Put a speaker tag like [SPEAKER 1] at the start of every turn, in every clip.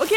[SPEAKER 1] Okej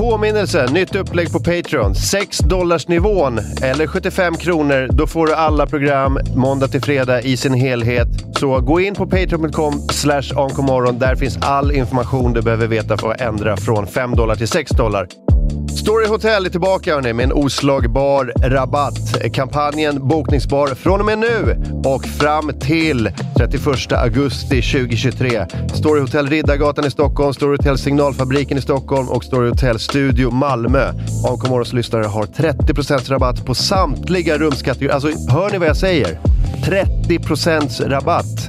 [SPEAKER 2] Påminnelse, nytt upplägg på Patreon. 6 dollarsnivån eller 75 kronor. Då får du alla program måndag till fredag i sin helhet. Så gå in på patreon.com slash onkomorron. Där finns all information du behöver veta för att ändra från 5 dollar till 6 dollar. Story Hotel är tillbaka hörni, med en oslagbar rabatt. Kampanjen bokningsbar från och med nu och fram till 31 augusti 2023. Story Hotel Riddargatan i Stockholm, Story Hotel Signalfabriken i Stockholm och Story Hotel Studio Malmö. AMK Morgons lyssnare har 30% rabatt på samtliga rumskategorier. Alltså, hör ni vad jag säger? 30% rabatt!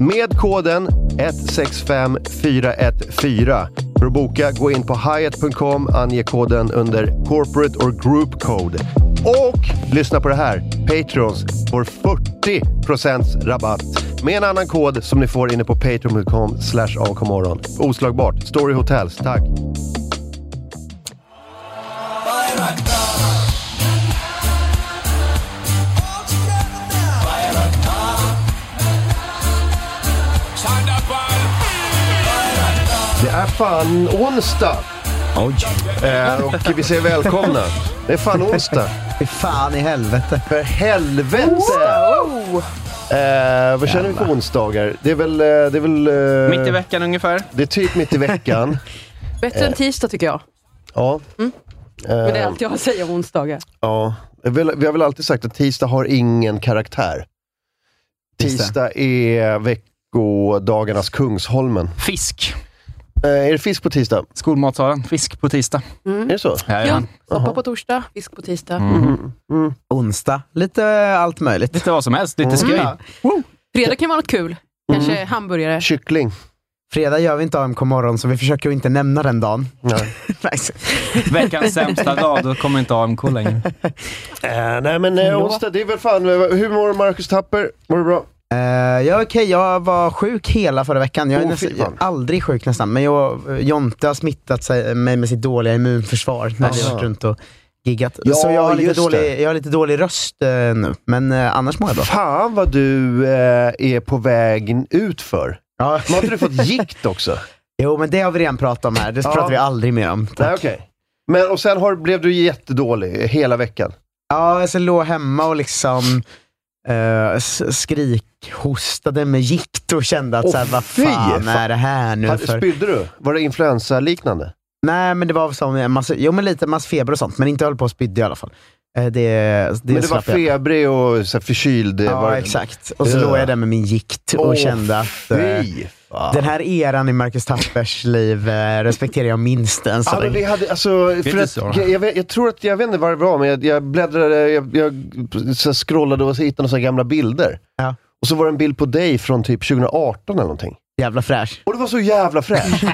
[SPEAKER 2] Med koden 165414. För att boka, gå in på hyatt.com, ange koden under corporate or group code. Och lyssna på det här! Patrons får 40% rabatt med en annan kod som ni får inne på patreon.com slash avkomorgon. Oslagbart! Story Hotels, tack! Det är fan onsdag!
[SPEAKER 3] Oj.
[SPEAKER 2] Eh, och vi säger välkomna. Det är fan onsdag.
[SPEAKER 3] Fy fan i helvete.
[SPEAKER 2] För helvete! Eh, vad känner vi för onsdagar? Det är väl... eh, Det är, väl eh,
[SPEAKER 4] Mitt i veckan ungefär.
[SPEAKER 2] det är typ mitt i veckan.
[SPEAKER 1] Bättre än tisdag tycker jag.
[SPEAKER 2] ja.
[SPEAKER 4] Mm.
[SPEAKER 2] Eh,
[SPEAKER 1] Men Eh. det är allt jag säger om onsdagar.
[SPEAKER 2] ja. Det är väl- Vi har väl alltid sagt att tisdag har ingen karaktär.
[SPEAKER 3] Just det.
[SPEAKER 2] Tisdag är veckodagarnas Kungsholmen.
[SPEAKER 4] Fisk.
[SPEAKER 2] Eh, är det fisk på tisdag?
[SPEAKER 4] Skolmatsalen. Fisk på tisdag.
[SPEAKER 2] Är det så?
[SPEAKER 1] Ja,
[SPEAKER 4] Jajamän.
[SPEAKER 1] soppa på torsdag, fisk på tisdag.
[SPEAKER 3] Onsdag. Lite eh, allt möjligt. Mm.
[SPEAKER 4] Lite vad som helst. Lite skoj.
[SPEAKER 3] Ja.
[SPEAKER 1] Fredag kan vara något kul. Kanske hamburgare.
[SPEAKER 2] Kyckling.
[SPEAKER 3] Fredag gör vi inte AMK morgon, så vi försöker inte nämna den dagen.
[SPEAKER 2] Nej.
[SPEAKER 3] Nej, så-
[SPEAKER 4] Veckans sämsta dag. Då kommer inte AMK längre.
[SPEAKER 2] Eh, nej men eh, onsdag, det är väl fan... eh, Hur mår Marcus Tapper? Mår du bra?
[SPEAKER 3] Eh, ja, okej, jag var sjuk hela förra veckan. Jag är,
[SPEAKER 2] Åh,
[SPEAKER 3] nästan,
[SPEAKER 2] fy
[SPEAKER 3] jag
[SPEAKER 2] fan.
[SPEAKER 3] är aldrig sjuk nästan, men jag, Jonte har smittat sig, mig med sitt dåliga immunförsvar när vi
[SPEAKER 2] Alltså.
[SPEAKER 3] har varit runt och giggat.
[SPEAKER 2] Ja,
[SPEAKER 3] så jag har, lite
[SPEAKER 2] just
[SPEAKER 3] dålig,
[SPEAKER 2] det.
[SPEAKER 3] jag har lite dålig röst eh, nu, men eh, annars mår jag bra.
[SPEAKER 2] Fan vad du eh, är på väg ut för.
[SPEAKER 3] Ja.
[SPEAKER 2] Men har inte du fått gikt också?
[SPEAKER 3] Jo, men det har vi redan pratat om här. Det
[SPEAKER 2] Ja.
[SPEAKER 3] pratar vi aldrig mer om. Tack.
[SPEAKER 2] Nej, okej. Men och sen har, blev du jättedålig hela veckan.
[SPEAKER 3] Ja, alltså låg hemma och liksom eh, s- skrikhostade med gikt och kände att
[SPEAKER 2] Åh,
[SPEAKER 3] så här, vad
[SPEAKER 2] fy
[SPEAKER 3] fan
[SPEAKER 2] fan."
[SPEAKER 3] är det här nu
[SPEAKER 2] Hade-
[SPEAKER 3] för?
[SPEAKER 2] Spydde du? Var det influensaliknande?
[SPEAKER 3] Nej, men det var som en massa, jo men lite massa feber och sånt, men inte höll på att spydde i alla fall. Eh, det, det
[SPEAKER 2] Men det var
[SPEAKER 3] slapp jag.
[SPEAKER 2] febrig och så här, förkyld. eh,
[SPEAKER 3] Ja,
[SPEAKER 2] var...
[SPEAKER 3] exakt. Och så
[SPEAKER 2] Ja.
[SPEAKER 3] låg jag där med min gikt och
[SPEAKER 2] Åh,
[SPEAKER 3] kände att eh,
[SPEAKER 2] Fy fan.
[SPEAKER 3] den här eran i Marcus Tappers liv eh, respekterar jag minst än så
[SPEAKER 2] Ja, men
[SPEAKER 3] länge.
[SPEAKER 2] vi hade, alltså, för
[SPEAKER 4] inte
[SPEAKER 2] att,
[SPEAKER 4] så.
[SPEAKER 2] jag, jag, vet- jag tror att, jag vet inte vad det var, men jag, jag bläddrade, jag, jag så här, scrollade och så hittade några så här gamla bilder.
[SPEAKER 3] Ja.
[SPEAKER 2] Och så var det en bild på dig från typ 2018 eller någonting.
[SPEAKER 3] Jävla fräsch.
[SPEAKER 2] Och det var så jävla fräscht.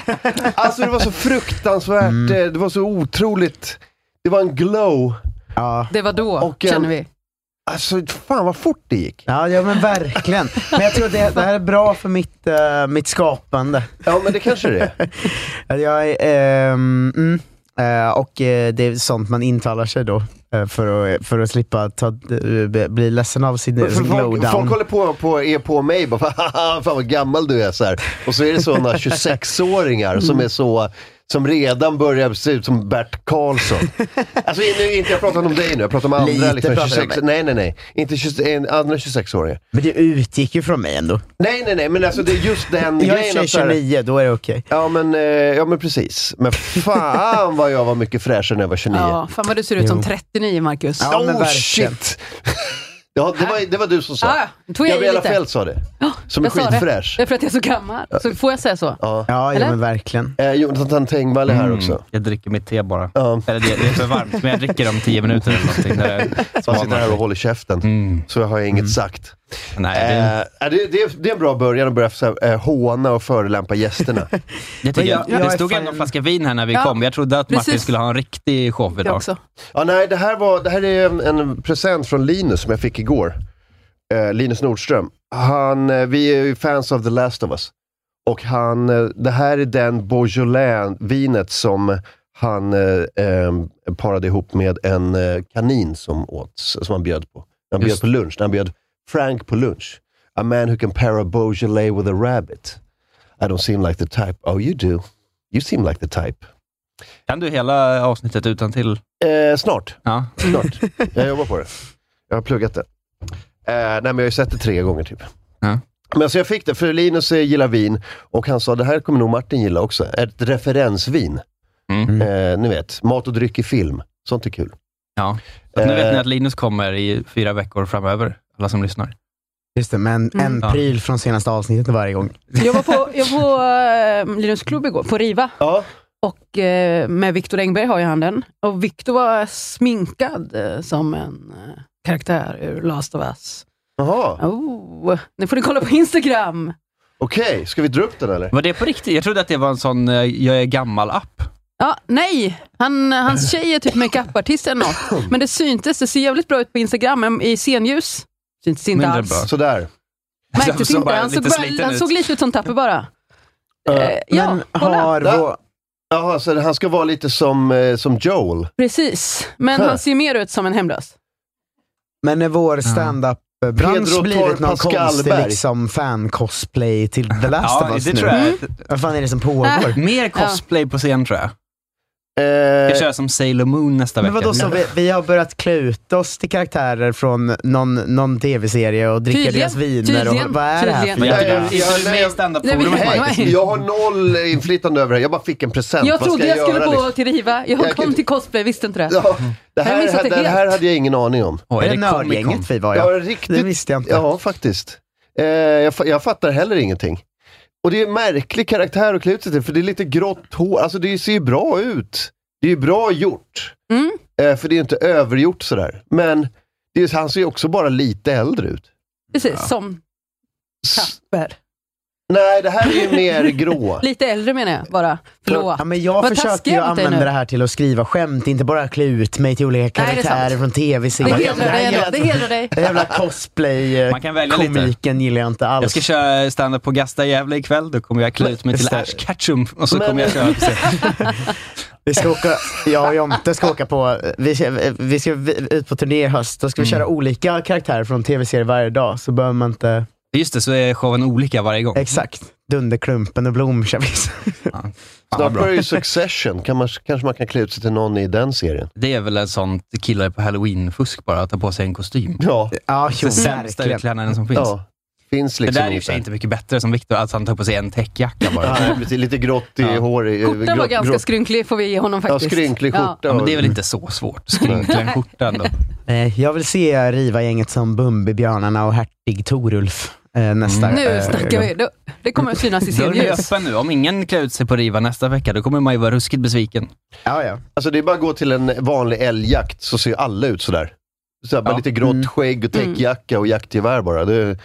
[SPEAKER 2] alltså det var så fruktansvärt,
[SPEAKER 3] Mm.
[SPEAKER 2] eh, det var så otroligt. Det var en glow.
[SPEAKER 3] Ja.
[SPEAKER 1] Det var då,
[SPEAKER 2] Och en-
[SPEAKER 1] känner vi.
[SPEAKER 2] Alltså fan vad fort det gick.
[SPEAKER 3] Ja, ja men verkligen. Men jag tror att det, det här är bra för mitt, eh, mitt skapande.
[SPEAKER 2] Ja men det kanske det är.
[SPEAKER 3] Att Jag, är, ehm, mm, eh, och eh, det är sånt man intalar sig då eh, för att, för att slippa ta, eh, bli ledsen av sin,
[SPEAKER 2] Men för
[SPEAKER 3] sin
[SPEAKER 2] folk,
[SPEAKER 3] glowdown.
[SPEAKER 2] folk håller på, på är på mig bara, "Haha, fan vad gammal du är så här. Och så är det sådana 26-åringar som
[SPEAKER 3] Mm.
[SPEAKER 2] är så, som redan börjar se ut som Bert Karlsson. Alltså nu, inte jag pratar om dig nu, jag pratar om andra
[SPEAKER 3] Lite
[SPEAKER 2] liksom,
[SPEAKER 3] pratar du om
[SPEAKER 2] 26, nej nej nej, inte 26, en- andra 26-åringar.
[SPEAKER 3] Men det utgick ju från mig ändå.
[SPEAKER 2] Nej nej nej, men alltså det är just den
[SPEAKER 3] Jag
[SPEAKER 2] grejen.
[SPEAKER 3] är
[SPEAKER 2] att så här-
[SPEAKER 3] 29, då är det okej.
[SPEAKER 2] Ja men, eh, ja men precis. Men fan vad jag var mycket fräschare när jag var 29.
[SPEAKER 1] Ja, fan vad du ser ut som 39 Marcus.
[SPEAKER 3] Ja, men
[SPEAKER 2] oh
[SPEAKER 3] verkligen.
[SPEAKER 2] shit! Ja, det, var, det var du som sa.
[SPEAKER 1] Ah, då tog jag i
[SPEAKER 2] Gabriella
[SPEAKER 1] lite.
[SPEAKER 2] Fält sa det.
[SPEAKER 1] Ja,
[SPEAKER 2] Som är
[SPEAKER 1] jag sa
[SPEAKER 2] skitfräsch.
[SPEAKER 1] Det är för att jag är så gammal. Så får jag säga så?
[SPEAKER 2] Ja.
[SPEAKER 3] Ja, ja
[SPEAKER 1] Eller?
[SPEAKER 3] men verkligen.
[SPEAKER 2] Eh, Jonathan Tengvall är här
[SPEAKER 4] Mm,
[SPEAKER 2] också.
[SPEAKER 4] Jag dricker mitt te bara.
[SPEAKER 2] Ja.
[SPEAKER 4] Eller det, det är för varmt, men jag dricker om tio minuter eller någonting. När det
[SPEAKER 2] Så han sitter här och
[SPEAKER 4] smalnar.
[SPEAKER 2] håller käften.
[SPEAKER 4] Mm.
[SPEAKER 2] Så har jag inget sagt.
[SPEAKER 4] Nej, det,
[SPEAKER 2] Eh, eh, det, det, är- det är en bra början att börja så här, eh, håna och förolämpa gästerna.
[SPEAKER 4] jag tycker,
[SPEAKER 3] jag- jag
[SPEAKER 4] det
[SPEAKER 3] är
[SPEAKER 4] stod
[SPEAKER 3] fan-
[SPEAKER 4] ändå en flaska vin här när vi
[SPEAKER 1] Ja,
[SPEAKER 4] kom. Jag trodde att Martin
[SPEAKER 1] precis.
[SPEAKER 4] skulle ha en riktig show
[SPEAKER 1] Jag
[SPEAKER 4] idag.
[SPEAKER 1] också.
[SPEAKER 2] ja, nej, det här, var, det här är en, en present från Linus som jag fick igår. Eh, Linus Nordström. Han, eh, vi är ju fans av The Last of Us. Och han, eh, det här är den Beaujolais-vinet som han eh, eh, parade ihop med en eh, kanin som åt, som han bjöd på. Han bjöd
[SPEAKER 4] Just.
[SPEAKER 2] på lunch. Han bjöd Frank på lunch. A man who can pair a Beaujolais with a rabbit. I don't seem like the type. Oh, you do. You seem like the type.
[SPEAKER 4] Kan du hela avsnittet utan till?
[SPEAKER 2] Eh, snart.
[SPEAKER 4] Ja.
[SPEAKER 2] Snart. Jag jobbar på det. Jag har pluggat det. Eh, nej, men jag har ju sett det tre gånger typ.
[SPEAKER 4] Ja.
[SPEAKER 2] Men så jag fick det, för Linus eh, gillar vin och han sa det här kommer nog Martin gilla också. Ett referensvin.
[SPEAKER 4] Mm.
[SPEAKER 2] Eh, ni vet, mat och dryck i film. Sånt är kul.
[SPEAKER 4] ja. Så nu vet
[SPEAKER 2] Eh.
[SPEAKER 4] ni att Linus kommer i fyra veckor framöver, alla som lyssnar.
[SPEAKER 3] Just det, men
[SPEAKER 1] Mm.
[SPEAKER 3] en
[SPEAKER 4] Ja.
[SPEAKER 3] pryl från senaste avsnittet varje gång.
[SPEAKER 1] Jag var på, jag var på eh, Linus klubb igår, på Riva.
[SPEAKER 2] Ja,
[SPEAKER 1] Och eh, med Viktor Engberg har jag handen. Och Viktor var sminkad eh, som en eh, karaktär ur Last of Us.
[SPEAKER 2] jaha.
[SPEAKER 1] Oh, nu får ni kolla på Instagram.
[SPEAKER 2] Okej, ska vi dra upp den eller?
[SPEAKER 4] Var det på riktigt? Jag trodde att det var en sån eh, jag är gammal-app.
[SPEAKER 1] Ja, nej, han, hans tjej är typ makeupartist eller något. Men det syntes, det ser jävligt bra ut på Instagram, men i scenljus syntes inte
[SPEAKER 4] Mindre
[SPEAKER 1] alls.
[SPEAKER 4] bra.
[SPEAKER 2] Sådär.
[SPEAKER 4] Som-
[SPEAKER 1] Märktes
[SPEAKER 4] som
[SPEAKER 1] inte,
[SPEAKER 4] bara
[SPEAKER 1] han såg,
[SPEAKER 4] lite
[SPEAKER 1] bara,
[SPEAKER 4] sliten
[SPEAKER 1] han
[SPEAKER 4] ut.
[SPEAKER 1] såg lite ut som Tapper bara.
[SPEAKER 2] Eh,
[SPEAKER 1] Eh, ja,
[SPEAKER 3] men
[SPEAKER 1] kolla.
[SPEAKER 3] har
[SPEAKER 2] Där.
[SPEAKER 3] vår...
[SPEAKER 2] Jaha, så han ska vara lite som, eh, som Joel.
[SPEAKER 1] Precis. Men
[SPEAKER 2] Huh.
[SPEAKER 1] han ser mer ut som en hemlös.
[SPEAKER 3] Men när vår standup-bransch
[SPEAKER 2] Pedro
[SPEAKER 3] blivit
[SPEAKER 2] Torp
[SPEAKER 3] någon konstig
[SPEAKER 2] Pascalberg.
[SPEAKER 3] liksom, fan-cosplay till The Last of
[SPEAKER 4] Ja,
[SPEAKER 3] Us
[SPEAKER 4] det
[SPEAKER 3] nu? Mm.
[SPEAKER 4] tror jag.
[SPEAKER 3] Vad fan är det som pågår?
[SPEAKER 4] Mer cosplay på scen tror jag.
[SPEAKER 2] Eh,
[SPEAKER 4] Jag kör som Sailor Moon nästa
[SPEAKER 3] Men
[SPEAKER 4] vecka.
[SPEAKER 3] vadå, så vi, vi har börjat klä ut oss till karaktärer från någon, någon tv-serie och dricka
[SPEAKER 1] Tydligen,
[SPEAKER 3] deras viner?
[SPEAKER 1] tydligen,
[SPEAKER 3] och, vad är det här för
[SPEAKER 4] Men jag
[SPEAKER 2] Nej,
[SPEAKER 4] tycker
[SPEAKER 2] jag-
[SPEAKER 4] inte du är med i
[SPEAKER 1] Nej, vi-
[SPEAKER 4] standup-forumet.
[SPEAKER 1] Nej,
[SPEAKER 4] Mike.
[SPEAKER 1] nej.
[SPEAKER 2] jag har noll inflytande över det här. Jag bara fick en present.
[SPEAKER 1] Jag
[SPEAKER 2] Vad
[SPEAKER 1] trodde
[SPEAKER 2] ska
[SPEAKER 1] jag, skulle
[SPEAKER 2] göra,
[SPEAKER 1] gå
[SPEAKER 2] liksom?
[SPEAKER 1] till Riva. Jag,
[SPEAKER 2] Jag
[SPEAKER 1] kom
[SPEAKER 2] kan-
[SPEAKER 1] till cosplay, visste inte det.
[SPEAKER 2] Ja, det
[SPEAKER 1] Jag
[SPEAKER 2] här,
[SPEAKER 1] missade
[SPEAKER 2] det,
[SPEAKER 1] helt.
[SPEAKER 2] här hade jag ingen aning om.
[SPEAKER 4] Åh,
[SPEAKER 3] Är det
[SPEAKER 4] Comic Con?
[SPEAKER 3] nördgänget vi var?
[SPEAKER 2] Jag
[SPEAKER 3] Ja.
[SPEAKER 2] har riktigt
[SPEAKER 3] Det visste jag inte.
[SPEAKER 2] Ja, faktiskt. Eh, jag, fa- jag fattar heller ingenting. Och det är en märklig karaktär att klä ut sig till, för det är lite grått hår. Alltså det ser ju bra ut. Det är ju bra gjort.
[SPEAKER 1] Mm.
[SPEAKER 2] Eh, för det är inte övergjort sådär. Men det är, han ser ju också bara lite äldre ut.
[SPEAKER 1] Precis, som
[SPEAKER 2] S-
[SPEAKER 1] Tapper.
[SPEAKER 2] nej, det här är ju mer grå.
[SPEAKER 1] Lite äldre menar jag bara. Förlåt.
[SPEAKER 3] Ja, men jag
[SPEAKER 1] Vad
[SPEAKER 3] försöker
[SPEAKER 1] taskig
[SPEAKER 3] ju
[SPEAKER 1] jag mot dig
[SPEAKER 3] använda
[SPEAKER 1] nu.
[SPEAKER 3] det här till att skriva skämt, inte bara klä ut mig till olika
[SPEAKER 1] det är
[SPEAKER 3] karaktärer
[SPEAKER 1] sant.
[SPEAKER 3] från
[SPEAKER 1] Det
[SPEAKER 3] tv-serier.
[SPEAKER 1] hedrar dig
[SPEAKER 3] här
[SPEAKER 1] ändå.
[SPEAKER 3] jävla-
[SPEAKER 1] Det hedrar dig.
[SPEAKER 3] den jävla cosplay eh,
[SPEAKER 4] Man kan välja lite.
[SPEAKER 3] komiken gillar jag inte
[SPEAKER 4] Jag
[SPEAKER 3] alls.
[SPEAKER 4] ska köra stand-up på Gasta i Gävle ikväll. Då kommer jag klä ut mig till Ash Ketchum och så
[SPEAKER 2] Men-
[SPEAKER 4] kommer jag köra på scen.
[SPEAKER 3] Vi ska åka, jag och Jonte ska åka på, vi ska, vi ska ut på turné i höst, då ska vi
[SPEAKER 4] Mm.
[SPEAKER 3] köra olika karaktärer från tv-serier varje dag, så behöver man inte,
[SPEAKER 4] Just det, så är showen olika varje gång.
[SPEAKER 3] exakt, Dunderklumpen och Blomkärvis.
[SPEAKER 4] Fan, vad
[SPEAKER 2] Snart
[SPEAKER 4] bra.
[SPEAKER 2] börjar ju Succession. Kan man, kanske man kan klä ut sig till någon i den serien.
[SPEAKER 4] Det är väl en sån killar på halloween-fusk bara, att ta på sig en kostym.
[SPEAKER 2] Ja,
[SPEAKER 3] Ja, jo,
[SPEAKER 4] Det sämsta
[SPEAKER 3] verkligen.
[SPEAKER 4] utklädnaden som finns.
[SPEAKER 2] ja. finns
[SPEAKER 4] Det
[SPEAKER 2] liksom
[SPEAKER 4] där är i och för sig inte mycket bättre som Viktor, att han tar på sig en täckjacka bara.
[SPEAKER 2] Nej, precis. lite grått i
[SPEAKER 4] Ja.
[SPEAKER 2] hår. i-
[SPEAKER 1] Skjortan var
[SPEAKER 2] grått-
[SPEAKER 1] ganska
[SPEAKER 2] grått-
[SPEAKER 1] skrynklig, får vi ge honom
[SPEAKER 2] Ja,
[SPEAKER 1] faktiskt.
[SPEAKER 2] skrynklig
[SPEAKER 1] Ja.
[SPEAKER 2] skjorta.
[SPEAKER 4] Ja, men det är
[SPEAKER 2] och-
[SPEAKER 4] väl inte så svårt? Skrynkla en skjorta ändå.
[SPEAKER 3] Eh, Jag vill se Riva-gänget som Bumbibjörnarna och Hertig Torulf eh, nästa
[SPEAKER 4] Mm.
[SPEAKER 1] Nu
[SPEAKER 3] eh,
[SPEAKER 1] snackar
[SPEAKER 3] gång.
[SPEAKER 1] vi. Det- Det kommer att synas i
[SPEAKER 4] Dörren är
[SPEAKER 1] scenljus.
[SPEAKER 4] öppen nu. Om ingen klär ut sig på Riva nästa vecka, då kommer man ju vara ruskigt besviken.
[SPEAKER 3] Ja, ja.
[SPEAKER 2] Alltså det är bara att gå till en vanlig älgjakt så ser alla ut sådär. Så här, Bara
[SPEAKER 4] Ja.
[SPEAKER 2] lite grått
[SPEAKER 3] Mm.
[SPEAKER 2] skägg och
[SPEAKER 1] Mm.
[SPEAKER 2] täckjacka och jaktgevär bara. Det,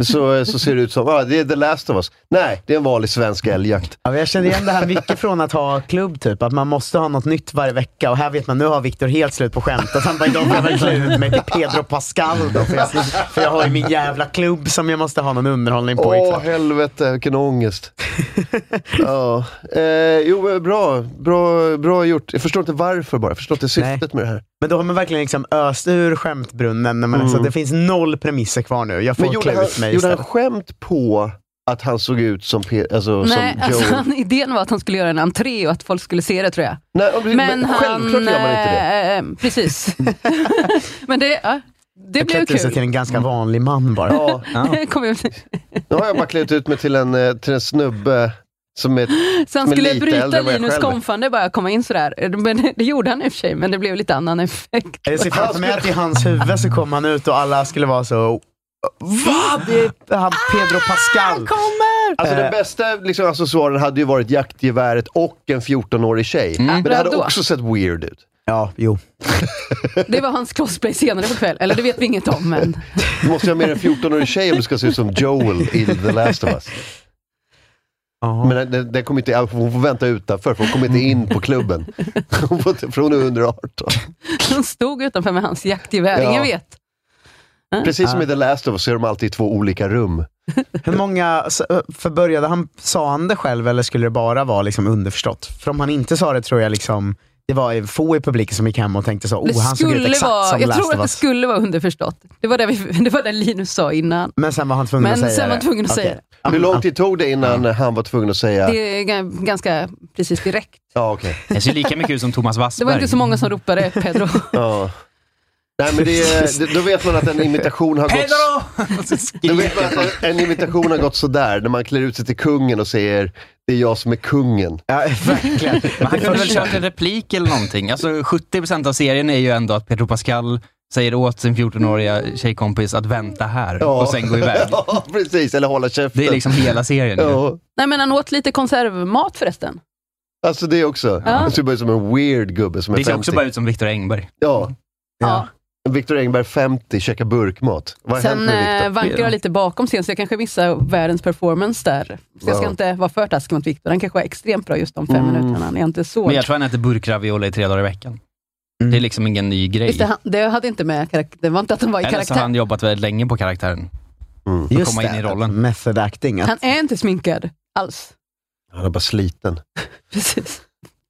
[SPEAKER 2] så, så ser det ut som, ah, det är the last of us. Nej, det är en vanlig svensk älgjakt.
[SPEAKER 3] Ja, men jag känner igen det här mycket från att ha klubb, typ. att man måste ha något nytt varje vecka och här vet man, nu har Viktor helt slut på skämt. Att han bara, idag får jag väl klä ut mig till Pedro Pascal då, för jag, för jag har ju min jävla klubb som jag måste ha någon underhållning på
[SPEAKER 2] Åh
[SPEAKER 3] ikväll.
[SPEAKER 2] helvete, vilken ångest. ja. eh, jo, men bra. bra. Bra gjort. Jag förstår inte varför bara. Jag förstår inte syftet med det här.
[SPEAKER 3] Men då har man verkligen liksom öst ur skämtbrunnen, när man, så att det finns noll premisser kvar nu. Jag
[SPEAKER 2] Mm. Men
[SPEAKER 3] får
[SPEAKER 2] gjorde
[SPEAKER 3] klä
[SPEAKER 2] han,
[SPEAKER 3] ut mig
[SPEAKER 2] gjorde han
[SPEAKER 3] istället.
[SPEAKER 2] skämt på att han såg ut som, Pe- alltså,
[SPEAKER 1] Nej,
[SPEAKER 2] som
[SPEAKER 1] alltså,
[SPEAKER 2] Joel?
[SPEAKER 1] han, idén var att han skulle göra en entré och att folk skulle se det tror jag.
[SPEAKER 2] Nej, men,
[SPEAKER 1] Men han...
[SPEAKER 2] självklart gör man inte det.
[SPEAKER 1] eh, precis. Men det, ja, det blev
[SPEAKER 3] Jag klädde sig till
[SPEAKER 1] kul.
[SPEAKER 3] en ganska vanlig man bara.
[SPEAKER 2] Ja.
[SPEAKER 4] Ja.
[SPEAKER 1] Kom ut.
[SPEAKER 2] Nu har jag bara klätt ut mig till en, eh, till en snubbe Som ett,
[SPEAKER 1] Sen
[SPEAKER 2] Men
[SPEAKER 1] skulle jag
[SPEAKER 2] lite
[SPEAKER 1] bryta
[SPEAKER 2] äldre än vad jag
[SPEAKER 1] Linus
[SPEAKER 2] själv är.
[SPEAKER 1] konfande bara komma in sådär. Men det gjorde han i och för sig, men det blev lite annan effekt.
[SPEAKER 3] Jag ser framför mig att i hans huvud så kom han ut och alla skulle vara så... Va? Det är han Pedro Pascal.
[SPEAKER 1] Ah, Kommer!
[SPEAKER 2] alltså den
[SPEAKER 3] Eh.
[SPEAKER 2] bästa liksom, accessoaren hade ju varit jaktgeväret och en 14-årig tjej. Men det hade
[SPEAKER 1] Mm. Bra då.
[SPEAKER 2] också sett weird ut.
[SPEAKER 3] Ja, jo.
[SPEAKER 1] Det var hans cosplay senare på kväll. Eller det vet vi inget om, men
[SPEAKER 2] Du måste ju ha mer än 14-årig tjej om du ska se ut som Joel i The Last of Us.
[SPEAKER 1] Mm.
[SPEAKER 2] Men den- den, den kommer inte, hon får vänta utanför, för hon kommer inte in på klubben. Hon får inte- för hon är under 18.
[SPEAKER 1] hon stod utanför med hans jaktgevär.
[SPEAKER 2] Ja.
[SPEAKER 1] Ingen vet.
[SPEAKER 2] Precis som i The Last of Us så är de alltid i två olika rum.
[SPEAKER 3] Hur många, s- för började han, sa han det själv eller skulle det bara vara liksom underförstått? För om han inte sa det tror jag liksom, det var ju få i publiken som gick hem och tänkte så,
[SPEAKER 1] Det
[SPEAKER 3] oh han såg ut
[SPEAKER 1] skulle
[SPEAKER 3] exakt
[SPEAKER 1] vara,
[SPEAKER 3] som
[SPEAKER 1] jag
[SPEAKER 3] Last
[SPEAKER 1] tror
[SPEAKER 3] of
[SPEAKER 1] att det
[SPEAKER 3] Us.
[SPEAKER 1] skulle vara underförstått. Det var det, vi, det, var det Linus sa innan.
[SPEAKER 3] Men sen var han tvungen
[SPEAKER 1] Men
[SPEAKER 3] att säga
[SPEAKER 1] sen var han
[SPEAKER 3] det.
[SPEAKER 1] tvungen att
[SPEAKER 3] Okej.
[SPEAKER 1] säga det.
[SPEAKER 3] Ja,
[SPEAKER 2] Hur
[SPEAKER 3] men-
[SPEAKER 2] lång tid tog det innan han var tvungen att säga...
[SPEAKER 1] Det är ga- ganska precis direkt.
[SPEAKER 2] Ja, okej.
[SPEAKER 4] Det ser lika mycket ut som Thomas
[SPEAKER 1] Det
[SPEAKER 4] Wassberg.
[SPEAKER 1] var inte så många som ropade Pedro.
[SPEAKER 2] Ja. Nej, men det, är- det, då vet man att en imitation har gått... Då vet man att en imitation har gått sådär, när man klär ut sig till kungen och säger det är jag som är kungen.
[SPEAKER 3] Ja, verkligen.
[SPEAKER 4] Men han kunde väl
[SPEAKER 3] Första-
[SPEAKER 4] kört en replik eller någonting. Alltså 70% av serien är ju ändå att Pedro Pascal säger åt sin 14-åriga tjejkompis att vänta här
[SPEAKER 2] Ja.
[SPEAKER 4] och sen gå iväg.
[SPEAKER 2] Ja, precis. Eller hålla käften.
[SPEAKER 4] Det är liksom hela serien. ju.
[SPEAKER 2] Ja,
[SPEAKER 1] Nej, men han åt lite konservmat förresten.
[SPEAKER 2] alltså det också.
[SPEAKER 1] Ja.
[SPEAKER 2] Det ser bara ut som en weird gubbe som är
[SPEAKER 4] Det ser
[SPEAKER 2] 50.
[SPEAKER 4] också bara ut som Viktor Engberg.
[SPEAKER 2] Ja.
[SPEAKER 1] Ja.
[SPEAKER 2] Viktor Engberg 50, käkar burkmat. Vad har hänt
[SPEAKER 1] Sen eh,
[SPEAKER 2] med Viktor?
[SPEAKER 1] vankar jag lite bakom scen, så jag kanske missar världens performance där. Så jag ska
[SPEAKER 2] Ja.
[SPEAKER 1] inte vara för taskig mot Viktor. Han kanske var extremt bra just de fem
[SPEAKER 2] Mm.
[SPEAKER 1] minuterna. Han är inte så...
[SPEAKER 4] Men jag tror han äter burkravioli tre dagar i veckan.
[SPEAKER 3] Mm.
[SPEAKER 4] Det är liksom ingen ny grej.
[SPEAKER 1] Just det, han, det hade inte med karaktär... Det var inte att han var i
[SPEAKER 4] Eller så
[SPEAKER 1] karaktär.
[SPEAKER 4] har han jobbat väldigt länge på karaktären.
[SPEAKER 2] Mm.
[SPEAKER 4] Att komma in i rollen.
[SPEAKER 3] Method acting. Att,
[SPEAKER 1] Han är inte sminkad alls.
[SPEAKER 2] Han är bara sliten.
[SPEAKER 1] Precis.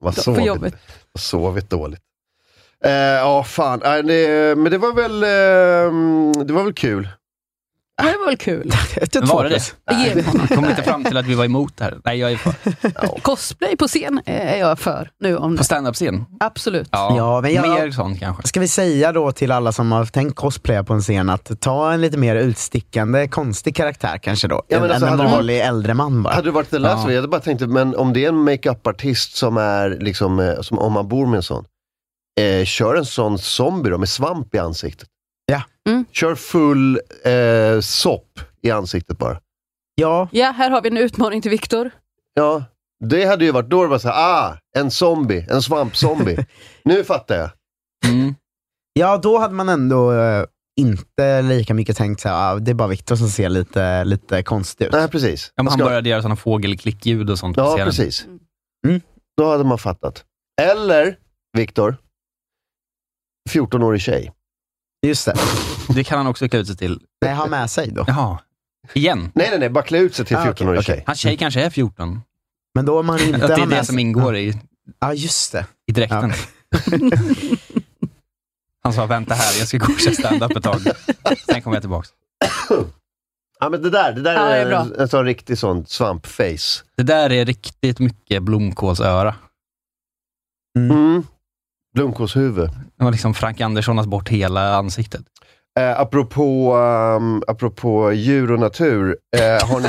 [SPEAKER 2] Vad
[SPEAKER 1] På
[SPEAKER 2] sovit.
[SPEAKER 1] jobbet.
[SPEAKER 2] Vad sovit dåligt. Eh, Ja, fan. Nej, det, men det var väl eh, Det var väl kul.
[SPEAKER 1] Men det var väl kul?
[SPEAKER 3] Ett-
[SPEAKER 4] Var det
[SPEAKER 3] två
[SPEAKER 4] det?
[SPEAKER 3] plus.
[SPEAKER 1] Det ger vi honom.
[SPEAKER 4] Kom inte fram till att vi var emot det här. Nej, jag är för.
[SPEAKER 1] Cosplay på scen är jag för nu. Om
[SPEAKER 4] På standup-scen?
[SPEAKER 1] Absolut.
[SPEAKER 3] Ja, men jag-
[SPEAKER 4] Mer sånt kanske.
[SPEAKER 3] Ska vi säga då till alla som har tänkt cosplaya på en scen att ta en lite mer utstickande, konstig karaktär kanske då?
[SPEAKER 2] Ja, men
[SPEAKER 3] än
[SPEAKER 2] alltså,
[SPEAKER 3] än
[SPEAKER 2] hade
[SPEAKER 3] en
[SPEAKER 2] det varit-
[SPEAKER 3] vanlig äldre man bara.
[SPEAKER 2] Hade det varit The Last
[SPEAKER 4] Ja.
[SPEAKER 2] of Us, jag hade bara tänkt, men om det är en makeup-artist som är, liksom, eh, som, om man bor med en sån, eh, kör en sån zombie då, med svamp i ansiktet.
[SPEAKER 3] Ja.
[SPEAKER 1] Mm.
[SPEAKER 2] Kör full eh, sopp i ansiktet bara.
[SPEAKER 3] Ja,
[SPEAKER 1] Ja, här har vi en utmaning till Viktor.
[SPEAKER 2] Ja, det hade ju varit, då var det bara så här, ah, en zombie, en svampzombie. nu fattar jag.
[SPEAKER 4] Mm.
[SPEAKER 3] ja, då hade man ändå eh, inte lika mycket tänkt så här, ah, det är bara Viktor som ser lite, lite konstig ut.
[SPEAKER 2] Nej, precis.
[SPEAKER 4] Ja, men
[SPEAKER 2] Jag
[SPEAKER 4] han
[SPEAKER 2] ska-
[SPEAKER 4] började göra sådana fågelklickljud och sånt på
[SPEAKER 2] Ja,
[SPEAKER 4] scenen.
[SPEAKER 2] precis.
[SPEAKER 3] Mm.
[SPEAKER 2] Då hade man fattat. Eller, Viktor, 14-årig tjej.
[SPEAKER 3] Just det.
[SPEAKER 4] Det kan han också klä ut sig till.
[SPEAKER 3] Nej, ha med sig då.
[SPEAKER 4] Jaha. Igen.
[SPEAKER 2] Nej, nej, nej, bara klä ut sig till
[SPEAKER 3] Ah, okej,
[SPEAKER 2] 14-årig
[SPEAKER 3] okej.
[SPEAKER 2] tjej.
[SPEAKER 4] Hans tjej kanske är 14.
[SPEAKER 3] Men då har man inte
[SPEAKER 4] Att det
[SPEAKER 3] ha
[SPEAKER 4] är
[SPEAKER 3] med
[SPEAKER 4] det som
[SPEAKER 3] sig-
[SPEAKER 4] ingår i,
[SPEAKER 3] Ja, just det.
[SPEAKER 4] i dräkten. Han sa, vänta här, jag ska gå och köra stand-up ett tag. Sen kommer jag tillbaka.
[SPEAKER 2] Ja, men det där, det där
[SPEAKER 1] Ja, det är
[SPEAKER 2] är,
[SPEAKER 1] bra.
[SPEAKER 2] en sån riktig sån svampface.
[SPEAKER 4] Det där är riktigt mycket blomkålsöra.
[SPEAKER 3] Mm.
[SPEAKER 2] Mm. Blomkålshuvud.
[SPEAKER 4] Det var liksom Frank Andersson har bort hela ansiktet.
[SPEAKER 2] Eh, apropå, ehm, apropå djur och natur, eh, har ni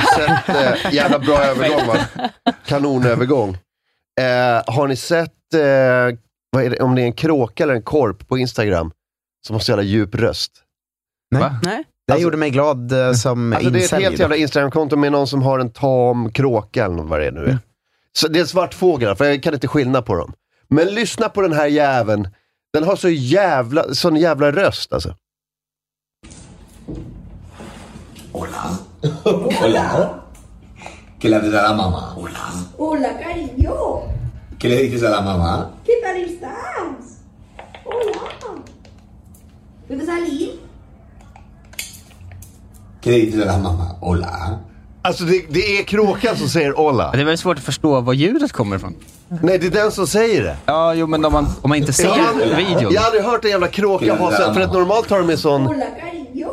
[SPEAKER 2] sett, eh, jävla bra övergång va? Kanonövergång. Eh, har ni sett, eh, vad är det, om det är en kråka eller en korp på Instagram, som har så jävla djup röst?
[SPEAKER 3] Nej.
[SPEAKER 4] Va?
[SPEAKER 1] Nej.
[SPEAKER 3] Det
[SPEAKER 2] Alltså-
[SPEAKER 3] gjorde mig glad eh, som
[SPEAKER 2] Alltså det är ett
[SPEAKER 3] incel.
[SPEAKER 2] helt jävla Instagramkonto med någon som har en tam kråka eller vad det är nu
[SPEAKER 4] Mm.
[SPEAKER 2] är. Så det är svartfåglar, för jag kan inte skilja på dem. Men lyssna på den här jäveln. Den har så jävla, sån jävla röst alltså.
[SPEAKER 5] Hola. Hola. ¿Qué le haces a la mamá? Hola.
[SPEAKER 6] Hola, cariño.
[SPEAKER 5] ¿Qué le dices a la mamá?
[SPEAKER 6] ¿Qué tal estás? Hola. ¿Puedo salir?
[SPEAKER 5] ¿Qué le dices a la mamá? Hola.
[SPEAKER 2] Alltså det, det är kråkan som säger Ola.
[SPEAKER 4] Det är väldigt svårt att förstå var ljudet kommer ifrån.
[SPEAKER 2] Nej, det är den som säger det.
[SPEAKER 4] Ja, jo, men om man, om man inte
[SPEAKER 2] Jag har
[SPEAKER 4] ser
[SPEAKER 2] aldrig-
[SPEAKER 4] videon.
[SPEAKER 2] Jag har aldrig hört en jävla kråka ha så för att normalt har de en sån...
[SPEAKER 6] Hola, cariño.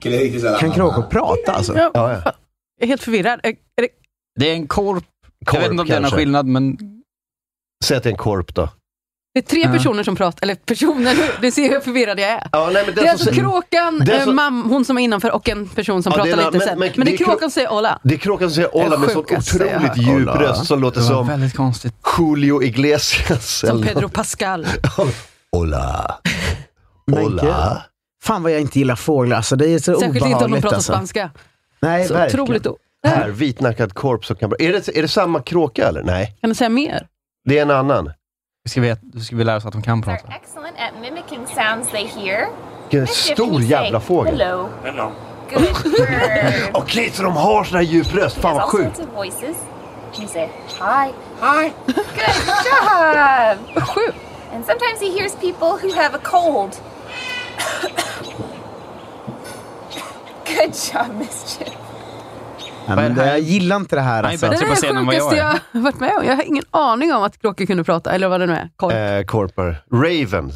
[SPEAKER 5] ¿Qué le dices a la
[SPEAKER 3] Kan
[SPEAKER 5] mamá?
[SPEAKER 3] kråkor prata alltså?
[SPEAKER 1] Jag,
[SPEAKER 2] Ja, ja.
[SPEAKER 1] jag är helt förvirrad. Är, är det,
[SPEAKER 4] Det är en korp. jag vet inte om det är någon
[SPEAKER 2] kanske.
[SPEAKER 4] skillnad, men
[SPEAKER 2] Säg att det är en korp då.
[SPEAKER 1] Det är tre personer som pratar, eller personer, du ser hur förvirrad jag är.
[SPEAKER 2] Ja, nej, men
[SPEAKER 1] det, är
[SPEAKER 2] den som
[SPEAKER 1] alltså
[SPEAKER 2] säger-
[SPEAKER 1] Kråkan,
[SPEAKER 2] den
[SPEAKER 1] eh,
[SPEAKER 2] som-
[SPEAKER 1] mam, hon som är innanför och en person som
[SPEAKER 2] Ja, det
[SPEAKER 1] pratar
[SPEAKER 2] är en
[SPEAKER 1] lite
[SPEAKER 2] annan-
[SPEAKER 1] sen.
[SPEAKER 2] men-
[SPEAKER 1] Men, det
[SPEAKER 2] det är
[SPEAKER 1] är
[SPEAKER 2] krå-
[SPEAKER 1] Kråkan som säger Ola.
[SPEAKER 2] Det är Kråkan som säger Olla med sån
[SPEAKER 4] sjukaste jag
[SPEAKER 2] otroligt
[SPEAKER 4] har hört.
[SPEAKER 2] djup
[SPEAKER 4] Olla.
[SPEAKER 2] röst som låter
[SPEAKER 4] Det var
[SPEAKER 2] som
[SPEAKER 4] väldigt konstigt.
[SPEAKER 2] Julio Iglesias.
[SPEAKER 1] Som
[SPEAKER 2] eller-
[SPEAKER 1] Pedro Pascal.
[SPEAKER 2] Hola.
[SPEAKER 3] Men gud.
[SPEAKER 2] Hola.
[SPEAKER 3] Fan vad jag inte gillar fåglar, alltså, det är så
[SPEAKER 1] Särskilt inte om de
[SPEAKER 3] obehagligt.
[SPEAKER 1] pratar
[SPEAKER 3] alltså.
[SPEAKER 1] spanska.
[SPEAKER 3] Nej,
[SPEAKER 1] Så
[SPEAKER 3] verkligen.
[SPEAKER 1] otroligt o-
[SPEAKER 2] Här, vitnackad korp som kan... Är det, är det samma kråka eller? Nej,
[SPEAKER 1] Kan du säga mer?
[SPEAKER 2] det är en annan.
[SPEAKER 4] Vi ska, veta, vi ska vi lära oss att de kan prata.
[SPEAKER 7] excellent at mimicking sounds they hear.
[SPEAKER 2] Vilken stor jävla fågel.
[SPEAKER 7] Hello. Hello. Good bird.
[SPEAKER 2] Okej, så de har sån här djup röst. Fan vad
[SPEAKER 7] There's all
[SPEAKER 2] sjukt.
[SPEAKER 7] sorts of voices. You say hi. Hi. Good job.
[SPEAKER 1] Vad sjukt.
[SPEAKER 7] And sometimes he hears people who have a cold. Good job, mischief.
[SPEAKER 3] Ja, men det, jag gillar inte det här.
[SPEAKER 4] Nej,
[SPEAKER 3] Alltså.
[SPEAKER 4] men-
[SPEAKER 1] Det
[SPEAKER 4] Jag tror
[SPEAKER 1] är
[SPEAKER 4] bara
[SPEAKER 1] det
[SPEAKER 4] scenen vad jag
[SPEAKER 1] sjukaste
[SPEAKER 4] är.
[SPEAKER 1] jag har varit med om. Jag har ingen aning om att kråkor kunde prata, eller vad det nu är. Korp.
[SPEAKER 2] Eh, korpar. Raven.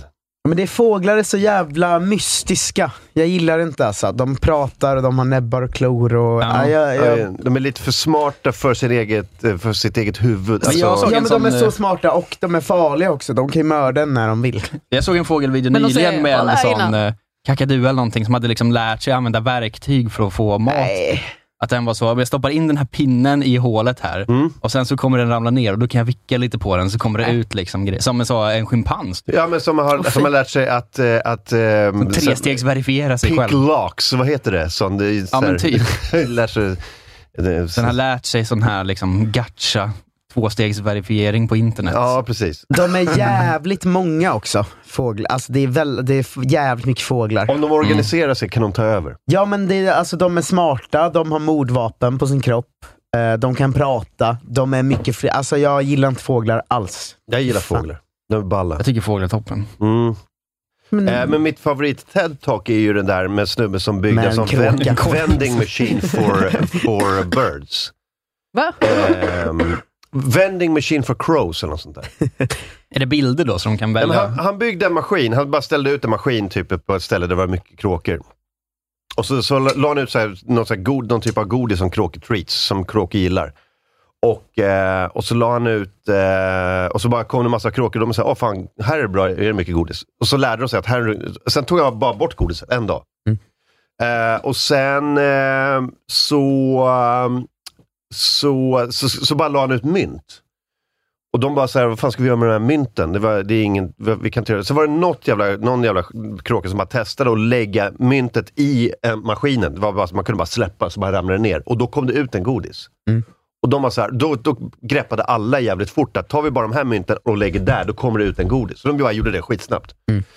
[SPEAKER 3] Men det är fåglar är så jävla mystiska. Jag gillar det inte alltså. De pratar och de har näbbar och klor och...
[SPEAKER 4] Ja.
[SPEAKER 3] Ja, jag, jag,
[SPEAKER 2] Eh, De är lite för smarta för, sin eget, eh, för sitt eget huvud.
[SPEAKER 4] Men jag
[SPEAKER 2] Alltså,
[SPEAKER 4] såg-
[SPEAKER 3] ja
[SPEAKER 4] en
[SPEAKER 3] men
[SPEAKER 4] sån,
[SPEAKER 3] de är så
[SPEAKER 4] eh,
[SPEAKER 3] smarta och de är farliga också. De kan ju mörda en när de vill.
[SPEAKER 4] Jag såg en fågelvideo
[SPEAKER 1] Men de
[SPEAKER 4] nyligen
[SPEAKER 1] säger
[SPEAKER 4] med
[SPEAKER 1] Olla
[SPEAKER 4] en sån
[SPEAKER 1] innan.
[SPEAKER 4] eh, kakadu eller någonting som hade liksom lärt sig använda verktyg för att få mat.
[SPEAKER 3] Nej.
[SPEAKER 4] Att den var så, jag stoppar in den här pinnen i hålet här och sen så kommer den ramla ner och då kan jag vicka lite på den så kommer det ut liksom grejer. Som en, så, en schimpans.
[SPEAKER 2] ja, men som har, som har lärt sig att... eh, att ehm,
[SPEAKER 4] Trestegsverifiera sig
[SPEAKER 2] Pick
[SPEAKER 4] själv.
[SPEAKER 2] locks, vad heter det? Sån, det är så
[SPEAKER 4] men
[SPEAKER 2] här-
[SPEAKER 4] typ.
[SPEAKER 2] lär sig, det,
[SPEAKER 4] Den har lärt sig sån här liksom gacha tvåstegsverifiering på internet.
[SPEAKER 2] ja, precis.
[SPEAKER 3] De är jävligt många också. Fåglar. Alltså det är, väl, det är f- jävligt mycket fåglar.
[SPEAKER 2] Om de organiserar sig kan de ta över.
[SPEAKER 3] Ja men det är, alltså, de är smarta, de har mordvapen på sin kropp. eh, De kan prata, de är mycket fri. Alltså jag gillar inte fåglar alls.
[SPEAKER 2] Jag gillar
[SPEAKER 3] Fan.
[SPEAKER 2] fåglar. De är balla.
[SPEAKER 4] Jag tycker fåglar är toppen.
[SPEAKER 2] Mm.
[SPEAKER 3] Men,
[SPEAKER 2] Eh, men mitt favorit-TED-talk är ju den där med snubben som byggde
[SPEAKER 3] Med en
[SPEAKER 2] en sån
[SPEAKER 3] kråka.
[SPEAKER 2] vend- vending machine for, for birds.
[SPEAKER 1] Va?
[SPEAKER 2] Ehm, vending machine for crows eller något sånt där.
[SPEAKER 4] Är det bilder då som de kan
[SPEAKER 2] Nej, men
[SPEAKER 4] välja?
[SPEAKER 2] han, han byggde en maskin, han bara ställde ut en maskin typ på ett ställe där det var mycket kråkor. Och så, så la la han ut så här, någon, så här god, någon typ av godis som kråketreats, som kråkor gillar. Och, eh, och så la han ut, eh, och så bara kom det en massa kråkor. De sa, åh fan, här är det bra, är det mycket godis. Och så lärde de sig att här, är- sen tog jag bara bort godiset en dag.
[SPEAKER 4] Mm.
[SPEAKER 2] Eh, och sen eh, så, eh, så, så, så bara la han ut mynt. Och de bara så här, vad fan ska vi göra med den här mynten? Det var, det är ingen, vi kan inte göra det. Så var det något jävla, någon jävla kråka som bara testade att lägga myntet i eh, maskinen. Det var bara, så- man kunde bara släppa, så bara ramlade det ner. Och då kom det ut en godis. Och de var så här, då, då greppade alla jävligt fort att tar vi bara de här mynten och lägger där, då kommer det ut en godis. Så de bara gjorde det skitsnabbt.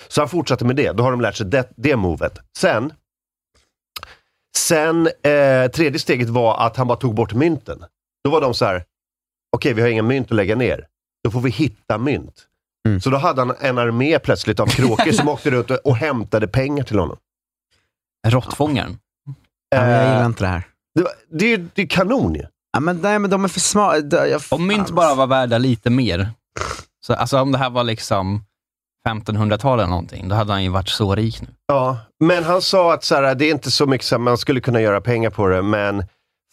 [SPEAKER 2] Så han fortsatte med det. Då har de lärt sig det, det movet. Sen, sen eh, tredje steget var att han bara tog bort mynten. Då var de så här, okej, vi har inga mynt att lägga ner. Då får vi hitta mynt.
[SPEAKER 3] Mm.
[SPEAKER 2] Så då hade han en armé plötsligt av kråkor som åkte runt och, och hämtade pengar till honom.
[SPEAKER 4] Råttfångaren.
[SPEAKER 3] ja, men jag
[SPEAKER 2] Eh,
[SPEAKER 3] gillar inte det här.
[SPEAKER 2] det, var- det, är ju- det är kanon ju.
[SPEAKER 3] Ja, men, nej men de är för smarta.
[SPEAKER 4] Om mynt bara var värda lite mer. Så, alltså om det här var liksom 1500-tal eller någonting, då hade han ju varit så rik nu.
[SPEAKER 2] Ja, men han sa att så här, det är inte så mycket så här, man skulle kunna göra pengar på det, men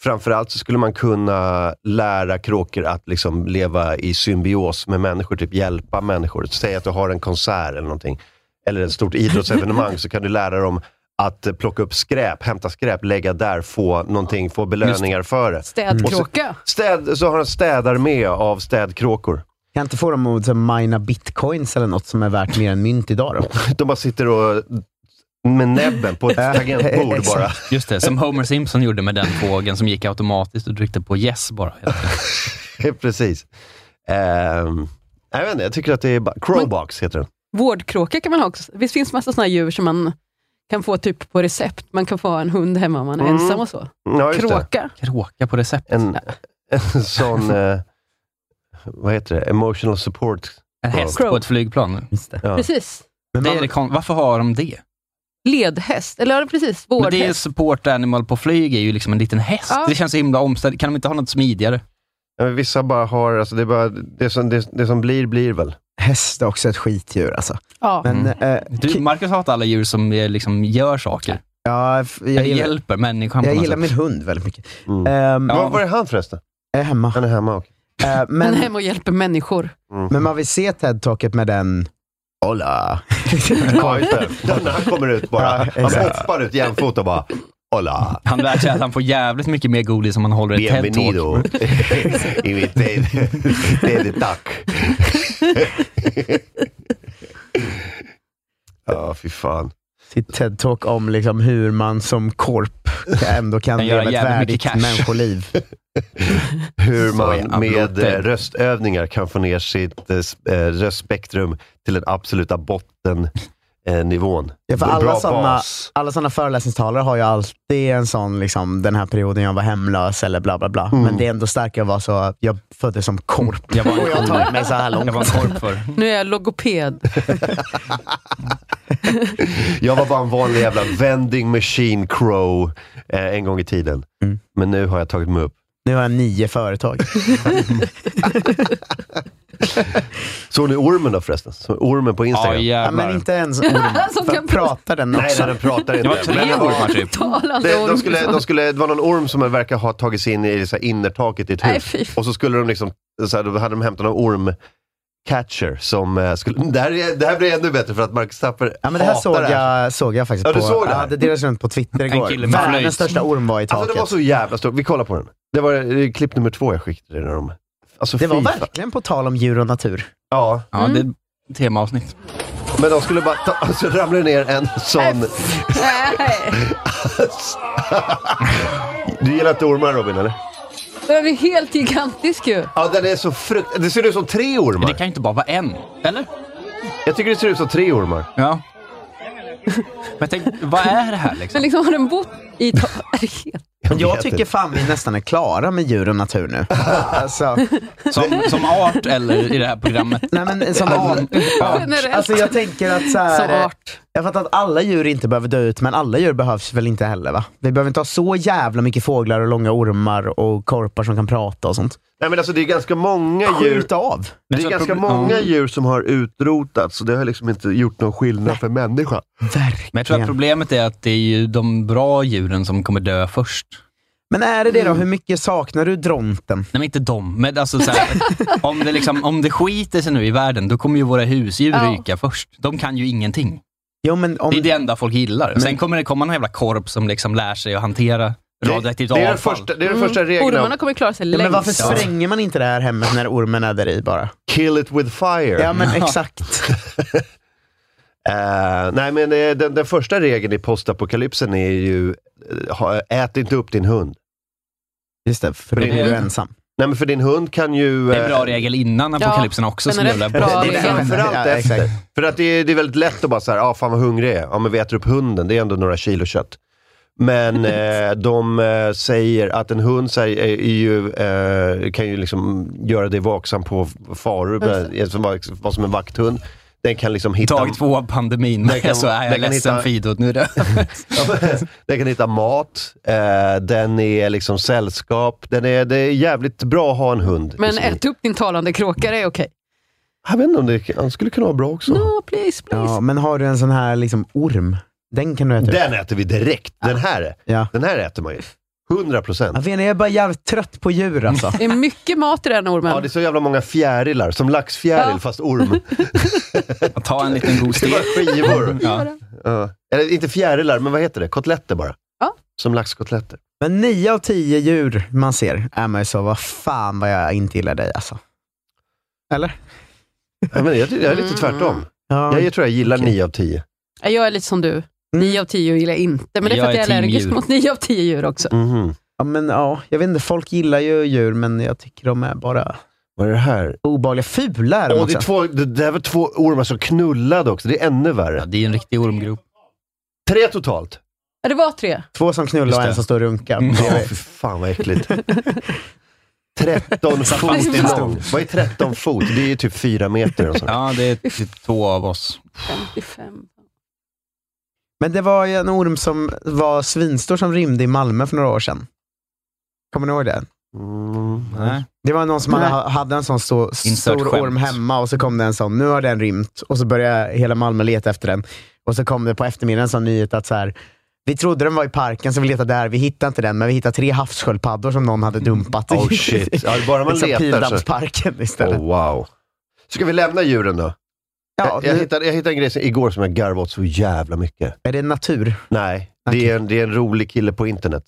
[SPEAKER 2] framförallt så skulle man kunna lära kråkor att liksom leva i symbios med människor, typ hjälpa människor. Säg att du har en konsert eller någonting, eller ett stort idrottsevenemang, så kan du lära dem att eh, plocka upp skräp, hämta skräp, lägga där, få någonting, få belöningar för det.
[SPEAKER 1] Städkråka.
[SPEAKER 2] Städ, så har han städarmé av städkråkor.
[SPEAKER 3] Kan jag inte få dem att så, mina bitcoins eller något som är värt mer än mynt idag då?
[SPEAKER 2] De bara sitter och med näbben på ett tangentbord bara.
[SPEAKER 4] Just det, som Homer Simpson gjorde med den fågeln som gick automatiskt och tryckte på yes bara.
[SPEAKER 2] Precis. Ehm, jag vet inte, jag tycker att det är... ba- Crowbox heter den.
[SPEAKER 1] Vårdkråka kan man ha också. Visst finns massa såna här djur som man kan få typ på recept. Man kan få ha en hund hemma om man är
[SPEAKER 2] Mm.
[SPEAKER 1] ensam och så.
[SPEAKER 2] Ja, just det.
[SPEAKER 1] Kråka.
[SPEAKER 4] Kråka på recept.
[SPEAKER 2] En, en sån... eh, vad heter det? Emotional support.
[SPEAKER 4] En häst
[SPEAKER 1] Crow.
[SPEAKER 4] på ett flygplan.
[SPEAKER 2] Ja.
[SPEAKER 1] Precis.
[SPEAKER 3] Men
[SPEAKER 4] Det
[SPEAKER 3] man,
[SPEAKER 4] är det kon- varför har de det?
[SPEAKER 1] Ledhäst. Eller ja, precis.
[SPEAKER 4] Men det är
[SPEAKER 1] Vårdhäst.
[SPEAKER 4] support animal på flyg är ju liksom en liten häst.
[SPEAKER 1] Ja.
[SPEAKER 4] Det känns så himla omständigt. Kan de inte ha något smidigare?
[SPEAKER 2] Ja, men vissa bara har... Alltså, det, är bara, det, som, det, det som blir, blir väl.
[SPEAKER 3] häst är också ett skitdjur alltså.
[SPEAKER 1] Ja.
[SPEAKER 3] Men, eh,
[SPEAKER 4] Du,
[SPEAKER 3] ki-
[SPEAKER 4] Marcus hatar alla djur som eh, liksom gör saker.
[SPEAKER 3] ja, f- jag
[SPEAKER 4] Eller
[SPEAKER 3] gillar,
[SPEAKER 4] hjälper människan på
[SPEAKER 3] jag
[SPEAKER 4] något
[SPEAKER 3] gillar
[SPEAKER 4] sätt.
[SPEAKER 3] min hund väldigt mycket.
[SPEAKER 2] Mm.
[SPEAKER 3] Ehm,
[SPEAKER 2] Var, var är han förresten?
[SPEAKER 3] Jag är hemma.
[SPEAKER 2] Han är hemma. Och, Mm.
[SPEAKER 3] Eh,
[SPEAKER 1] Men
[SPEAKER 3] men,
[SPEAKER 1] hem och hjälper människor.
[SPEAKER 3] men man vill se TED-talket med den Hola!
[SPEAKER 2] Ja, just det. Den när han kommer ut bara. Han hoppar ut jämfota bara. Hola!
[SPEAKER 4] Han lär sig att han får jävligt mycket mer godis om han håller ett TED-talk.
[SPEAKER 2] Bienvenido i mitt TED- TED-tack. Ja, fy fan.
[SPEAKER 3] Sitt TED-talk om liksom hur man som korp ändå kan
[SPEAKER 4] Kan göra
[SPEAKER 3] leva ett
[SPEAKER 4] jävligt mycket
[SPEAKER 3] värdigt
[SPEAKER 4] cash.
[SPEAKER 3] människoliv.
[SPEAKER 2] Hur
[SPEAKER 4] Så
[SPEAKER 2] man
[SPEAKER 4] jävla
[SPEAKER 2] med
[SPEAKER 4] rotten.
[SPEAKER 2] eh, röstövningar kan få ner sitt eh, s- eh, röstspektrum till den absoluta eh, bottennivån.
[SPEAKER 3] Ja, för alla sådana, alla sådana föreläsningstalare har ju alltid en sån, liksom, den här perioden jag var hemlös eller bla bla bla. Men det är ändå starkare att vara så, jag föddes som korp.
[SPEAKER 4] Mm. Jag var en
[SPEAKER 3] och jag har
[SPEAKER 4] korp.
[SPEAKER 3] tagit mig så här långt.
[SPEAKER 4] Jag var en korp för.
[SPEAKER 1] Nu är jag logoped.
[SPEAKER 2] Jag var bara en vanlig jävla vending machine crow eh, en gång i tiden.
[SPEAKER 3] Mm.
[SPEAKER 2] Men nu har jag tagit mig upp.
[SPEAKER 3] Nu har jag nio företag.
[SPEAKER 2] Såg ni ormen då förresten? Såg ormen på
[SPEAKER 4] Ja,
[SPEAKER 2] Instagram?
[SPEAKER 3] Ja,
[SPEAKER 4] jävlar.
[SPEAKER 3] men inte ens orm.
[SPEAKER 1] Som
[SPEAKER 3] För
[SPEAKER 1] kan
[SPEAKER 3] pratar den
[SPEAKER 2] Nej,
[SPEAKER 3] också?
[SPEAKER 2] nej, den pratar inte.
[SPEAKER 4] Det var tre
[SPEAKER 2] Men den
[SPEAKER 4] ormar typ.
[SPEAKER 1] Talande
[SPEAKER 2] Det, de
[SPEAKER 1] orm.
[SPEAKER 2] skulle, de skulle, det var någon orm som verkar ha tagit sig in i så här innertaket i ett
[SPEAKER 1] Nej,
[SPEAKER 2] hus.
[SPEAKER 1] fy.
[SPEAKER 2] och så skulle de liksom, så här, då hade de hämtat någon ormcatcher som eh, skulle... Det här, är- det här blir ännu bättre för att Marcus Tapper
[SPEAKER 3] Ja, men det här
[SPEAKER 2] hatar
[SPEAKER 3] såg
[SPEAKER 2] det här.
[SPEAKER 3] jag, såg jag faktiskt
[SPEAKER 2] Ja, du
[SPEAKER 3] på.
[SPEAKER 2] såg det här?
[SPEAKER 3] ja, det delades runt på Twitter
[SPEAKER 4] En
[SPEAKER 3] igår.
[SPEAKER 4] kille med flöjt.
[SPEAKER 3] Världens största orm var i taket.
[SPEAKER 2] Alltså det var så jävla stort. Vi kollar på den. Det var eh, klipp nummer två jag skickade till dem. Alltså,
[SPEAKER 3] det var
[SPEAKER 2] fy fan.
[SPEAKER 3] verkligen på tal om djur och natur.
[SPEAKER 2] Ja,
[SPEAKER 3] Mm.
[SPEAKER 4] Ja, det är ett temaavsnitt.
[SPEAKER 2] men de skulle bara... Ta, alltså ramlade ner en sån...
[SPEAKER 1] Nej,
[SPEAKER 2] Du gillar inte ormar Robin, eller?
[SPEAKER 1] den är helt gigantisk ju.
[SPEAKER 2] Ja, den är så frukt... Det ser ut som tre
[SPEAKER 4] Det
[SPEAKER 2] ormar.
[SPEAKER 4] kan ju inte bara vara en, eller?
[SPEAKER 2] Jag tycker det ser ut som tre ormar.
[SPEAKER 4] Ja. Men tänk, vad är det här liksom?
[SPEAKER 1] Men liksom har den bott i taket?
[SPEAKER 2] Jag,
[SPEAKER 3] Jag
[SPEAKER 2] vet
[SPEAKER 3] tycker
[SPEAKER 2] inte.
[SPEAKER 3] fan vi nästan är klara med djur och natur nu. alltså,
[SPEAKER 4] Som, som art eller i det här programmet?
[SPEAKER 3] nej men som art.
[SPEAKER 1] Generellt.
[SPEAKER 3] Alltså jag tänker att så här,
[SPEAKER 1] Som
[SPEAKER 3] eh,
[SPEAKER 1] art.
[SPEAKER 3] Jag fattar att alla djur inte behöver dö ut, men alla djur behövs väl inte heller va? Vi behöver inte ha så jävla mycket fåglar och långa ormar och korpar som kan prata och sånt.
[SPEAKER 2] Nej, men alltså det är ganska många djur...
[SPEAKER 3] Skjut av!
[SPEAKER 2] Det
[SPEAKER 4] Jag
[SPEAKER 2] är
[SPEAKER 4] tror
[SPEAKER 2] ganska
[SPEAKER 4] att proble-
[SPEAKER 2] många
[SPEAKER 4] ja.
[SPEAKER 2] djur som har utrotats och det har liksom inte gjort någon skillnad för människan.
[SPEAKER 3] Verkligen.
[SPEAKER 4] Men jag tror att problemet är att det är ju de bra djuren som kommer dö först.
[SPEAKER 3] Men är det det då? Hur mycket saknar du dronten?
[SPEAKER 4] Nej men inte de, men alltså så här, om, det liksom, om det skiter sig nu i världen, då kommer ju våra husdjur
[SPEAKER 1] Ja.
[SPEAKER 4] ryka först. De kan ju ingenting.
[SPEAKER 3] Jo men om...
[SPEAKER 4] Det är det enda folk gillar. Sen kommer det komma någon jävla korp som liksom lär sig att hantera radioaktivt
[SPEAKER 2] det, det är den
[SPEAKER 4] avfall.
[SPEAKER 2] första, det är
[SPEAKER 4] Mm.
[SPEAKER 2] den första regeln.
[SPEAKER 1] Ormarna
[SPEAKER 2] Av,
[SPEAKER 1] kommer klara sig
[SPEAKER 3] ja,
[SPEAKER 1] längst.
[SPEAKER 3] men varför
[SPEAKER 4] Ja.
[SPEAKER 3] spränger man inte det här hemmet när ormen är där i bara?
[SPEAKER 2] kill it with fire.
[SPEAKER 3] Ja men exakt.
[SPEAKER 2] Eh, nej, men eh, den, den första regeln i postapokalypsen är ju, eh, ha- ät inte upp din hund.
[SPEAKER 3] Just det, för då
[SPEAKER 2] Det-
[SPEAKER 3] blir du ensam.
[SPEAKER 2] Nej, men för din hund kan ju...
[SPEAKER 4] Det är en
[SPEAKER 2] eh,
[SPEAKER 4] bra regel innan apokalypsen också.
[SPEAKER 1] den
[SPEAKER 4] Som
[SPEAKER 1] är
[SPEAKER 4] jävla
[SPEAKER 1] rätt bra.
[SPEAKER 4] bra.
[SPEAKER 2] Det
[SPEAKER 1] regel.
[SPEAKER 2] är framförallt
[SPEAKER 3] Ja,
[SPEAKER 2] efter.
[SPEAKER 3] exakt.
[SPEAKER 2] För att det är, det är väldigt lätt att bara så här, ah, fan vad hungrig jag är. Ja, men vi äter upp hunden, det är ändå några kilo kött. Men eh, de eh, säger att en hund så här, är, är ju, eh, kan ju liksom göra dig vaksam på faror, men- som var, liksom, var som en vakthund. Den kan liksom hitta...
[SPEAKER 4] Dag två av pandemin.
[SPEAKER 2] Den kan-
[SPEAKER 4] så är jag
[SPEAKER 2] den kan
[SPEAKER 4] ledsen
[SPEAKER 2] hitta-
[SPEAKER 4] Fido, nu är det
[SPEAKER 2] Ja, men, den kan hitta mat, eh, den är liksom sällskap. Den är, det är jävligt bra att ha en hund. i
[SPEAKER 1] Men
[SPEAKER 2] sin-
[SPEAKER 1] ät upp din talande kråka, det är okej.
[SPEAKER 2] Jag vet inte om det han skulle kunna vara bra också.
[SPEAKER 1] No, please, please.
[SPEAKER 3] Ja, men har du en sån här liksom orm, den kan du äta upp.
[SPEAKER 2] Den äter vi direkt. Den här,
[SPEAKER 3] Ja.
[SPEAKER 2] den här äter man ju. 100
[SPEAKER 3] Jag,
[SPEAKER 2] procent.
[SPEAKER 3] vet inte, jag är bara jävligt trött på djur alltså.
[SPEAKER 1] Det är mycket mat i den ormen.
[SPEAKER 2] Ja, det är så jävla många fjärilar. Som laxfjäril,
[SPEAKER 1] Ja.
[SPEAKER 2] fast orm.
[SPEAKER 4] Ta en liten god
[SPEAKER 2] Det
[SPEAKER 4] stek.
[SPEAKER 2] var skivor.
[SPEAKER 4] Ja.
[SPEAKER 2] Ja. Eller inte fjärilar, men vad heter det? Kotletter bara.
[SPEAKER 1] Ja.
[SPEAKER 2] Som laxkotletter.
[SPEAKER 3] Men nio av tio djur man ser är man ju så, vad fan vad jag inte gillar dig alltså. Eller?
[SPEAKER 2] Ja, men jag, jag är lite tvärtom.
[SPEAKER 3] Ja,
[SPEAKER 2] Jag, jag tror jag gillar nio av tio.
[SPEAKER 1] Ja, Jag är lite som du. Nio av tio gillar jag inte, men det är för
[SPEAKER 4] Jag
[SPEAKER 1] att
[SPEAKER 4] är
[SPEAKER 1] jag är
[SPEAKER 4] team
[SPEAKER 1] allergisk
[SPEAKER 4] djur.
[SPEAKER 1] mot nio av tio djur också.
[SPEAKER 2] Mhm.
[SPEAKER 3] ja, men, ja, jag vet inte, folk gillar ju djur men jag tycker de är bara
[SPEAKER 2] Vad är det här?
[SPEAKER 3] obehagliga. Fula är de
[SPEAKER 2] Åh, det,
[SPEAKER 3] också.
[SPEAKER 2] är två, det där var två ormar som knullade också. Det är ännu
[SPEAKER 4] Ja,
[SPEAKER 2] värre.
[SPEAKER 4] det är en riktig ormgrop.
[SPEAKER 2] Tre totalt.
[SPEAKER 1] Ja, det var tre.
[SPEAKER 3] Två som knullar
[SPEAKER 4] Just
[SPEAKER 3] och en
[SPEAKER 4] det.
[SPEAKER 3] som står och runkar.
[SPEAKER 4] Mm.
[SPEAKER 2] Ja, fy fan vad äckligt. 13
[SPEAKER 4] fast i
[SPEAKER 2] fot
[SPEAKER 4] en
[SPEAKER 2] lång. Vad är 13 fot? Det är ju typ fyra meter. Och sånt.
[SPEAKER 4] Ja, det är typ två av oss.
[SPEAKER 1] 55.
[SPEAKER 3] Men det var ju en orm som var svinstor som rymde i Malmö för några år sedan. Kommer ni ihåg det?
[SPEAKER 2] Mm.
[SPEAKER 4] Nej.
[SPEAKER 3] Det var någon som hade, hade en sån stor,
[SPEAKER 4] Insert
[SPEAKER 3] stor
[SPEAKER 4] skämt.
[SPEAKER 3] orm hemma och så kom det en sån, nu har den rymt. Och så började hela Malmö leta efter den. Och så kom det på eftermiddagen en sån nyhet att så här, Vi trodde den var i parken så vi letade där, vi hittade inte den men vi hittade tre havssköldpaddor som någon
[SPEAKER 1] Mm.
[SPEAKER 3] hade dumpat
[SPEAKER 2] Oh shit. Ja, bara man
[SPEAKER 3] liksom
[SPEAKER 2] letar så...
[SPEAKER 3] Pildammsparken istället.
[SPEAKER 2] Oh, wow. Ska vi lämna djuren då?
[SPEAKER 3] Ja,
[SPEAKER 2] jag,
[SPEAKER 3] nu-
[SPEAKER 2] hittade, jag hittade en grej som- igår som jag garvade åt så jävla mycket.
[SPEAKER 3] Är det natur?
[SPEAKER 2] Nej, det,
[SPEAKER 3] Okej.
[SPEAKER 2] är en, det är en rolig kille på internet.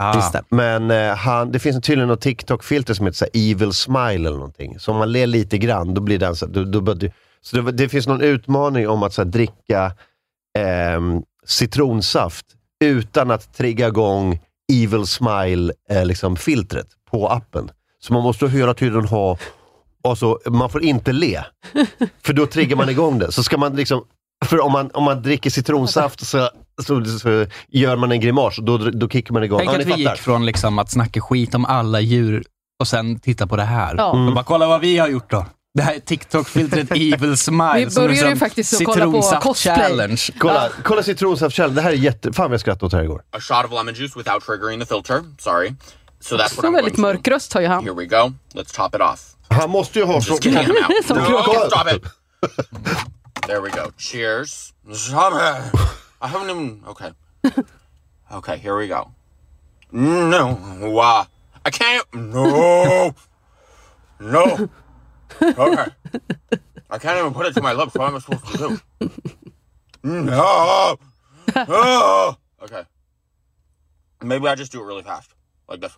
[SPEAKER 4] Ah.
[SPEAKER 2] Men eh, han, det finns tydligen något TikTok-filter som heter så här, evil smile eller någonting. Så om man ler lite grann, då blir den så, här- då, då, bör du, så det, det finns någon utmaning om att så här, dricka ehm, citronsaft utan att trigga igång evil smile-filtret liksom, filtret på appen. Så man måste hela tiden ha, alltså, man får inte le. För då triggar man igång det. Så ska man liksom, för om man, om man dricker citronsaft så, så, så gör man en grimas och då, då kickar man igång.
[SPEAKER 4] Tänk
[SPEAKER 2] Ja,
[SPEAKER 4] att
[SPEAKER 2] ni
[SPEAKER 4] vi gick
[SPEAKER 2] fattar.
[SPEAKER 4] från liksom att snacka skit om alla djur och sen titta på det här.
[SPEAKER 1] Ja.
[SPEAKER 4] Och bara, kolla vad vi har gjort då. Det här är TikTok-filtret Evil Smile.
[SPEAKER 1] Vi
[SPEAKER 4] som är
[SPEAKER 1] började ju
[SPEAKER 4] som
[SPEAKER 1] faktiskt att kolla på
[SPEAKER 4] citronsaft
[SPEAKER 1] cosplay.
[SPEAKER 4] Challenge.
[SPEAKER 2] Kolla, kolla citronsaftskällan. Det här är jätte... Fan vad jag skrattade åt det här igår.
[SPEAKER 8] a shot of lemon juice without triggering the filter. Sorry. So that's what
[SPEAKER 1] Så
[SPEAKER 8] I'm going
[SPEAKER 1] väldigt
[SPEAKER 8] to
[SPEAKER 1] mörk
[SPEAKER 8] do.
[SPEAKER 1] röst har ju han.
[SPEAKER 8] Here we go. Let's top it off.
[SPEAKER 2] Han måste ju ha så...
[SPEAKER 8] Just kidding, I'm out.
[SPEAKER 1] Som
[SPEAKER 8] No,
[SPEAKER 2] krokodil.
[SPEAKER 8] stop it. There we go. Cheers. Stop it. I haven't even. Okay. Okay, here we go. No. Wow. I can't. No. No. Okay. I can't even put it to my lips. What am I supposed to do? No. Oh. Okay. Maybe I just do it really fast, like this.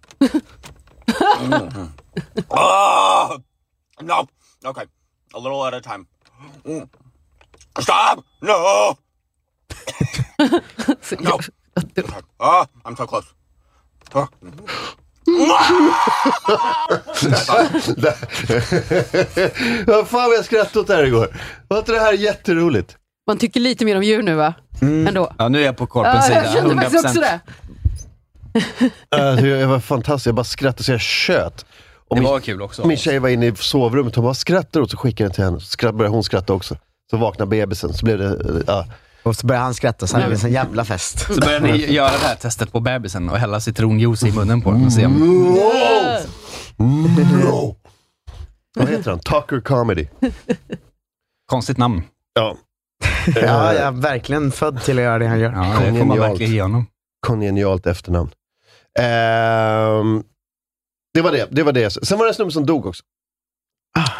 [SPEAKER 8] Mhm. Ah! no. Okay. A little at a time. Mm. Stop! Ah, No! no. Ah, I'm so close. Ah.
[SPEAKER 2] Vad fan vad jag skrattade åt det här igår. Var inte det här jätteroligt?
[SPEAKER 1] Man tycker lite mer om djur nu va?
[SPEAKER 2] Mm.
[SPEAKER 1] Ändå.
[SPEAKER 4] Ja, nu är jag på
[SPEAKER 1] Ja,
[SPEAKER 4] korpens
[SPEAKER 1] jag
[SPEAKER 4] sida.
[SPEAKER 1] kände faktiskt
[SPEAKER 4] 100%.
[SPEAKER 1] också det.
[SPEAKER 2] Alltså, jag, jag var fantastisk. Jag bara skrattade så jag tjöt. Och
[SPEAKER 4] Det
[SPEAKER 2] min,
[SPEAKER 4] var kul också.
[SPEAKER 2] min tjej var inne i sovrummet. Hon bara skrattar åt så skickade jag den till henne. Så skratt, började hon skratta också. Så vaknade bebisen. Så blev det... eh, Ja.
[SPEAKER 3] Och så började han skratta så det blev en sån jävla fest.
[SPEAKER 4] Så började ni göra det här testet på bebisen och hälla citronjuice i munnen på den och se
[SPEAKER 2] Mm.
[SPEAKER 4] om...
[SPEAKER 2] No. Vad heter han? Tucker Comedy.
[SPEAKER 4] Konstigt namn.
[SPEAKER 2] Ja.
[SPEAKER 3] Ja, jag är verkligen född till att göra det han gör.
[SPEAKER 4] Ja, det får man
[SPEAKER 2] Kongenialt.
[SPEAKER 4] verkligen ge honom.
[SPEAKER 2] Kongenialt efternamn. Ehm, det var det. det, var det. Sen var det en snubbe som dog också.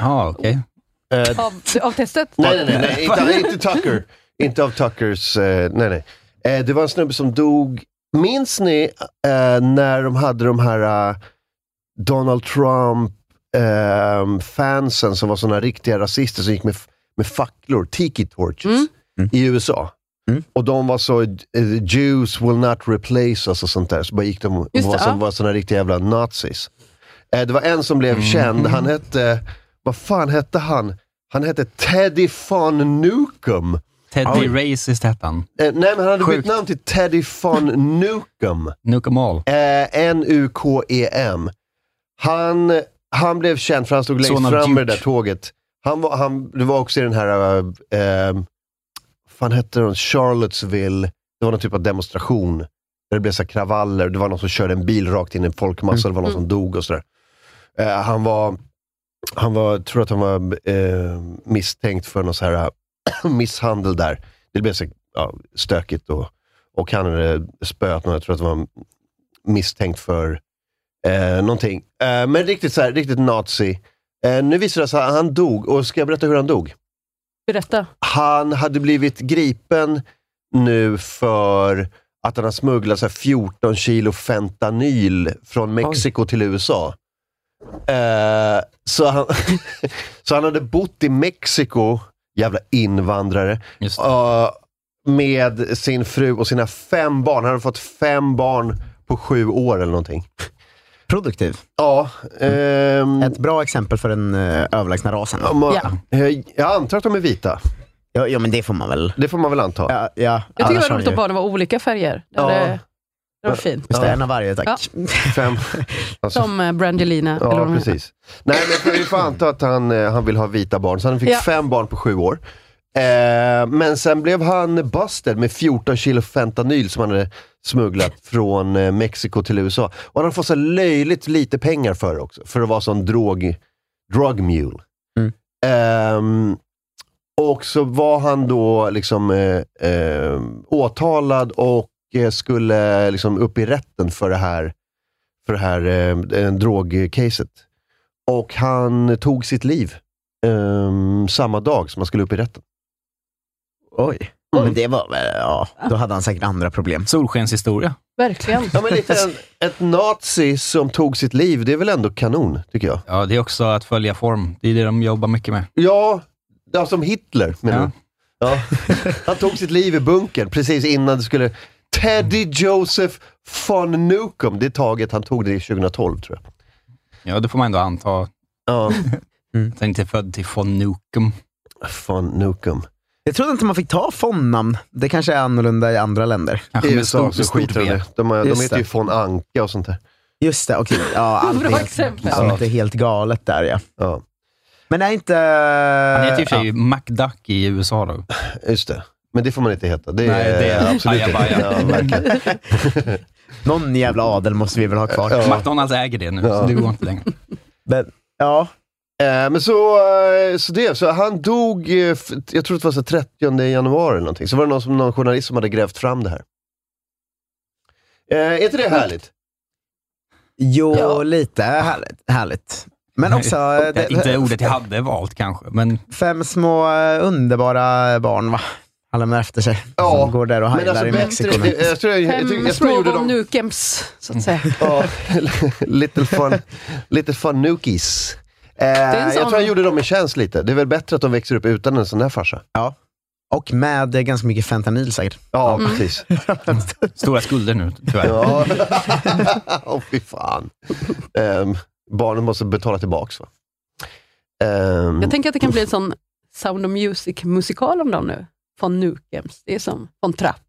[SPEAKER 4] Ja, okej.
[SPEAKER 2] Eh,
[SPEAKER 1] Av, av testet?
[SPEAKER 2] Nej, nej, nej, nej inte, inte Tucker. Inte av Tuckers, eh, nej, nej. Eh, det var en snubbe som dog, minns ni eh, när de hade de här eh, Donald Trump-fansen som var såna riktiga rasister som gick med, f- med facklor, tiki torches,
[SPEAKER 1] Mm.
[SPEAKER 2] i USA?
[SPEAKER 3] Mm.
[SPEAKER 2] Och de var så, eh, Jews will not replace us och sånt där. Så bara gick de och
[SPEAKER 1] Just
[SPEAKER 2] var,
[SPEAKER 1] det,
[SPEAKER 2] som,
[SPEAKER 1] ja.
[SPEAKER 2] var såna riktiga jävla nazis. Eh, det var en som blev känd,
[SPEAKER 1] Mm.
[SPEAKER 2] han hette, vad fan hette han? Han hette Teddy von Nukem.
[SPEAKER 4] Teddy Racist hette han.
[SPEAKER 2] Eh, nej, men han hade
[SPEAKER 4] Sjukt.
[SPEAKER 2] bytt namn till Teddy von Nukem.
[SPEAKER 4] Nuke 'em all.
[SPEAKER 2] Eh, N-U-K-E-M. E Han, han blev känd för han stod
[SPEAKER 4] Son
[SPEAKER 2] längst
[SPEAKER 4] av
[SPEAKER 2] fram med det där
[SPEAKER 4] Duke.
[SPEAKER 2] tåget. Han var, han, det var också i den här, eh, eh, fan hette den, Charlottesville. Det var någon typ av demonstration. Där det blev så här kravaller. Det var någon som körde en bil rakt in i en
[SPEAKER 4] Mm.
[SPEAKER 2] folkmassa. Det var någon som dog och sådär. Eh, han var, han var, tror att han var eh, misstänkt för någon så här eh, misshandel där. Det blev så ja, stökigt och, och han hade spöat någon. Jag tror att det var misstänkt för eh, någonting. Eh, men riktigt så här, riktigt nazi. Eh, nu visar det sig att han dog. Och ska jag berätta hur han dog?
[SPEAKER 1] Berätta.
[SPEAKER 2] Han hade blivit gripen nu för att han har smugglat så här 14 kilo fentanyl från Mexiko till USA. Eh, så, han så han hade bott i Mexiko, jävla invandrare,
[SPEAKER 4] Just det.
[SPEAKER 2] eh, med sin fru och sina fem barn. Han hade fått fem barn på sju år eller någonting.
[SPEAKER 3] Produktiv.
[SPEAKER 2] Ja, ehm,
[SPEAKER 3] Mm. Ett bra exempel för den eh, överlägsna rasen.
[SPEAKER 2] om man-
[SPEAKER 1] Ja.
[SPEAKER 2] eh, jag antar att de är vita.
[SPEAKER 3] Ja, ja, men det får man väl.
[SPEAKER 2] Det får man väl anta.
[SPEAKER 3] Ja, ja.
[SPEAKER 1] Jag tycker det
[SPEAKER 3] annars
[SPEAKER 1] var
[SPEAKER 3] har
[SPEAKER 1] roligt
[SPEAKER 3] han
[SPEAKER 1] att
[SPEAKER 3] ju-
[SPEAKER 1] barnen var olika färger. Det,
[SPEAKER 2] Ja.
[SPEAKER 1] hade- det var fint.
[SPEAKER 3] Just det, en av varje tack.
[SPEAKER 2] Fem, alltså,
[SPEAKER 1] Som eh, Brangelina. eller
[SPEAKER 2] Ja,
[SPEAKER 1] vad de heter.
[SPEAKER 2] precis. Nej, men vi får anta att han, eh, han vill ha vita barn, så han fick
[SPEAKER 1] Ja.
[SPEAKER 2] fem barn på sju år. Eh, men sen blev han busted med 14 kilo fentanyl som han hade smugglat från eh, Mexiko till USA. Och han har fått så löjligt lite pengar för det också, för att vara sån drog, drug mule.
[SPEAKER 3] Mm.
[SPEAKER 2] Ehm, och så var han då liksom eh, eh, åtalad och eh, skulle liksom upp i rätten för det här, för det här eh, eh, drogcaset. Och han tog sitt liv ehm, samma dag som han skulle upp i rätten.
[SPEAKER 3] Oj. Men det var väl, ja, då hade han säkert andra problem.
[SPEAKER 4] Solskenshistoria.
[SPEAKER 1] Verkligen.
[SPEAKER 2] Ja, men lite en, ett nazi som tog sitt liv, det är väl ändå kanon, tycker jag.
[SPEAKER 4] Ja, det är också att följa form. Det är det de jobbar mycket med.
[SPEAKER 2] Ja, ja som Hitler menar
[SPEAKER 4] Ja.
[SPEAKER 2] du? Ja. Han tog sitt liv i bunkern precis innan det skulle... Teddy Joseph von Nukem, det är taget han tog det i 2012 tror jag.
[SPEAKER 4] Ja, det får man ändå anta.
[SPEAKER 2] Ja,
[SPEAKER 4] Att han inte är född till von Nukem.
[SPEAKER 2] von Nukem.
[SPEAKER 3] Jag trodde inte man fick ta fondnamn. Det kanske är annorlunda i andra länder.
[SPEAKER 2] I
[SPEAKER 4] Kanske med
[SPEAKER 2] USA
[SPEAKER 4] stor,
[SPEAKER 2] så
[SPEAKER 4] stort
[SPEAKER 2] skiter de i
[SPEAKER 4] B.
[SPEAKER 2] det. De, har- de
[SPEAKER 3] Just
[SPEAKER 2] heter ju
[SPEAKER 3] det.
[SPEAKER 2] von Anka och sånt där.
[SPEAKER 3] Just det, okej. Ja, allt
[SPEAKER 1] Bra
[SPEAKER 3] är
[SPEAKER 1] exempel.
[SPEAKER 3] helt, allt är helt galet där ja.
[SPEAKER 2] Ja,
[SPEAKER 3] Men är inte...
[SPEAKER 4] Han heter i och för sig McDuck i USA då.
[SPEAKER 2] just det. Men det får man inte heta. Det är,
[SPEAKER 4] Nej, det är
[SPEAKER 2] absolut inte.
[SPEAKER 4] ajabaja.
[SPEAKER 2] Ja, verkligen.
[SPEAKER 3] Någon jävla adel måste vi väl ha kvar.
[SPEAKER 2] Ja.
[SPEAKER 4] McDonalds äger det nu,
[SPEAKER 2] Ja.
[SPEAKER 4] så det går inte längre.
[SPEAKER 3] Men, ja.
[SPEAKER 2] Eh, men så, eh, så det, så han dog, eh, f- jag tror det var så här 30 januari eller någonting. Så var det någon, som, någon journalist som hade grävt fram det här. Eh, är inte det härligt?
[SPEAKER 3] Jo, lite härligt. härligt. Men också... eh,
[SPEAKER 4] Nej,
[SPEAKER 3] det-
[SPEAKER 4] inte ordet jag hade valt kanske, men
[SPEAKER 3] Fem små eh, underbara barn va? Han lämnar efter sig.
[SPEAKER 2] Ja,
[SPEAKER 3] Som går där och
[SPEAKER 2] Men
[SPEAKER 3] heilar
[SPEAKER 2] alltså
[SPEAKER 3] i
[SPEAKER 2] bättre,
[SPEAKER 3] Mexiko. nu.
[SPEAKER 4] eh,
[SPEAKER 2] jag, jag tror jag, jag, tycker-
[SPEAKER 1] Fem
[SPEAKER 2] jag tror jag
[SPEAKER 1] små
[SPEAKER 2] gjorde
[SPEAKER 1] von
[SPEAKER 2] dem...
[SPEAKER 1] Nukems, så att säga.
[SPEAKER 2] Ja, little fun, little fun nookies. Eh,
[SPEAKER 1] är en
[SPEAKER 2] jag
[SPEAKER 1] sån-
[SPEAKER 2] tror jag gjorde dem en tjänst lite. Det är väl bättre att de växer upp utan en sån här farsa.
[SPEAKER 3] Och med eh, ganska mycket fentanyl säkert.
[SPEAKER 2] Ja,
[SPEAKER 1] Mm.
[SPEAKER 2] precis.
[SPEAKER 4] stora skulder nu tyvärr.
[SPEAKER 2] Ja. Åh, fy fan. Ehm, barnen måste betala tillbaks va? Ehm,
[SPEAKER 1] Jag tänker att det kan bli en sån Sound of Music-musikal om dem nu. Von Nukems. Det är som von Trapp.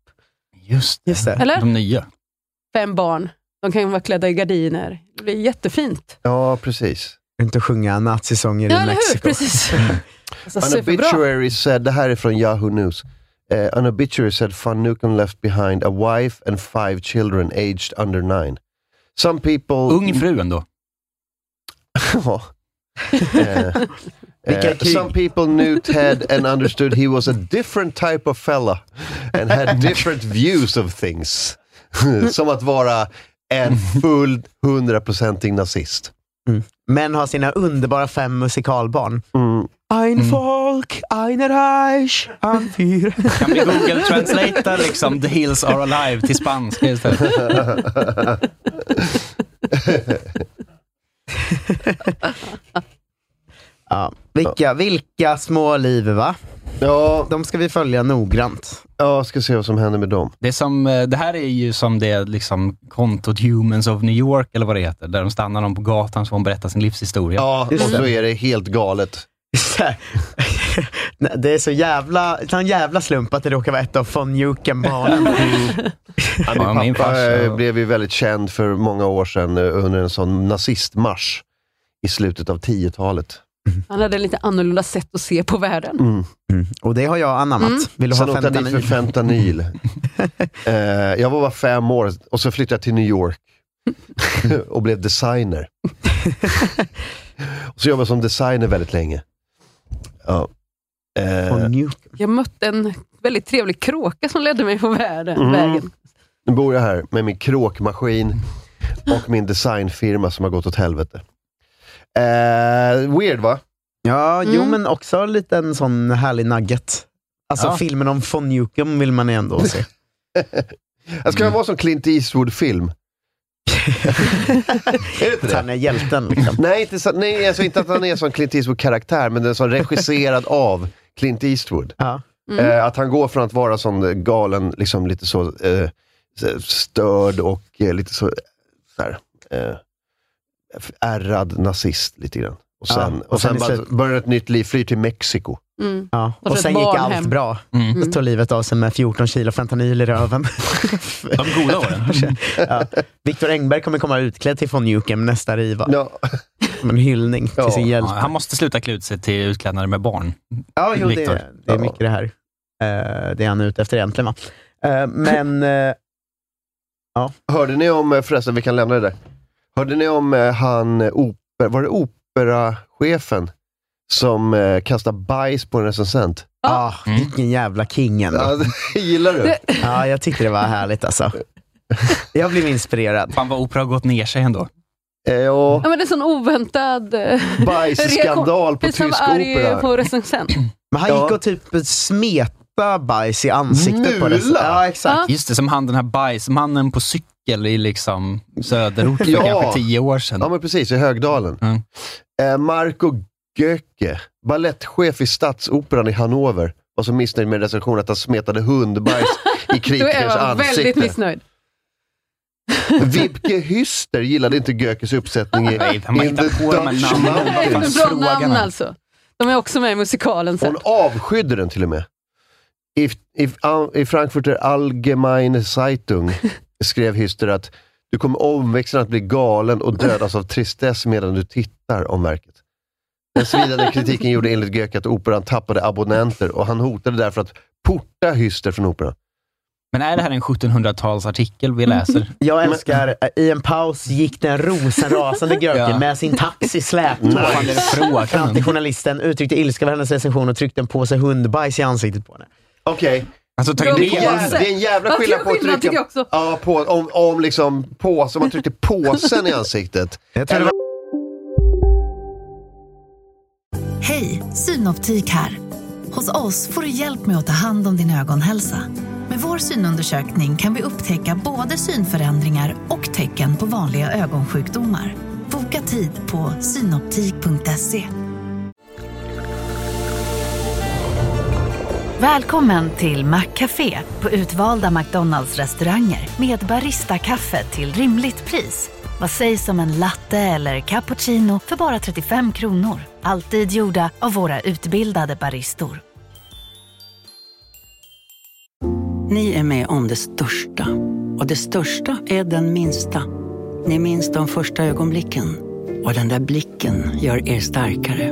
[SPEAKER 4] Just
[SPEAKER 3] Just det.
[SPEAKER 1] Eller?
[SPEAKER 4] De nya.
[SPEAKER 1] Fem barn. De kan ju vara klädda i gardiner. Det blir jättefint.
[SPEAKER 2] ja, precis.
[SPEAKER 3] Inte sjunga nazisånger
[SPEAKER 1] Ja,
[SPEAKER 3] i
[SPEAKER 1] eller hur?
[SPEAKER 3] Mexiko.
[SPEAKER 1] Precis.
[SPEAKER 2] Mm.
[SPEAKER 1] Alltså,
[SPEAKER 2] An
[SPEAKER 1] superbra.
[SPEAKER 2] obituary said, det här är från Yahoo News. Eh, an obituary said Van Nukem left behind a wife and five children aged under nine. Some people...
[SPEAKER 4] Ung fru ändå.
[SPEAKER 2] Ja. Eh, eh, some people knew Ted and understood he was a different type of fella and had different views of things. Som att vara en full hundraprocentig nazist.
[SPEAKER 3] Men har sina underbara fem musikalbarn.
[SPEAKER 2] Mm.
[SPEAKER 3] Ein Volk, ein Reich, ein Fyr.
[SPEAKER 4] Kan vi Google translata liksom The Hills Are Alive till spanska istället?
[SPEAKER 3] Ja. Vilka, vilka små liv va?
[SPEAKER 2] Ja,
[SPEAKER 3] De ska vi följa noggrant.
[SPEAKER 2] jag ska se vad som händer med dem.
[SPEAKER 4] Det, är som, eh, det här är ju som det liksom kontot Humans of New York, eller vad det heter, där de stannar någon på gatan så får hon berätta sin livshistoria.
[SPEAKER 2] Ja, och
[SPEAKER 3] Just
[SPEAKER 2] så är det helt galet.
[SPEAKER 3] Så här. Nej, Det är så jävla, sån jävla slump att det råkar vara ett av von Nukem-barnen.
[SPEAKER 2] Ja,
[SPEAKER 4] Ja,
[SPEAKER 2] min
[SPEAKER 4] min
[SPEAKER 2] pappa
[SPEAKER 4] farsa-
[SPEAKER 2] eh, blev ju väldigt känd för många år sedan eh, under en sån nazistmarsch i slutet av 10-talet.
[SPEAKER 1] Han hade lite annorlunda sätt att se på världen.
[SPEAKER 2] Mm.
[SPEAKER 3] Och det har jag anammat.
[SPEAKER 1] Mm.
[SPEAKER 3] Vill du
[SPEAKER 2] Sen
[SPEAKER 3] ha
[SPEAKER 2] åkte han dit för
[SPEAKER 3] fentanyl?
[SPEAKER 2] fentanyl. eh, jag var bara fem år och så flyttade jag till New York och blev designer. och så jobbade jag som designer väldigt länge. Ja. Eh,
[SPEAKER 3] Von Nukem.
[SPEAKER 1] Jag mötte en väldigt trevlig kråka som ledde mig på världen,
[SPEAKER 2] Mm.
[SPEAKER 1] vägen.
[SPEAKER 2] nu bor jag här med min kråkmaskin och min designfirma som har gått åt helvete. Eh, weird va?
[SPEAKER 3] Ja, jo
[SPEAKER 1] Mm.
[SPEAKER 3] men också en liten sån härlig nugget. Alltså
[SPEAKER 4] Ja.
[SPEAKER 3] filmen om von Nukem vill man ändå se.
[SPEAKER 2] Jag
[SPEAKER 3] Mm.
[SPEAKER 2] ska vara som Clint Eastwood-film. är det inte
[SPEAKER 3] Att
[SPEAKER 2] det?
[SPEAKER 3] han är hjälten liksom.
[SPEAKER 2] Nej, inte, så, nej alltså inte att han är som Clint Eastwood-karaktär, men den är som regisserad av Clint Eastwood.
[SPEAKER 3] Ja.
[SPEAKER 2] Eh, att han går från att vara sån galen, liksom lite så eh, så- störd och eh, lite så, så här, eh, ärrad nazist lite grann. Och
[SPEAKER 3] Ja,
[SPEAKER 2] sen,
[SPEAKER 3] och
[SPEAKER 2] och sen,
[SPEAKER 3] sen i
[SPEAKER 2] bara
[SPEAKER 3] slut-
[SPEAKER 2] börjar ett nytt liv, flyr till Mexiko.
[SPEAKER 1] Mm.
[SPEAKER 3] Ja.
[SPEAKER 1] Och
[SPEAKER 3] Och,
[SPEAKER 1] så
[SPEAKER 3] sen
[SPEAKER 1] ett
[SPEAKER 3] gick
[SPEAKER 1] barn
[SPEAKER 3] allt
[SPEAKER 1] hem.
[SPEAKER 3] bra.
[SPEAKER 4] Mm.
[SPEAKER 3] Tog livet av sig med 14 kilo fentanyl i röven.
[SPEAKER 4] De goda åren.
[SPEAKER 3] ja. Viktor Engberg kommer komma utklädd till von Nukem nästa riva.
[SPEAKER 2] Ja,
[SPEAKER 3] Som en hyllning
[SPEAKER 2] Ja.
[SPEAKER 3] till sin
[SPEAKER 4] Ja,
[SPEAKER 3] hjälte.
[SPEAKER 4] han måste sluta klä ut sig till utklädnader med barn.
[SPEAKER 3] Ja, jo, det,
[SPEAKER 4] Viktor.
[SPEAKER 3] är- det är mycket det här. eh, det är han är ute efter egentligen. Va? Eh, men eh,
[SPEAKER 2] Hörde ni om, eh, förresten, vi kan lämna det där. Hörde ni om eh, han, eh, oper, var det operachefen som eh, kastar bajs på en recensent.
[SPEAKER 3] Ah, vilken jävla king ändå.
[SPEAKER 2] Mm. Ja, det gillar du?
[SPEAKER 3] Ja, jag tyckte det var härligt alltså. Jag blev inspirerad.
[SPEAKER 4] Fan vad opera har gått ner sig ändå.
[SPEAKER 2] Ja,
[SPEAKER 1] Ja, men det är en sån oväntad... eh,
[SPEAKER 2] Bajsskandal
[SPEAKER 1] reaktion.
[SPEAKER 2] på
[SPEAKER 1] Precis som
[SPEAKER 2] tysk
[SPEAKER 1] var arg
[SPEAKER 2] opera.
[SPEAKER 1] på recensent.
[SPEAKER 3] Men han gick och typ smeta bajs i ansiktet på det.
[SPEAKER 2] Mula.
[SPEAKER 3] Ja, exakt.
[SPEAKER 4] Just det, som han den här bajsmannen på cykel i liksom söderort för
[SPEAKER 2] Ja.
[SPEAKER 4] kanske tio år sedan.
[SPEAKER 2] ja, men precis. I Högdalen.
[SPEAKER 4] Mm.
[SPEAKER 2] Eh, Marco Göcke, balettchef i Stadsoperan i Hannover, var så missnöjd med recensionen att han smetade hundbajs i
[SPEAKER 1] Då är
[SPEAKER 2] kritikers
[SPEAKER 1] jag väldigt
[SPEAKER 2] ansikte.
[SPEAKER 1] missnöjd.
[SPEAKER 2] Vibke Hyster gillade inte Gökes uppsättning i
[SPEAKER 4] Nej, man
[SPEAKER 2] In the
[SPEAKER 4] hittar på de här
[SPEAKER 2] Dutch
[SPEAKER 4] namnen.
[SPEAKER 1] Det är
[SPEAKER 2] Mountains.
[SPEAKER 1] ett
[SPEAKER 4] Frågan
[SPEAKER 1] bra namn
[SPEAKER 4] är.
[SPEAKER 1] alltså. De är också med i musikalen sen.
[SPEAKER 2] Hon avskydde den till och med. I, i, I Frankfurter Allgemeine Zeitung skrev Hyster att du kommer omväxlande att bli galen och dödas av tristess medan du tittar om verket. Den svidande kritiken gjorde enligt Göke att operan tappade abonnenter och han hotade därför att porta Hyster från operan.
[SPEAKER 4] Men är det här en 1700-talsartikel vi läser?
[SPEAKER 3] Jag älskar, eh, i en paus gick den rosenrasande Görken
[SPEAKER 4] Ja.
[SPEAKER 3] med sin taxi
[SPEAKER 4] Vad
[SPEAKER 3] släptåg
[SPEAKER 4] fan är det
[SPEAKER 3] fram till
[SPEAKER 4] frågan?
[SPEAKER 3] journalisten, uttryckte ilska över hennes recension och tryckte en påse hundbajs i ansiktet på henne.
[SPEAKER 2] Okej,
[SPEAKER 4] Alltså, ta
[SPEAKER 1] Bra
[SPEAKER 2] det, är
[SPEAKER 4] ner
[SPEAKER 2] en jävla- det är en jävla
[SPEAKER 1] Vad
[SPEAKER 2] skillnad
[SPEAKER 1] kul
[SPEAKER 2] på att
[SPEAKER 1] skillnad, tycker jag
[SPEAKER 2] trycka
[SPEAKER 1] också.
[SPEAKER 2] ja, på, om, om liksom påsen, man tryckte påsen i ansiktet.
[SPEAKER 3] Jag tror det
[SPEAKER 2] Eller-
[SPEAKER 3] var
[SPEAKER 9] Hej, Synoptik här. Hos oss får du hjälp med att ta hand om din ögonhälsa. Med vår synundersökning kan vi upptäcka både synförändringar och tecken på vanliga ögonsjukdomar. Boka tid på synoptik.se. Välkommen till Maccafé på utvalda McDonalds restauranger med Baristakaffe till rimligt pris. Vad sägs om en latte eller cappuccino för bara 35 kronor? Alltid gjorda av våra utbildade baristor.
[SPEAKER 10] Ni är med om det största. Och det största är den minsta. Ni minns de första ögonblicken. Och den där blicken gör er starkare.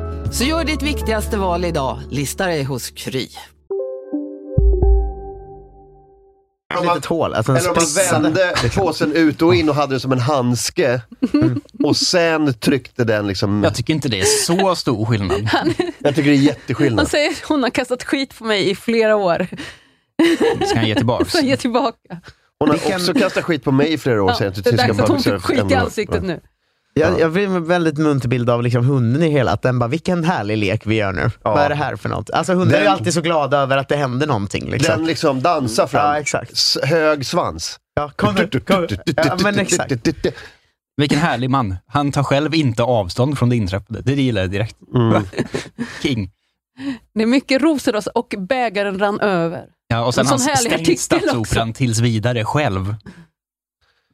[SPEAKER 11] Så gör ditt viktigaste val idag, lista dig hos Kry.
[SPEAKER 3] ett litet hål. Alltså Liksom. den
[SPEAKER 2] Eller om man
[SPEAKER 3] spritsade.
[SPEAKER 2] vände påsen ut och in och hade det som en handske.
[SPEAKER 3] Mm.
[SPEAKER 2] Och sen tryckte den liksom...
[SPEAKER 4] Jag tycker inte det är så stor skillnad.
[SPEAKER 2] Jag tycker det är
[SPEAKER 1] Han
[SPEAKER 2] jätteskillnad.
[SPEAKER 1] säger hon har kastat skit på mig i flera år.
[SPEAKER 4] Ska han ge tillbaks?
[SPEAKER 1] Så jag ger tillbaka.
[SPEAKER 2] Hon har
[SPEAKER 3] Vilken-
[SPEAKER 2] också kastat skit på mig i flera år
[SPEAKER 1] Ja,
[SPEAKER 2] sedan till
[SPEAKER 1] det är
[SPEAKER 2] tyska
[SPEAKER 1] dags att hon fick
[SPEAKER 3] typ
[SPEAKER 1] skit
[SPEAKER 2] public service Mm.
[SPEAKER 1] i
[SPEAKER 2] ämnen.
[SPEAKER 1] ansiktet nu.
[SPEAKER 3] Jag, jag blev en väldigt munter bild av liksom hunden i hela, att den bara, vilken härlig lek vi gör nu. Vad är det här för något? Alltså hundar är ju
[SPEAKER 2] Den-
[SPEAKER 3] alltid så glada över att det händer någonting. Liksom.
[SPEAKER 2] Den liksom dansar fram.
[SPEAKER 3] Ja, exakt.
[SPEAKER 2] S- Hög svans.
[SPEAKER 3] Ja, kom nu, kom nu. Ja, men exakt.
[SPEAKER 4] Vilken härlig man. Han tar själv inte avstånd från det inträffade. Det gillar jag direkt.
[SPEAKER 2] Mm.
[SPEAKER 4] King.
[SPEAKER 1] Det är mycket rosenras och bägaren rann över.
[SPEAKER 4] Ja, och sen
[SPEAKER 1] En
[SPEAKER 4] har
[SPEAKER 1] sån
[SPEAKER 4] han
[SPEAKER 1] härlig
[SPEAKER 4] stängt
[SPEAKER 1] artikel
[SPEAKER 4] Stadsoperan tills vidare själv.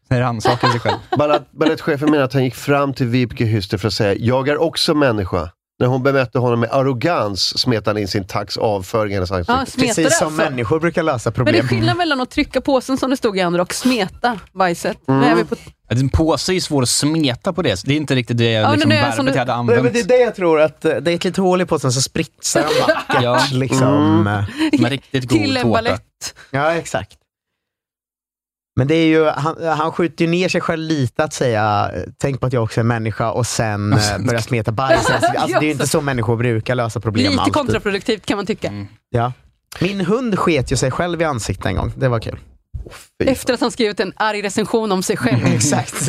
[SPEAKER 4] När han saknar sig själv.
[SPEAKER 2] Ballett- Balettchefen menar att han gick fram till Vibeke Hyster för att säga “Jag är också människa”. När hon bemötte honom med arrogans smet han in sin tax avföring i hennes ansikte.
[SPEAKER 1] Ja, smetade
[SPEAKER 3] Precis som
[SPEAKER 1] alltså.
[SPEAKER 3] människor brukar lösa
[SPEAKER 1] Men det är
[SPEAKER 3] problem.
[SPEAKER 1] skillnad mellan att trycka påsen som det stod i andra och smeta bajset. Nu är vi på...
[SPEAKER 2] Mm.
[SPEAKER 4] En påse är ju svår att smeta på det. så Det är inte riktigt det
[SPEAKER 1] Ja,
[SPEAKER 4] liksom,
[SPEAKER 1] men det är
[SPEAKER 4] verbet
[SPEAKER 1] som du-
[SPEAKER 4] jag hade
[SPEAKER 3] Nej, men
[SPEAKER 4] använt.
[SPEAKER 3] det är det jag tror, att eh, det är ett litet hål i påsen så spritsar den vackert.
[SPEAKER 4] Ja.
[SPEAKER 3] liksom.
[SPEAKER 4] Som en riktigt god
[SPEAKER 1] Till en
[SPEAKER 4] tårta.
[SPEAKER 1] balett.
[SPEAKER 3] Ja, exakt. Men det är ju, han, han skjuter ju ner sig själv lite att säga, eh, tänk på att jag också är människa och sen
[SPEAKER 4] Och sen-
[SPEAKER 3] eh, börja smeta bajs. Alltså, det är ju inte så människor brukar lösa problem
[SPEAKER 1] Lite
[SPEAKER 3] alltid.
[SPEAKER 1] kontraproduktivt kan man tycka.
[SPEAKER 2] Mm.
[SPEAKER 3] Ja. Min hund sket ju sig själv i ansiktet en gång. Det var kul.
[SPEAKER 1] Efter att han skrivit en arg recension om sig själv.
[SPEAKER 2] Mm,
[SPEAKER 3] Exakt.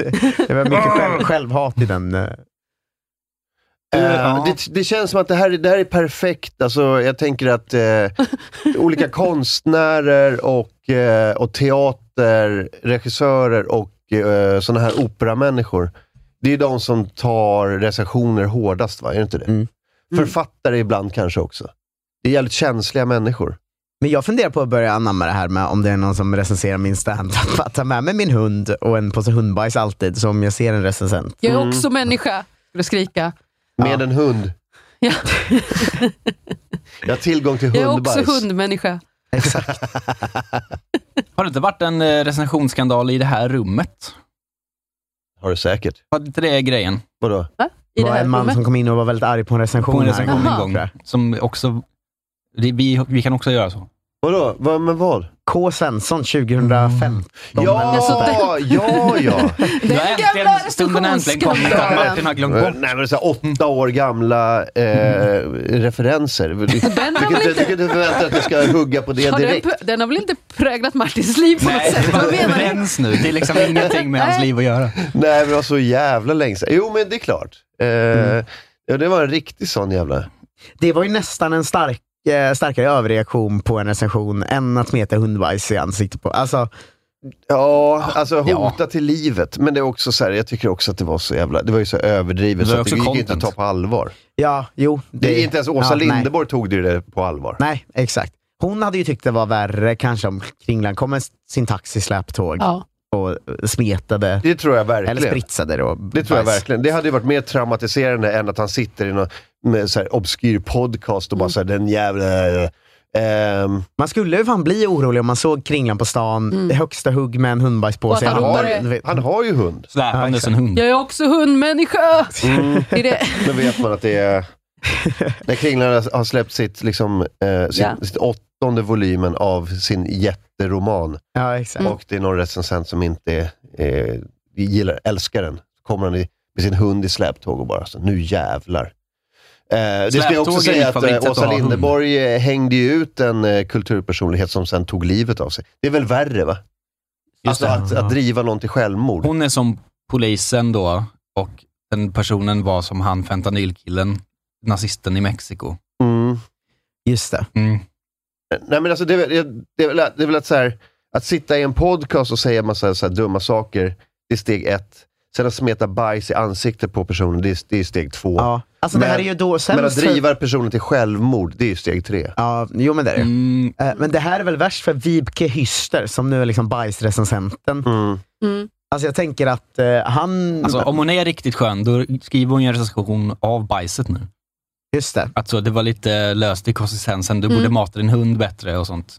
[SPEAKER 3] Det var mycket själv, självhat i den. eh.
[SPEAKER 2] Eh,
[SPEAKER 4] Ja.
[SPEAKER 2] det, det känns som att det här, det här är perfekt. Alltså, jag tänker att eh, olika konstnärer och, eh, och teaterregissörer och eh, sådana här operamänniskor. Det är de som tar recensioner hårdast, va? Är det inte det?
[SPEAKER 3] Mm.
[SPEAKER 2] Författare ibland kanske också. Det är jävligt känsliga människor.
[SPEAKER 3] Men jag funderar på att börja anamma det här med om det är någon som recenserar min standup. Att ta med mig min hund och en påse hundbajs
[SPEAKER 2] Mm.
[SPEAKER 3] alltid, så om jag ser en recensent.
[SPEAKER 1] Jag är också människa, skulle skrika.
[SPEAKER 2] Med en hund. Jag har tillgång till
[SPEAKER 1] Jag är
[SPEAKER 2] hundbajs.
[SPEAKER 1] också hundmänniska.
[SPEAKER 2] Exakt.
[SPEAKER 4] Har det inte varit en eh, recensionsskandal i det här rummet?
[SPEAKER 2] Har du säkert.
[SPEAKER 4] Var det inte det grejen?
[SPEAKER 2] Vadå?
[SPEAKER 3] Det var en man som kom in och var väldigt arg på en recension.
[SPEAKER 4] på en
[SPEAKER 3] här.
[SPEAKER 4] recension en gång. Som också, det, vi, vi kan också göra så.
[SPEAKER 2] Vadå? Vad, men vad?
[SPEAKER 3] K. Svensson 2005.
[SPEAKER 2] Mm. Ja, ja, ja.
[SPEAKER 4] Den gamla Stunden äntligen kom att Martin har glömt bort.
[SPEAKER 2] Eh, Nej, men så här, åtta år gamla eh, referenser. Du, du,
[SPEAKER 1] Den har
[SPEAKER 2] kan
[SPEAKER 1] väl inte-
[SPEAKER 2] inte- du kan inte förvänta dig att jag ska hugga på det
[SPEAKER 1] Har den,
[SPEAKER 2] direkt.
[SPEAKER 1] pr- den har väl inte präglat Martins liv på något sätt? Vad menar du?
[SPEAKER 4] nu. Det är liksom ingenting med hans liv att göra.
[SPEAKER 2] Nej, men det var så jävla länge sedan. Jo, men det är klart. Eh, ja, det var en riktig sån jävla...
[SPEAKER 3] Det var ju nästan en stark, eh, starkare överreaktion på en recension än att smeta hundbajs i ansiktet på. Alltså,
[SPEAKER 2] Ja, alltså hota till livet. Men det är också så här, jag tycker också att det var så jävla... Det var ju så överdrivet,
[SPEAKER 4] Det
[SPEAKER 2] så
[SPEAKER 4] var
[SPEAKER 2] att det
[SPEAKER 4] också
[SPEAKER 2] gick inte att
[SPEAKER 4] content.
[SPEAKER 2] ta på allvar.
[SPEAKER 3] ja, jo.
[SPEAKER 2] Det, är inte ens Åsa
[SPEAKER 3] ja, nej.
[SPEAKER 2] Linderborg tog det ju det på allvar.
[SPEAKER 3] Nej, exakt. Hon hade ju tyckt det var värre kanske om Kringlan kom med sin taxisläptåg
[SPEAKER 1] Ja.
[SPEAKER 3] och smetade,
[SPEAKER 2] Det tror jag verkligen.
[SPEAKER 3] eller spritsade då.
[SPEAKER 2] Det tror jag
[SPEAKER 3] bajs.
[SPEAKER 2] verkligen. Det hade ju varit mer traumatiserande än att han sitter i någon med så här obskyr podcast och bara så här, den jävla... Ehm,
[SPEAKER 3] Man skulle ju fan bli orolig om man såg Kringlan på stan, det högsta hugg med en hundbajspåse
[SPEAKER 1] Mm. Och att han ropade-
[SPEAKER 3] Du vet.
[SPEAKER 2] han har ju hund.
[SPEAKER 4] Släpandes en hund.
[SPEAKER 1] Jag är också hundmänniska!
[SPEAKER 2] Mm.
[SPEAKER 1] Det är det.
[SPEAKER 2] Då vet man att det är... När Kringlan har släppt sitt, liksom, eh, sin,
[SPEAKER 1] Ja.
[SPEAKER 2] sitt åttonde volymen av sin jätteroman
[SPEAKER 3] Ja, exakt.
[SPEAKER 4] Mm.
[SPEAKER 2] och det är någon recensent som inte eh, gillar, älskar den, så kommer han i, med sin hund i släptåg och bara så, nu jävlar. Eh, det ska jag
[SPEAKER 4] Släptåg
[SPEAKER 2] också
[SPEAKER 4] är mitt
[SPEAKER 2] säga att
[SPEAKER 4] favoritsätt
[SPEAKER 2] eh,
[SPEAKER 4] att
[SPEAKER 2] Åsa
[SPEAKER 4] ha hund.
[SPEAKER 2] Linderborg eh, hängde ju ut en eh, kulturpersonlighet som sen tog livet av sig. Det är väl värre va? Alltså
[SPEAKER 4] det.
[SPEAKER 2] att, att driva någon till självmord.
[SPEAKER 4] Hon är som polisen då och den personen var som han fentanylkillen, nazisten i Mexiko.
[SPEAKER 2] Mm.
[SPEAKER 3] Just det.
[SPEAKER 4] Mm.
[SPEAKER 2] Nej, men alltså, det, är väl- det, det, är väl att- det är väl att, så här, att sitta i en podcast och säga massa så här, dumma saker, det är steg ett. Sen att smeta bajs i ansiktet på personen, det är, det är steg två.
[SPEAKER 3] Ja. Alltså det här är ju då
[SPEAKER 2] men att
[SPEAKER 3] sämst för-
[SPEAKER 2] driva personen till självmord, det är ju steg tre.
[SPEAKER 3] Ja, jo men det är det.
[SPEAKER 4] Mm.
[SPEAKER 3] Eh, Men det här är väl värst för Vibke Hyster, som nu är liksom bajsrecensenten.
[SPEAKER 2] Mm.
[SPEAKER 3] Alltså jag tänker att eh, han...
[SPEAKER 4] Alltså, om hon är riktigt skön, då skriver hon ju en recension av bajset nu.
[SPEAKER 3] Just det.
[SPEAKER 4] Alltså, det var lite löst i konsistensen. Du
[SPEAKER 1] Mm.
[SPEAKER 4] borde mata din hund bättre och sånt.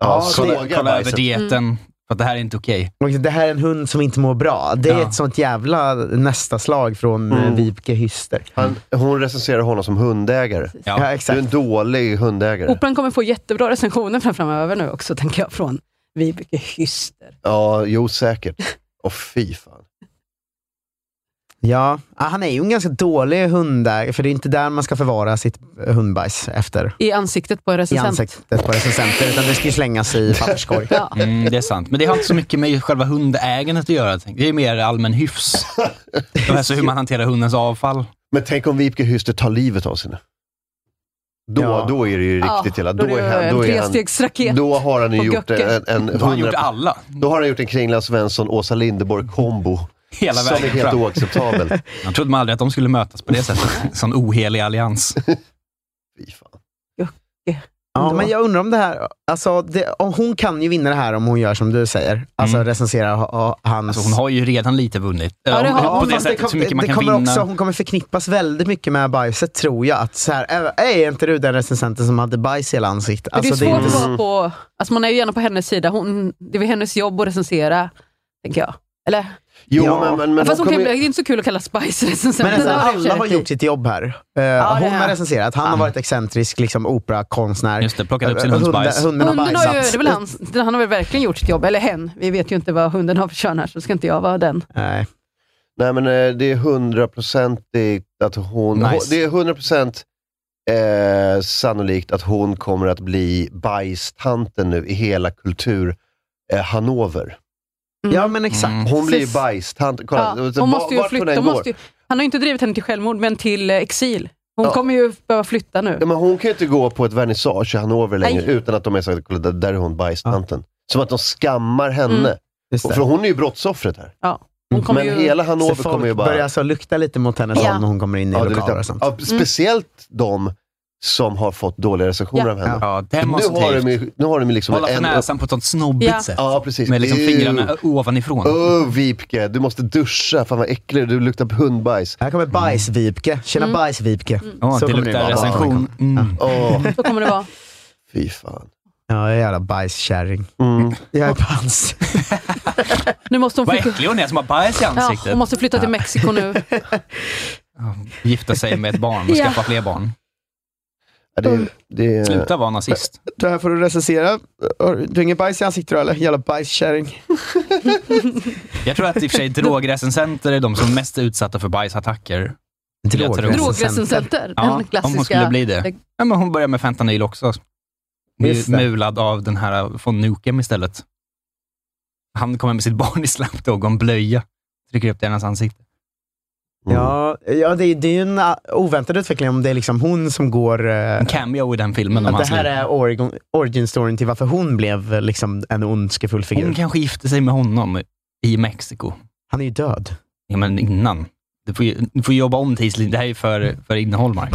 [SPEAKER 2] Ja,
[SPEAKER 4] kolla
[SPEAKER 2] såga
[SPEAKER 4] kolla över
[SPEAKER 2] bajset.
[SPEAKER 4] dieten,
[SPEAKER 1] Mm.
[SPEAKER 4] för att det här är inte okej.
[SPEAKER 3] Och Det här är en hund som inte mår bra. Det är
[SPEAKER 4] Ja.
[SPEAKER 3] ett sånt jävla nästa slag från eh,
[SPEAKER 2] Mm.
[SPEAKER 3] Vibke Hyster.
[SPEAKER 2] Han, hon recenserar honom som hundägare.
[SPEAKER 3] Ja,
[SPEAKER 2] Du är
[SPEAKER 3] exakt.
[SPEAKER 2] en dålig hundägare.
[SPEAKER 1] Operan kommer få jättebra recensioner fram- framöver nu också, tänker jag, från Vibeke Hyster.
[SPEAKER 2] Ja, jo säkert. Och fy fan.
[SPEAKER 3] Ja. Ah, han är ju en ganska dålig hundägare, för det är inte där man ska förvara sitt eh, hundbajs efter.
[SPEAKER 1] I ansiktet på en
[SPEAKER 3] I
[SPEAKER 1] recensent.
[SPEAKER 3] ansiktet på recensenter, utan det ska ju slängas i papperskorg.
[SPEAKER 1] Ja.
[SPEAKER 4] Mm, det är sant. Men det har inte så mycket med själva hundägandet att göra. tänker jag. Det är mer allmän hyfs. Alltså hur man hanterar hundens avfall.
[SPEAKER 2] Men tänk om Vibke Hyster tar livet av sig nu. Då,
[SPEAKER 3] Ja.
[SPEAKER 2] då är det ju riktigt illa. Då, är han, då,
[SPEAKER 1] en
[SPEAKER 2] är han,
[SPEAKER 1] trestegsraket.
[SPEAKER 2] då har han ju
[SPEAKER 1] på
[SPEAKER 2] gjort eh, en,
[SPEAKER 1] Göcke.
[SPEAKER 2] en,
[SPEAKER 4] Då
[SPEAKER 2] en
[SPEAKER 4] har han gjort
[SPEAKER 2] 100
[SPEAKER 4] alla.
[SPEAKER 2] Då har han gjort en Kringland Svensson, Åsa Linderborg kombo.
[SPEAKER 4] Hela
[SPEAKER 2] Som är
[SPEAKER 4] vägen
[SPEAKER 2] helt
[SPEAKER 4] fram.
[SPEAKER 2] oacceptabel.
[SPEAKER 4] Jag trodde man aldrig att de skulle mötas på det sättet. Sån ohelig allians.
[SPEAKER 2] Fy fan.
[SPEAKER 3] Ja, men jag undrar om det här, alltså det, om hon kan ju vinna det här om hon gör som du säger. Alltså
[SPEAKER 4] Mm.
[SPEAKER 3] recensera ha, ha, hans...
[SPEAKER 4] Alltså, hon har ju redan lite vunnit.
[SPEAKER 1] Ja, det har
[SPEAKER 4] Eller,
[SPEAKER 1] hon.
[SPEAKER 4] på det
[SPEAKER 3] fast
[SPEAKER 4] sättet
[SPEAKER 3] kom-
[SPEAKER 4] hur mycket man
[SPEAKER 3] det
[SPEAKER 4] kan
[SPEAKER 3] kommer
[SPEAKER 4] vinna.
[SPEAKER 3] Också, hon kommer förknippas väldigt mycket med bajset tror jag. Att så här, "Ä- är inte du den recensenten som hade bajs i hela ansiktet?
[SPEAKER 1] Men
[SPEAKER 3] Alltså,
[SPEAKER 1] det är svårt
[SPEAKER 3] inte
[SPEAKER 1] att
[SPEAKER 3] så-
[SPEAKER 1] vara på... Alltså man är ju gärna på hennes sida. Hon, det är väl hennes jobb att recensera, tänker jag. Eller?
[SPEAKER 2] Jo,
[SPEAKER 3] Ja.
[SPEAKER 2] men, men, men
[SPEAKER 1] Fast hon
[SPEAKER 2] kommer
[SPEAKER 1] kan,
[SPEAKER 2] ju-
[SPEAKER 1] Det är inte så kul att kalla Spice recensent.
[SPEAKER 3] Men alltså,
[SPEAKER 1] Det var det i och för sig
[SPEAKER 3] alla har
[SPEAKER 1] rätt i.
[SPEAKER 3] gjort sitt jobb här. Eh,
[SPEAKER 1] det
[SPEAKER 3] hon
[SPEAKER 1] är-
[SPEAKER 3] har recenserat, han har varit excentrisk liksom, operakonstnär.
[SPEAKER 4] Just det, plockat upp sin
[SPEAKER 3] Eh,
[SPEAKER 4] hunds
[SPEAKER 3] hunden-
[SPEAKER 4] bajs.
[SPEAKER 3] Hunden har
[SPEAKER 1] Hunden har ju, det är
[SPEAKER 3] bajsat.
[SPEAKER 1] väl han, han har väl verkligen gjort sitt jobb, eller hen. Vi vet ju inte vad hunden har för kön här, så ska inte jag vara den.
[SPEAKER 3] Nej.
[SPEAKER 2] Nej, men eh, det är hundraprocentigt att hon...
[SPEAKER 4] Nice.
[SPEAKER 2] hon- Det är hundraprocent eh, sannolikt att hon kommer att bli bajstanten nu i hela kultur eh, Hannover.
[SPEAKER 3] Ja men exakt.
[SPEAKER 4] Mm.
[SPEAKER 2] Hon blir
[SPEAKER 1] Precis.
[SPEAKER 2] bajstant.
[SPEAKER 1] Ja,
[SPEAKER 2] Kolla, så
[SPEAKER 1] hon
[SPEAKER 2] va-
[SPEAKER 1] måste ju
[SPEAKER 2] vart
[SPEAKER 1] flytta.
[SPEAKER 2] än
[SPEAKER 1] Hon
[SPEAKER 2] går.
[SPEAKER 1] måste ju, han har ju inte drivit henne till självmord, men till eh, exil. Hon
[SPEAKER 2] Ja.
[SPEAKER 1] kommer ju behöva flytta nu.
[SPEAKER 2] Ja, men hon kan ju inte gå på ett vernissage i Hannover längre
[SPEAKER 1] Nej.
[SPEAKER 2] utan att de är såhär, kolla där- där är hon bajstanten. Som att de skammar henne.
[SPEAKER 1] Mm.
[SPEAKER 3] Just
[SPEAKER 2] För
[SPEAKER 3] det.
[SPEAKER 2] hon är ju brottsoffret här.
[SPEAKER 1] Ja. Hon kommer
[SPEAKER 2] Men
[SPEAKER 1] ju,
[SPEAKER 2] hela
[SPEAKER 3] Så
[SPEAKER 2] Hannover
[SPEAKER 3] folk
[SPEAKER 2] kommer ju bara...
[SPEAKER 3] börjar alltså lukta lite mot hennes
[SPEAKER 1] Ja.
[SPEAKER 3] håll när hon kommer in i
[SPEAKER 1] Mm.
[SPEAKER 2] Ja, det
[SPEAKER 3] lokaler och
[SPEAKER 2] vet
[SPEAKER 3] sånt.
[SPEAKER 2] jag. Ja, speciellt de som har fått dåliga recensioner
[SPEAKER 4] Ja.
[SPEAKER 2] av henne.
[SPEAKER 4] Ja, det
[SPEAKER 2] nu,
[SPEAKER 4] måste
[SPEAKER 2] har
[SPEAKER 4] ta
[SPEAKER 2] de, ju- nu har de ju liksom
[SPEAKER 4] Hålla för näsan på ett sånt snobbigt
[SPEAKER 2] Ja.
[SPEAKER 4] sätt.
[SPEAKER 2] Ja, precis.
[SPEAKER 4] Med liksom
[SPEAKER 2] Ew.
[SPEAKER 4] fingrarna ovanifrån.
[SPEAKER 2] Öh, Vipke, du måste duscha. Fan vad äcklig du är. du luktar på hundbajs. Här kommer bajs-Vipke.
[SPEAKER 3] Tjena Mm. bajs-Vipke. Mm.
[SPEAKER 2] Ja,
[SPEAKER 3] Så kommer det vara.
[SPEAKER 2] Mm.
[SPEAKER 1] Så kommer det vara.
[SPEAKER 2] fy fan. Mm.
[SPEAKER 3] Ja, jag är jävla bajskärring. Jag är pans.
[SPEAKER 1] Nu måste hon
[SPEAKER 4] Vad
[SPEAKER 1] flytta,
[SPEAKER 4] äcklig hon är som har bajs i
[SPEAKER 1] ja,
[SPEAKER 4] ansiktet.
[SPEAKER 1] hon måste flytta till Mexiko nu.
[SPEAKER 4] Gifta sig med ett barn och
[SPEAKER 1] Ja.
[SPEAKER 4] skaffa fler barn.
[SPEAKER 2] det, det...
[SPEAKER 4] Sluta vara nazist.
[SPEAKER 12] Det här får du recensera. Har Du har ingen bajs i ansiktet då, eller? Jävla bajskärring.
[SPEAKER 4] Jag tror att i och för sig drogrecensenter är de som är mest utsatta för bajsattacker. Skulle jag tro.
[SPEAKER 1] Drogrecensenter,
[SPEAKER 4] Ja,
[SPEAKER 1] den
[SPEAKER 4] om
[SPEAKER 1] klassiska.
[SPEAKER 4] hon skulle bli det. Ja, men hon börjar med fentanyl också.
[SPEAKER 12] Just det.
[SPEAKER 4] Mulad av den här äh, von Nukem istället. Han kommer med sitt barn i slamtåg och en blöja. Trycker upp det i hennes ansikte.
[SPEAKER 2] mm.
[SPEAKER 3] Ja, ja det, är- det är ju en ah, oväntad utveckling om det är liksom hon som går... En
[SPEAKER 4] cameo i den filmen om
[SPEAKER 3] Att
[SPEAKER 4] hans
[SPEAKER 3] det här
[SPEAKER 4] liv.
[SPEAKER 3] är origin, origin storyn till varför hon blev eh, liksom en ondskefull figur.
[SPEAKER 4] Hon kanske gifte sig med honom i Mexiko.
[SPEAKER 3] Han är ju död.
[SPEAKER 4] Ja, men innan. Du får, ju, du får jobba om tidslinjen. Det här är för, för innehåll, Mark.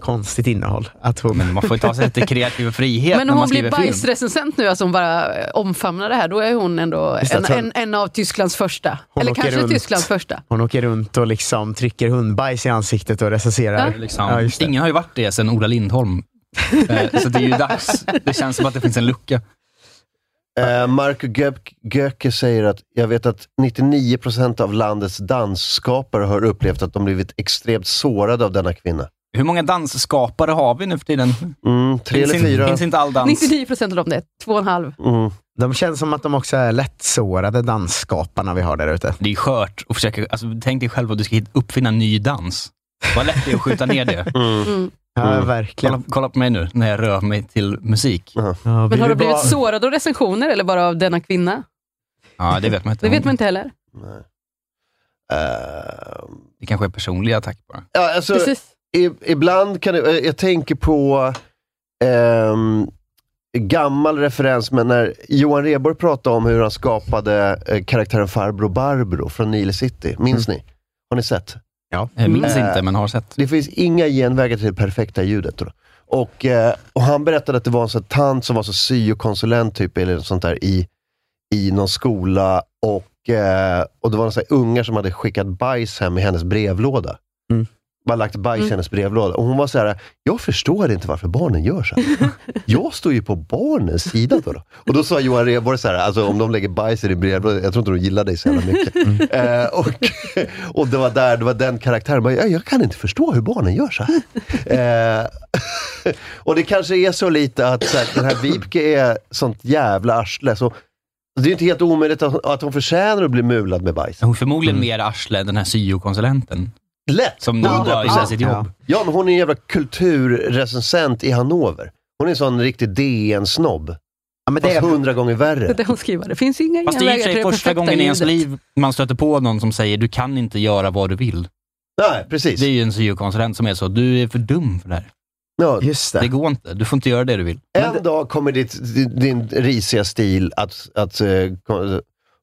[SPEAKER 3] Konstigt innehåll. Att hon...
[SPEAKER 4] Men man får ju ta sig lite kreativ frihet
[SPEAKER 1] Men
[SPEAKER 4] när
[SPEAKER 1] om
[SPEAKER 4] man
[SPEAKER 1] hon blir
[SPEAKER 4] skriver film.
[SPEAKER 1] bajsrecensent nu, alltså hon bara eh, omfamnar det här, då är hon ändå
[SPEAKER 3] Just det,
[SPEAKER 1] en,
[SPEAKER 3] att hon-
[SPEAKER 1] en, en av Tysklands första.
[SPEAKER 3] Hon
[SPEAKER 1] Eller
[SPEAKER 3] åker
[SPEAKER 1] kanske
[SPEAKER 3] runt.
[SPEAKER 1] Tysklands första.
[SPEAKER 3] Hon åker runt och liksom trycker hundbajs i ansiktet och recenserar.
[SPEAKER 4] Ja. Liksom. Ingen har ju varit det sedan Ola Lindholm. Eh, Så det är ju dags. Det känns som att det finns en lucka.
[SPEAKER 2] Eh, Marco Göp- Göke säger att jag vet att 99% av landets dansskapare har upplevt att de blivit extremt sårade av denna kvinna.
[SPEAKER 4] Hur många dansskapare har vi nu för tiden?
[SPEAKER 2] Mm, tre
[SPEAKER 4] Finns
[SPEAKER 2] eller
[SPEAKER 4] inte-
[SPEAKER 2] fyra. Mm,
[SPEAKER 4] finns inte all dans.
[SPEAKER 1] 99 procent av dem det, två och en halv.
[SPEAKER 3] De känns som att de också är lättsårade dansskaparna vi har där ute.
[SPEAKER 4] Det är skört att försöka... Alltså, tänk dig själv att du ska hit- uppfinna en ny dans. Vad lätt det är att skjuta ner det.
[SPEAKER 1] Mm.
[SPEAKER 3] Ja, verkligen.
[SPEAKER 4] Kolla, kolla på mig nu när jag rör mig till musik.
[SPEAKER 1] Men har du blivit sårad av recensioner eller bara av denna kvinna?
[SPEAKER 4] Ja, det vet man inte.
[SPEAKER 1] Det vet man inte heller.
[SPEAKER 4] Det kanske är personlig attack bara.
[SPEAKER 2] Ehm, Ja, alltså,
[SPEAKER 1] Precis.
[SPEAKER 2] i, ibland kan det, eh, jag tänker på ehm, gammal referens, men när Johan Rheborg pratade om hur han skapade eh, karaktären Farbro Barbro från Nile City. Minns ni? Har ni sett?
[SPEAKER 3] Ja.
[SPEAKER 4] Jag minns
[SPEAKER 2] Mm.
[SPEAKER 4] inte, men har sett.
[SPEAKER 2] Det finns inga genvägar till det perfekta ljudet. Då. Och, eh, och han berättade att det var en sån här tant som var så syokonsulent typ, eller något sånt där, i, i någon skola. Och, eh, och det var några så här ungar som hade skickat bajs hem i hennes brevlåda. Bara lagt bajs i hennes brevlåda. Och hon var så här, jag förstår inte varför barnen gör så här. jag står ju på barnens sida då. då. Och då sa Johan Rheborg så här, alltså om de lägger bajs i din brevlåda, jag tror inte de gillar dig så jävla mycket. Eh, och, och det var där, det var den karaktären. Men jag, jag kan inte förstå hur barnen gör så här. Eh, och det kanske är så lite att så här, den här Vibke är sånt jävla arsle. Så, det är ju inte helt omöjligt att, att hon förtjänar att bli mulad med bajs.
[SPEAKER 4] Hon är förmodligen
[SPEAKER 2] Mm.
[SPEAKER 4] mer arsle än den här syokonsulenten.
[SPEAKER 2] Lätt!
[SPEAKER 4] Som nu bara gissar sitt jobb.
[SPEAKER 2] Ja, men hon är en jävla kulturrecensent i Hannover. Hon är en sån riktig DN-snobb.
[SPEAKER 3] det
[SPEAKER 2] Fast
[SPEAKER 3] är-
[SPEAKER 2] hundra gånger
[SPEAKER 1] Det
[SPEAKER 2] värre.
[SPEAKER 1] är det hon skriver. Det finns inga
[SPEAKER 4] Fast det är ju i och
[SPEAKER 1] genvägar
[SPEAKER 4] för sig
[SPEAKER 1] till det
[SPEAKER 4] första
[SPEAKER 1] perfekta
[SPEAKER 4] gången i ens
[SPEAKER 1] ljudet.
[SPEAKER 4] liv man stöter på någon som säger du kan inte göra vad du vill.
[SPEAKER 2] Nej, precis.
[SPEAKER 4] Det är ju en syokonsulent som är så, du är för dum för det här.
[SPEAKER 2] Ja,
[SPEAKER 3] just
[SPEAKER 4] det. går inte, du får inte göra det du vill.
[SPEAKER 2] En dag kommer ditt, din, din risiga stil att, att eh, ko-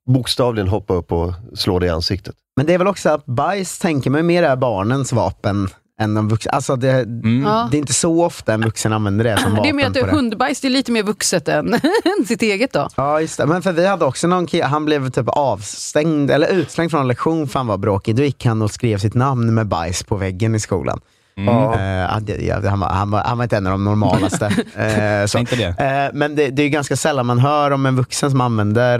[SPEAKER 2] bokstavligen hoppa upp och slå dig i ansiktet.
[SPEAKER 3] Men det är väl också att bajs, tänker man, ju mer är barnens vapen än de vuxna. Alltså det,
[SPEAKER 1] Ja.
[SPEAKER 4] Mm.
[SPEAKER 3] det är inte så ofta en vuxen använder det som vapen.
[SPEAKER 1] Det är mer att det
[SPEAKER 3] på
[SPEAKER 1] är hundbajs, det är lite mer vuxet än, än sitt eget då.
[SPEAKER 3] Ja, just det. Men för vi hade också någon kille, han blev typ avstängd, eller utslängd från en lektion för han var bråkig. Då gick han och skrev sitt namn med bajs på väggen i skolan.
[SPEAKER 4] Mm. Ja.
[SPEAKER 3] Eh, han, ja, han, var, han, var, han var inte en av de normalaste. Eh, så.
[SPEAKER 4] Inte det.
[SPEAKER 3] Eh, men det, det är ju ganska sällan man hör om en vuxen som använder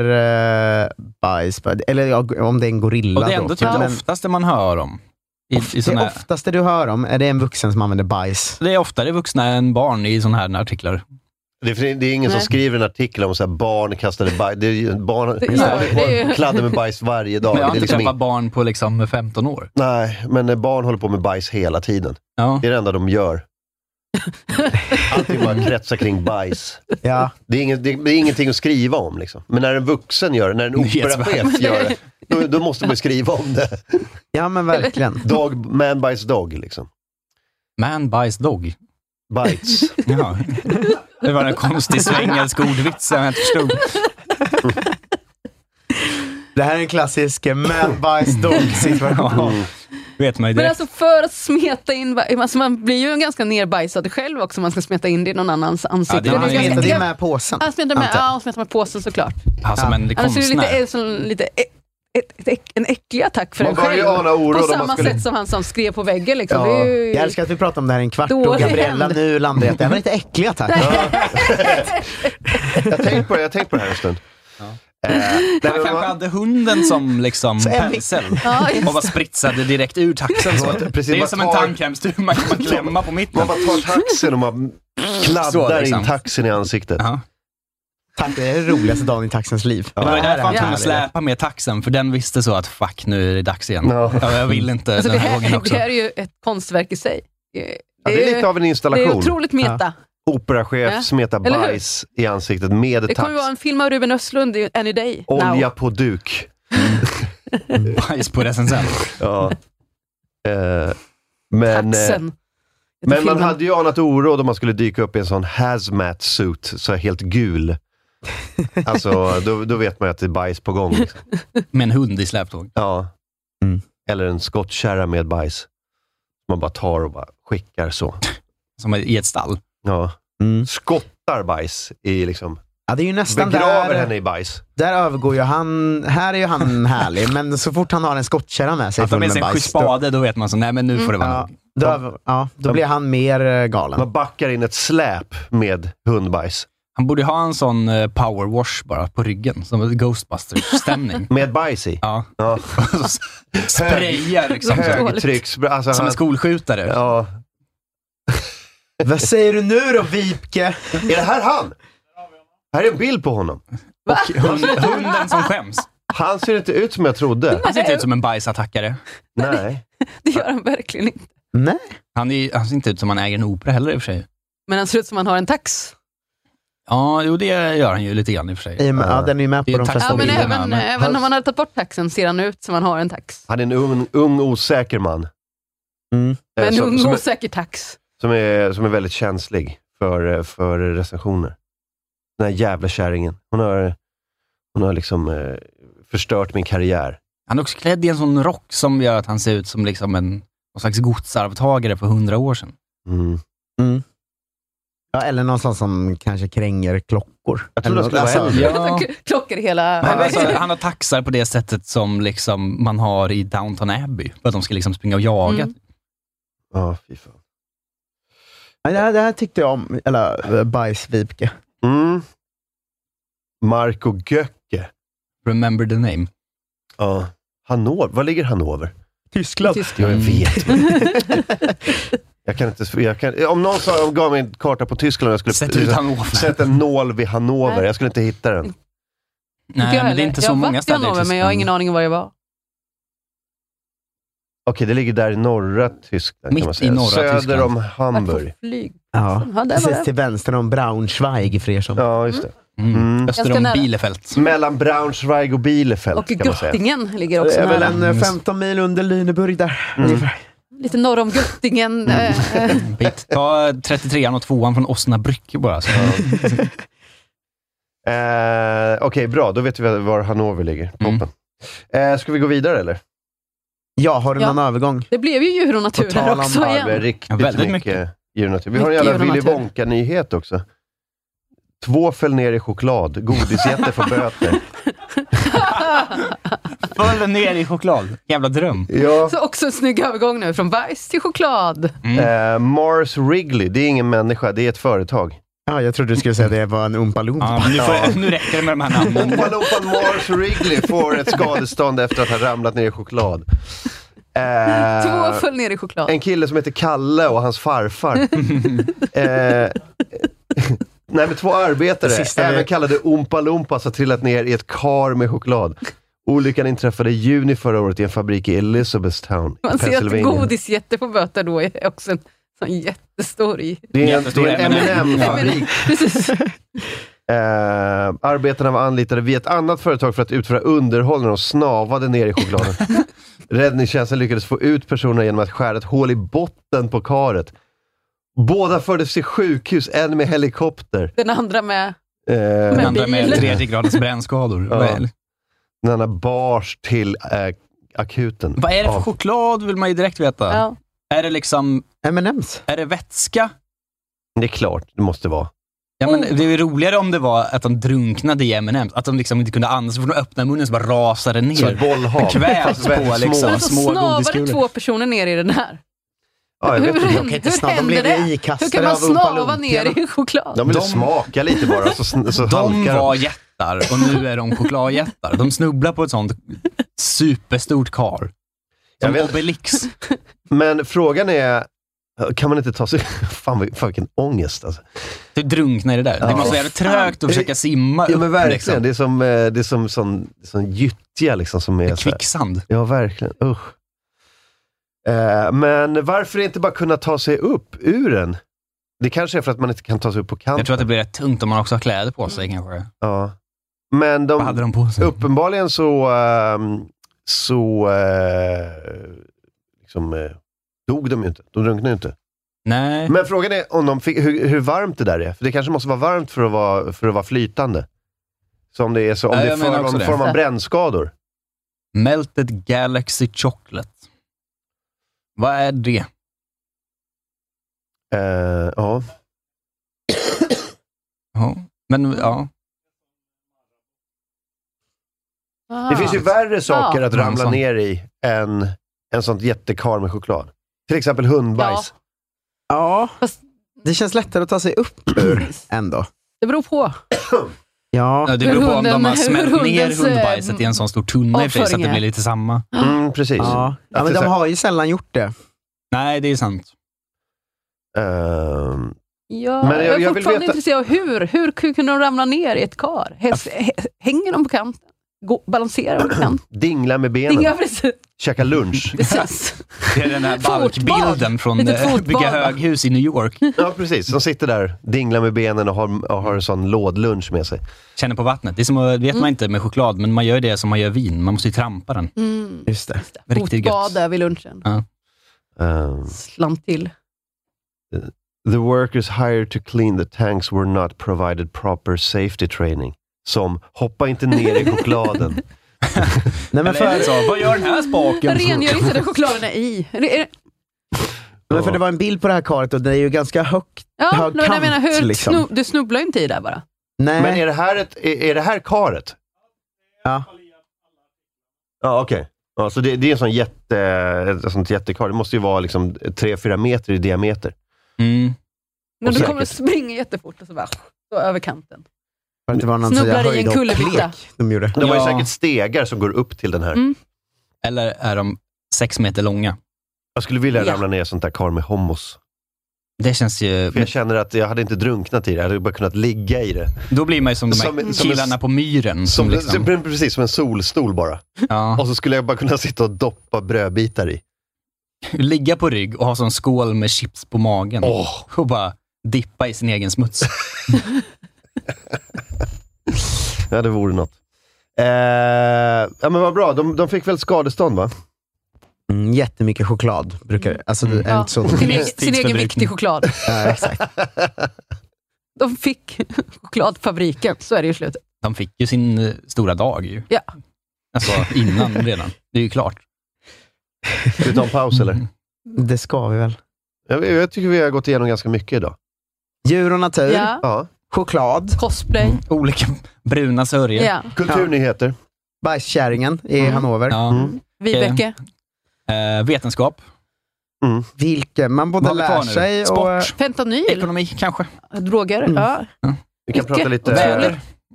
[SPEAKER 3] eh, bajs, på- eller ja, om det är en gorilla.
[SPEAKER 4] Och det är
[SPEAKER 3] då.
[SPEAKER 4] ändå typ det
[SPEAKER 3] Men-
[SPEAKER 4] oftaste man hör om. I, i
[SPEAKER 3] det
[SPEAKER 4] såna här,
[SPEAKER 3] oftaste du hör om, är det en vuxen som använder bajs?
[SPEAKER 4] det är oftare vuxna än barn i sådana här artiklar.
[SPEAKER 2] Det, är- det är ingen som
[SPEAKER 4] Nej.
[SPEAKER 2] skriver en artikel om så här, barn kastade bajs. Det är ju barn
[SPEAKER 4] Det- ja, det är ju-
[SPEAKER 2] kladdar med bajs varje
[SPEAKER 4] Men
[SPEAKER 2] dag.
[SPEAKER 4] jag har
[SPEAKER 2] Det är
[SPEAKER 4] inte
[SPEAKER 2] liksom
[SPEAKER 4] träffat
[SPEAKER 2] ing-
[SPEAKER 4] barn på liksom 15 år.
[SPEAKER 2] Nej, men eh, barn håller på med bajs hela tiden.
[SPEAKER 4] Ja.
[SPEAKER 2] Det är det enda de gör. Allting bara kretsar kring bajs.
[SPEAKER 3] Ja.
[SPEAKER 2] Det, är inget, det, det är ingenting att skriva om. Liksom. Men när en vuxen gör det, när en
[SPEAKER 3] Nyhetsvärd.
[SPEAKER 2] operachef gör det, då, då måste man ju skriva om det.
[SPEAKER 3] Ja, men verkligen.
[SPEAKER 2] Dog, man bites dog, liksom.
[SPEAKER 4] Man bites dog?
[SPEAKER 2] Bites.
[SPEAKER 4] Ja. Det var en konstig svengelsk ordvits som jag inte förstod.
[SPEAKER 2] Mm.
[SPEAKER 3] Det här är en klassisk eh, man bajs dog situation.
[SPEAKER 4] vet man ju
[SPEAKER 1] Men
[SPEAKER 4] direkt.
[SPEAKER 1] alltså för att smeta in, va- alltså man blir ju ganska nerbajsad själv också om man ska smeta in det i någon annans ansikte.
[SPEAKER 4] det är han
[SPEAKER 1] ganska-
[SPEAKER 4] inte. Det är med
[SPEAKER 3] påsen.
[SPEAKER 1] Ja, smeta med,
[SPEAKER 4] antar jag.
[SPEAKER 1] ja, och smeta med påsen såklart.
[SPEAKER 4] Han som en
[SPEAKER 1] alltså- Annars är det lite,
[SPEAKER 4] konstnär.
[SPEAKER 1] eh, som lite eh, ett, ett, äck- en äcklig attack för
[SPEAKER 3] Man
[SPEAKER 1] en
[SPEAKER 3] börjar
[SPEAKER 1] själv.
[SPEAKER 3] ju ana oro
[SPEAKER 1] på
[SPEAKER 3] om man
[SPEAKER 1] samma
[SPEAKER 3] skulle-
[SPEAKER 1] sätt som han som skrev på väggen. Liksom.
[SPEAKER 3] Ja,
[SPEAKER 1] Det är ju...
[SPEAKER 3] jag älskar att vi pratar om det här i en kvart och
[SPEAKER 1] Dålig
[SPEAKER 3] Gabriella
[SPEAKER 1] hämnd.
[SPEAKER 3] nu landar i att det här var lite äckliga tack.
[SPEAKER 2] Jag tänkte på det, jag tänkte på det här en stund. Eh,
[SPEAKER 4] Han kanske hade hunden som liksom
[SPEAKER 2] en-
[SPEAKER 4] pensel
[SPEAKER 2] Ja, just
[SPEAKER 4] och bara
[SPEAKER 2] det.
[SPEAKER 4] spritsade direkt ur taxen. Så.
[SPEAKER 2] Ja, precis.
[SPEAKER 4] det är
[SPEAKER 2] Man
[SPEAKER 4] som en
[SPEAKER 2] tar-
[SPEAKER 4] tandkrämstur man kan klämma på mitten.
[SPEAKER 2] Man bara tar taxen och man
[SPEAKER 4] Så,
[SPEAKER 2] kladdar
[SPEAKER 4] liksom.
[SPEAKER 2] in taxen i ansiktet.
[SPEAKER 3] Tack, det är den roligaste dagen i taxens liv.
[SPEAKER 4] Det var ju därför han
[SPEAKER 3] Ja,
[SPEAKER 4] tvungen
[SPEAKER 3] det
[SPEAKER 4] att
[SPEAKER 3] är det.
[SPEAKER 4] släpa med taxen, för den visste så att fuck, nu är det dags igen. Ja, jag vill inte
[SPEAKER 1] alltså, det,
[SPEAKER 4] den här gången
[SPEAKER 1] här,
[SPEAKER 4] också.
[SPEAKER 1] det här är ju ett konstverk i sig. Eh,
[SPEAKER 2] Ja, det är lite av en installation.
[SPEAKER 1] Det är otroligt meta.
[SPEAKER 2] Operachef
[SPEAKER 1] Ja.
[SPEAKER 2] smetar
[SPEAKER 1] Eller hur?
[SPEAKER 2] bajs i ansiktet med
[SPEAKER 1] Det
[SPEAKER 2] tax.
[SPEAKER 1] kommer ju vara en film av Ruben Östlund i- än i dig.
[SPEAKER 2] Olja
[SPEAKER 1] Now.
[SPEAKER 2] på duk.
[SPEAKER 4] Bajs på recensent.
[SPEAKER 2] ja. Eh, men, eh,
[SPEAKER 1] Taxen. Heter
[SPEAKER 2] men man
[SPEAKER 1] filmen.
[SPEAKER 2] hade ju anat oråd om man skulle dyka upp i en sån hazmat suit, så här helt gul. Alltså, då, då vet man ju att det är bajs på gång. Liksom.
[SPEAKER 4] Med en hund i släptåg.
[SPEAKER 2] Ja.
[SPEAKER 4] Mm.
[SPEAKER 2] Eller en skottkärra med bajs. Man bara tar och bara skickar så.
[SPEAKER 4] Som i ett stall?
[SPEAKER 2] Ja.
[SPEAKER 4] Mm.
[SPEAKER 2] Skottar bajs i liksom...
[SPEAKER 3] Ja, det är ju nästan
[SPEAKER 2] begraver
[SPEAKER 3] där-
[SPEAKER 2] henne i bajs.
[SPEAKER 3] Där övergår ju han, här är ju han härlig, men så fort han har en skottkärra med sig
[SPEAKER 4] Att de
[SPEAKER 3] full
[SPEAKER 4] med sig en
[SPEAKER 3] bajs, då-
[SPEAKER 4] spade, då vet man så, nej men nu får det vara
[SPEAKER 3] ja,
[SPEAKER 4] nog.
[SPEAKER 3] då, över- ja, då blir han mer eh, galen.
[SPEAKER 2] Man backar in ett släp med hundbajs.
[SPEAKER 4] Han borde ha en sån eh, powerwash bara på ryggen, som ett Ghostbusters-stämning.
[SPEAKER 2] Med bajs i?
[SPEAKER 4] Ja.
[SPEAKER 2] ja.
[SPEAKER 4] Sprayar liksom. så.
[SPEAKER 2] Högtrycks... Alltså,
[SPEAKER 4] Som en skolskjutare.
[SPEAKER 2] Ja.
[SPEAKER 3] Vad säger du nu då, Vipke?
[SPEAKER 2] Är det här han? Här är en bild på honom.
[SPEAKER 4] Och hund, hunden som skäms.
[SPEAKER 2] Han ser inte ut som jag trodde.
[SPEAKER 4] Han ser inte ut som en bajsattackare.
[SPEAKER 2] Nej.
[SPEAKER 1] Det gör han verkligen inte.
[SPEAKER 3] Nej.
[SPEAKER 4] Han, är, han ser inte ut som han äger en opera heller i och för sig.
[SPEAKER 1] Men han ser ut som han har en tax.
[SPEAKER 4] Ja, jo det gör han ju lite grann i och för sig.
[SPEAKER 3] I och med- ja, den är ju med
[SPEAKER 4] Det
[SPEAKER 3] på de
[SPEAKER 4] tack
[SPEAKER 3] flesta
[SPEAKER 4] vare
[SPEAKER 1] Ja, men
[SPEAKER 4] bilderna,
[SPEAKER 1] även, eh,
[SPEAKER 4] men-
[SPEAKER 1] även om man hade tagit bort taxen ser han ut som han har en tax.
[SPEAKER 2] Han är en ung, ung osäker man. Eh,
[SPEAKER 3] Mm.
[SPEAKER 1] Men en ung
[SPEAKER 2] som, är,
[SPEAKER 1] osäker tax.
[SPEAKER 2] som, är, som är väldigt känslig för, eh, för recensioner. Den här jävla kärringen. Hon har, hon har liksom eh, förstört min karriär.
[SPEAKER 4] Han är också klädd i en sån rock som gör att han ser ut som liksom en någon slags godsarvtagare för hundra år sedan.
[SPEAKER 2] Mm.
[SPEAKER 3] Mm. Ja, eller någon sån som kanske kränger klockor.
[SPEAKER 2] Jag trodde
[SPEAKER 3] Eller
[SPEAKER 2] han skulle vara
[SPEAKER 3] något-
[SPEAKER 2] äldre.
[SPEAKER 4] Ja.
[SPEAKER 1] Klockor i hela...
[SPEAKER 4] Men alltså, han har taxar på det sättet som liksom man har i Downton Abbey, för att de ska liksom springa och jaga.
[SPEAKER 1] Mm.
[SPEAKER 2] Ja, fy fan.
[SPEAKER 3] Ja, det, här, det här tyckte jag om, eller eh, bajs-Vipke.
[SPEAKER 2] Mm. Marco Göcke.
[SPEAKER 4] Remember the name.
[SPEAKER 2] Ja. Hannover. Var ligger Hannover?
[SPEAKER 3] Tyskland.
[SPEAKER 2] Ja, jag
[SPEAKER 4] Mm.
[SPEAKER 2] vet. jag kan inte... Jag kan, om någon sa, om gav mig en karta på Tyskland
[SPEAKER 3] Typ-
[SPEAKER 2] jag skulle
[SPEAKER 4] Sätt ut Hannover.
[SPEAKER 2] sätta en nål vid Hannover.
[SPEAKER 1] Nej.
[SPEAKER 2] Jag skulle inte hitta den.
[SPEAKER 1] Inte
[SPEAKER 4] Nej,
[SPEAKER 1] jag
[SPEAKER 4] men det är
[SPEAKER 1] heller.
[SPEAKER 4] inte
[SPEAKER 1] jag
[SPEAKER 4] så
[SPEAKER 1] har
[SPEAKER 4] många
[SPEAKER 1] varit i
[SPEAKER 4] ställen i
[SPEAKER 1] Hannover, men jag har
[SPEAKER 4] Tyskland.
[SPEAKER 1] ingen aning om var jag var.
[SPEAKER 2] Okej, det ligger där i norra Tyskland
[SPEAKER 4] Mitt
[SPEAKER 2] kan man säga.
[SPEAKER 4] i norra
[SPEAKER 2] Söder
[SPEAKER 4] Tyskland.
[SPEAKER 2] om
[SPEAKER 1] Vart
[SPEAKER 2] Hamburg.
[SPEAKER 1] på flyg.
[SPEAKER 3] Ja,
[SPEAKER 1] Ja, där var
[SPEAKER 3] precis
[SPEAKER 1] jag.
[SPEAKER 3] till vänster om Braunschweig för er som...
[SPEAKER 2] Ja, just det. Mm.
[SPEAKER 4] Öster
[SPEAKER 1] Ganska
[SPEAKER 4] om
[SPEAKER 1] nära.
[SPEAKER 4] Bielefeld.
[SPEAKER 3] Mm.
[SPEAKER 2] Mellan Braunschweig och Bielefeld
[SPEAKER 1] Och
[SPEAKER 2] kan man säga.
[SPEAKER 1] Göttingen ligger
[SPEAKER 3] Det
[SPEAKER 1] också
[SPEAKER 3] är väl
[SPEAKER 1] nära.
[SPEAKER 3] en
[SPEAKER 4] Mm.
[SPEAKER 3] eh, 15 mil under Lüneburg där.
[SPEAKER 2] Mm.
[SPEAKER 3] ungefär.
[SPEAKER 1] Lite norr om Göttingen. eh, eh,
[SPEAKER 4] Bit. Ta 33an och 2an från Åsna Brücke bara. Så.
[SPEAKER 2] Eh, Okej, bra. Då vet vi var Hannover ligger.
[SPEAKER 4] Mm.
[SPEAKER 2] Toppen. Eh, ska vi gå vidare eller?
[SPEAKER 3] Ja, har du
[SPEAKER 1] Ja.
[SPEAKER 3] någon övergång?
[SPEAKER 1] Det blev ju djur och
[SPEAKER 3] På tal
[SPEAKER 1] naturer
[SPEAKER 3] om
[SPEAKER 1] också
[SPEAKER 2] Ja, det är
[SPEAKER 1] igen.
[SPEAKER 4] Ja,
[SPEAKER 2] riktigt
[SPEAKER 4] väldigt
[SPEAKER 2] mycket, djurnatur. Vi har en jävla
[SPEAKER 1] Mycket
[SPEAKER 2] Willy
[SPEAKER 1] djurnatur.
[SPEAKER 2] Wonka-nyhet också. Två föll ner i choklad. Godisjätte får böter.
[SPEAKER 4] Föll ner i choklad. Jävla dröm.
[SPEAKER 2] Ja.
[SPEAKER 1] Så också en snygg övergång nu, från bajs till choklad.
[SPEAKER 2] Eh, Mars Wrigley, det är ingen människa, det är ett företag.
[SPEAKER 3] Ja, jag trodde du skulle säga att det var en Oompa
[SPEAKER 4] Ja,
[SPEAKER 3] Loompa.
[SPEAKER 4] men nu, får, nu räcker det med de här namnen.
[SPEAKER 2] Oompa-loopan Mars Wrigley får ett skadestånd efter att ha ramlat ner i choklad. Eh,
[SPEAKER 1] Två föll ner i choklad.
[SPEAKER 2] En kille som heter Kalle och hans farfar. eh, nej, men två arbetare,
[SPEAKER 3] Det sista vi-
[SPEAKER 2] även kallade Oompa Loompas, har trillat ner i ett kar med choklad. Olyckan inträffade i juni förra året i en fabrik i Elizabethtown i
[SPEAKER 1] Man ser att
[SPEAKER 2] Pennsylvania.
[SPEAKER 1] godisjätte på böter då är också en sån jättestor i.
[SPEAKER 2] Det är en,
[SPEAKER 4] Jättestor
[SPEAKER 2] det är en
[SPEAKER 4] M&M.
[SPEAKER 2] M&M-fabrik.
[SPEAKER 1] Precis.
[SPEAKER 2] Eh, arbetarna var anlitade via ett annat företag för att utföra underhåll när de snavade ner i chokladen. Räddningstjänsten lyckades få ut personerna genom att skära ett hål i botten på karet. Båda fördes till sjukhus, en med helikopter.
[SPEAKER 1] Den andra med
[SPEAKER 2] Eh,
[SPEAKER 4] Den
[SPEAKER 1] Men
[SPEAKER 4] andra med
[SPEAKER 1] bil.
[SPEAKER 4] tredje gradens brännskador.
[SPEAKER 2] Ja.
[SPEAKER 4] Väl.
[SPEAKER 2] Den andra bars till eh, akuten.
[SPEAKER 4] Vad är det för
[SPEAKER 2] av-
[SPEAKER 4] choklad vill man ju direkt veta.
[SPEAKER 2] Ja.
[SPEAKER 4] Är det liksom...
[SPEAKER 3] M&M's.
[SPEAKER 4] Är det vätska?
[SPEAKER 2] Det är klart det måste vara.
[SPEAKER 4] Ja, men det är ju roligare om det var att de drunknade i M&M's Att de liksom inte kunde andas. Så fort de öppnade munnen så bara rasade ner.
[SPEAKER 2] Som ett bollhav.
[SPEAKER 4] De Kvävs
[SPEAKER 2] Små-
[SPEAKER 4] på liksom,
[SPEAKER 2] Men
[SPEAKER 4] små,
[SPEAKER 2] så
[SPEAKER 1] Snavade
[SPEAKER 4] godiskulor.
[SPEAKER 1] två personer ner i den här?
[SPEAKER 2] Ja, jag vet inte, jag kan inte
[SPEAKER 1] hur
[SPEAKER 2] snabba. De
[SPEAKER 1] hände
[SPEAKER 2] blev ju
[SPEAKER 1] det?
[SPEAKER 2] ikastade
[SPEAKER 1] Hur kan man
[SPEAKER 2] av Oompa
[SPEAKER 1] snava
[SPEAKER 2] Loomporna.
[SPEAKER 1] ner i choklad?
[SPEAKER 2] De ville smaka lite bara, så, sn- så
[SPEAKER 4] De
[SPEAKER 2] halkar
[SPEAKER 4] var jättar och nu är de chokladjättar. De snubblar på ett sånt superstort kar. Som Obelix.
[SPEAKER 2] Men frågan är, kan man inte ta sig... Fan, vad- fan vilken ångest alltså.
[SPEAKER 4] Du drunknar i det där. Det måste vara jävligt trögt att försöka simma
[SPEAKER 2] Ja men
[SPEAKER 4] upp, liksom.
[SPEAKER 2] verkligen. Det är som, eh, det är som sån, sån gyttja liksom. Som är
[SPEAKER 4] kvicksand.
[SPEAKER 2] Ja, verkligen. Usch. Eh, men varför inte bara kunna ta sig upp ur den? Det kanske är för att man inte kan ta sig upp på kanten.
[SPEAKER 4] Jag tror att det blir rätt tungt om man också har kläder på sig kanske.
[SPEAKER 2] Ja. Men de, uppenbarligen så, ehm, så eh, liksom, eh, dog de ju inte. De drunknade ju inte.
[SPEAKER 4] Nej.
[SPEAKER 2] Men frågan är om de fick, hur, hur varmt det där är. För det kanske måste vara varmt för att vara, för att vara flytande. Så om det är så, om
[SPEAKER 4] Ja,
[SPEAKER 2] det är
[SPEAKER 4] jag menar
[SPEAKER 2] för,
[SPEAKER 4] också
[SPEAKER 2] om,
[SPEAKER 4] det.
[SPEAKER 2] får man brännskador.
[SPEAKER 4] Melted Galaxy Chocolate. Vad är det?
[SPEAKER 2] Eh, ja.
[SPEAKER 4] Ja, Men ja.
[SPEAKER 2] Det finns
[SPEAKER 4] Ah.
[SPEAKER 2] ju värre saker
[SPEAKER 4] Ja.
[SPEAKER 2] att ramla
[SPEAKER 4] Någon sån.
[SPEAKER 2] ner i än en sånt jättekar med choklad. Till exempel hundbajs.
[SPEAKER 3] Ja. Det känns lättare att ta sig upp ur ändå.
[SPEAKER 1] Ah. Det beror på.
[SPEAKER 3] Ja.
[SPEAKER 4] Ja, Det
[SPEAKER 1] Hur
[SPEAKER 4] beror på om de
[SPEAKER 1] hunden-
[SPEAKER 4] har smält
[SPEAKER 1] hur
[SPEAKER 4] ner
[SPEAKER 1] hundens, eh,
[SPEAKER 4] hundbajset i en sån stor tunna i och för sig, så att det
[SPEAKER 3] avföring är.
[SPEAKER 4] blir lite samma.
[SPEAKER 2] Mm, precis.
[SPEAKER 3] Ja. ja, men de har ju sällan gjort det.
[SPEAKER 4] Nej, det är sant.
[SPEAKER 2] Ehm,
[SPEAKER 1] Ja,
[SPEAKER 2] Men
[SPEAKER 1] jag,
[SPEAKER 2] jag-
[SPEAKER 1] är
[SPEAKER 2] jag vill
[SPEAKER 1] fortfarande
[SPEAKER 2] veta-
[SPEAKER 1] intresserad av hur. Hur kunde de ramla ner i ett kar? Häs, hä- hänger de på kanten? Gå, balanserar de på kanten?
[SPEAKER 2] dingla med benen.
[SPEAKER 1] Inga precis.
[SPEAKER 2] Käka lunch.
[SPEAKER 1] Precis.
[SPEAKER 4] Det är den här balkbilden från
[SPEAKER 1] Lite
[SPEAKER 4] eh,
[SPEAKER 1] fotbad,
[SPEAKER 4] bygga
[SPEAKER 1] va?
[SPEAKER 4] höghus i New York.
[SPEAKER 2] Ja, precis. De sitter där, dinglar med benen och har, och har en sån lådlunch med sig.
[SPEAKER 4] Känner på vattnet. Det är som, att- vet man inte med choklad, men man gör det som man gör vin. Man måste ju trampa den.
[SPEAKER 1] Mm.
[SPEAKER 2] Just det.
[SPEAKER 4] Riktigt gött.
[SPEAKER 1] Fotbad där vid lunchen.
[SPEAKER 4] Ja.
[SPEAKER 2] Ehm,
[SPEAKER 1] Slant till.
[SPEAKER 2] the workers hired to clean the tanks were not provided proper safety training. Som, hoppa inte ner i chokladen.
[SPEAKER 3] Nej, men
[SPEAKER 4] Eller är
[SPEAKER 3] för,
[SPEAKER 4] det så? Vad gör den här spaken?
[SPEAKER 1] Rengör inte den chokladen är i. Är det- är det-
[SPEAKER 3] men för det var en bild på det här karet och det är ju ganska högt.
[SPEAKER 1] Ja,
[SPEAKER 3] hög
[SPEAKER 1] men jag
[SPEAKER 3] kant,
[SPEAKER 1] menar, hur
[SPEAKER 3] liksom.
[SPEAKER 1] snu, du snubblar ju inte i där bara.
[SPEAKER 3] Nej.
[SPEAKER 2] Men är det här, ett, är, är det här karet?
[SPEAKER 3] Ja.
[SPEAKER 2] Ja, okej. Ja, så det, det är en sån jätte, ett sånt jättekar. Det måste ju vara liksom 3-4 meter i diameter.
[SPEAKER 4] Mm.
[SPEAKER 1] Men
[SPEAKER 2] Och
[SPEAKER 1] du kommer att
[SPEAKER 2] säkert.
[SPEAKER 1] springa jättefort och så bara så över kanten.
[SPEAKER 3] För att det var någon sån
[SPEAKER 1] Snubblar
[SPEAKER 3] där
[SPEAKER 1] i en
[SPEAKER 3] höjdhopp-
[SPEAKER 1] kullerbytta.
[SPEAKER 3] De gjorde.
[SPEAKER 2] De har ju
[SPEAKER 4] Ja.
[SPEAKER 2] säkert stegar som går upp till den här.
[SPEAKER 1] Mm.
[SPEAKER 4] Eller är de sex meter långa?
[SPEAKER 2] Jag skulle vilja
[SPEAKER 1] Ja.
[SPEAKER 2] ramla ner i sånt där kar med hummus.
[SPEAKER 4] Det känns ju...
[SPEAKER 2] För jag känner att jag hade inte drunknat i det. Jag hade bara kunnat ligga i det.
[SPEAKER 4] Då blir man ju som de här
[SPEAKER 2] Som- som en-
[SPEAKER 4] killarna på myren. Mm. Som,
[SPEAKER 2] Som,
[SPEAKER 4] liksom,
[SPEAKER 2] som, precis, som en solstol bara.
[SPEAKER 4] ja,
[SPEAKER 2] Och så skulle jag bara kunna sitta och doppa brödbitar i.
[SPEAKER 4] ligga på rygg och ha sån skål med chips på magen.
[SPEAKER 2] Åh.
[SPEAKER 4] Och bara dippa i sin egen smuts.
[SPEAKER 2] Ja, det vore något. Eh, ja, men vad bra. De, de fick väl skadestånd, va?
[SPEAKER 3] Mm, jättemycket choklad brukar det. Alltså, det är
[SPEAKER 1] Ja.
[SPEAKER 3] inte så...
[SPEAKER 1] Sin, egen, sin egen
[SPEAKER 4] Tidsförbrukning.
[SPEAKER 1] viktig choklad.
[SPEAKER 3] Ja, exakt.
[SPEAKER 1] De fick chokladfabriken, så är det ju i slutet.
[SPEAKER 4] De fick ju sin eh, stora dag ju.
[SPEAKER 1] Ja.
[SPEAKER 4] Alltså innan redan. Det är ju klart. Mm.
[SPEAKER 2] Ska vi ta en paus, eller?
[SPEAKER 3] Det ska vi väl.
[SPEAKER 2] Jag, jag tycker vi har gått igenom ganska mycket idag.
[SPEAKER 3] Djur och natur,
[SPEAKER 1] Ja.
[SPEAKER 2] Ja.
[SPEAKER 3] choklad,
[SPEAKER 1] Cosplay.
[SPEAKER 4] Mm. Olika bruna sörjor.
[SPEAKER 1] Ja.
[SPEAKER 2] Kulturnyheter.
[SPEAKER 3] bajskärringen i
[SPEAKER 1] Mm.
[SPEAKER 3] Hannover.
[SPEAKER 4] Ja.
[SPEAKER 2] Mm.
[SPEAKER 1] Vibeke.
[SPEAKER 4] Eh, vetenskap.
[SPEAKER 3] Vilken man både
[SPEAKER 4] Vad har vi kvar
[SPEAKER 3] lär
[SPEAKER 4] nu?
[SPEAKER 3] sig och...
[SPEAKER 4] Sport.
[SPEAKER 1] Fentanyl.
[SPEAKER 4] Ekonomi kanske.
[SPEAKER 1] Droger.
[SPEAKER 3] Mm.
[SPEAKER 1] Ja.
[SPEAKER 2] Vi kan
[SPEAKER 1] Mycket.
[SPEAKER 2] prata, lite,
[SPEAKER 4] Väder.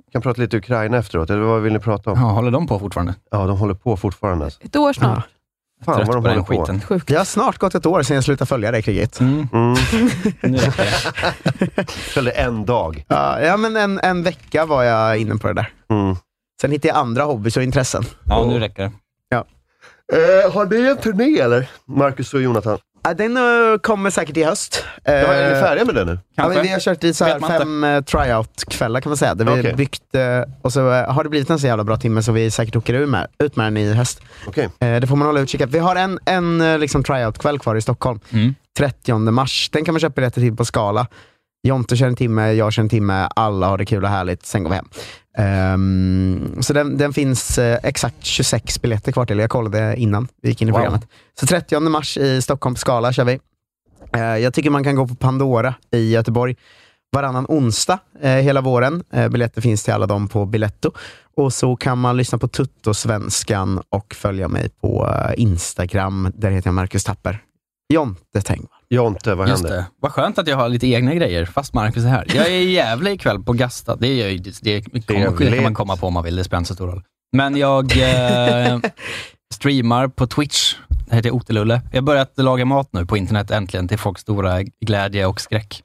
[SPEAKER 2] vi kan prata lite Ukraina efteråt. Eller vad vill ni prata
[SPEAKER 4] Ja,
[SPEAKER 2] om?
[SPEAKER 4] håller de på fortfarande?
[SPEAKER 2] Ja, de håller på fortfarande. Alltså.
[SPEAKER 1] Ett år snart.
[SPEAKER 2] Fan
[SPEAKER 4] Trött
[SPEAKER 2] vad de
[SPEAKER 4] på
[SPEAKER 2] håller
[SPEAKER 4] den
[SPEAKER 2] på.
[SPEAKER 4] skiten.
[SPEAKER 1] Sjukt.
[SPEAKER 3] Det har snart gått ett år sedan jag slutade följa det kriget.
[SPEAKER 4] Mm.
[SPEAKER 2] Mm.
[SPEAKER 4] Nu räcker det.
[SPEAKER 2] Eller en dag.
[SPEAKER 3] Ja, ja, men en, en vecka var jag inne på det där.
[SPEAKER 2] Mm.
[SPEAKER 3] Sen hittade jag andra hobbys och intressen.
[SPEAKER 4] Ja, nu räcker det.
[SPEAKER 2] Eh, har ni en turné eller? Marcus och Jonathan.
[SPEAKER 3] Ja, Den eh, kommer säkert i höst. Eh,
[SPEAKER 2] Ja, är ni färdiga med det nu?
[SPEAKER 3] Ja, men vi
[SPEAKER 4] Kanske.
[SPEAKER 3] har kört i så här
[SPEAKER 4] Vet man inte.
[SPEAKER 3] fem eh, tryout-kvällar kan man säga. Där vi
[SPEAKER 2] Okej.
[SPEAKER 3] byggt, eh, och så eh, har det blivit en så jävla bra timme så vi säkert åker ur med, ut med den i höst.
[SPEAKER 2] Okej.
[SPEAKER 3] Eh, det får man hålla utkik efter. Vi har en, en eh, liksom tryout-kväll kvar i Stockholm,
[SPEAKER 4] Mm.
[SPEAKER 3] 30 mars. Den kan man köpa biljetter till på Skala. Jonte kör en timme, jag kör en timme, alla har det kul och härligt, sen går vi hem. Ehm, så den, den finns eh, exakt 26 biljetter kvar till. Jag kollade innan vi gick in i
[SPEAKER 2] Wow.
[SPEAKER 3] programmet. Så 30 mars i Stockholm på Skala kör vi. Eh, Jag tycker man kan gå på Pandora i Göteborg varannan onsdag eh, hela våren. Eh, biljetter finns till alla dem på Biletto. Och så kan man lyssna på Tuttosvenskan och följa mig på eh, Instagram. Där heter jag Marcus Tapper. Jonte Tengvall.
[SPEAKER 2] Jonte, vad
[SPEAKER 4] Just det. Vad skönt att jag har lite egna grejer, fast Marcus är här. Jag är i Gävle ikväll på Gasta. Det, är, ju- det, det, kommer- det kan man komma på om man vill, det spelar inte så stor roll. Men jag eh, streamar på Twitch. Det heter Otelulle. Jag har börjat laga mat nu på internet äntligen, till folks stora glädje och skräck.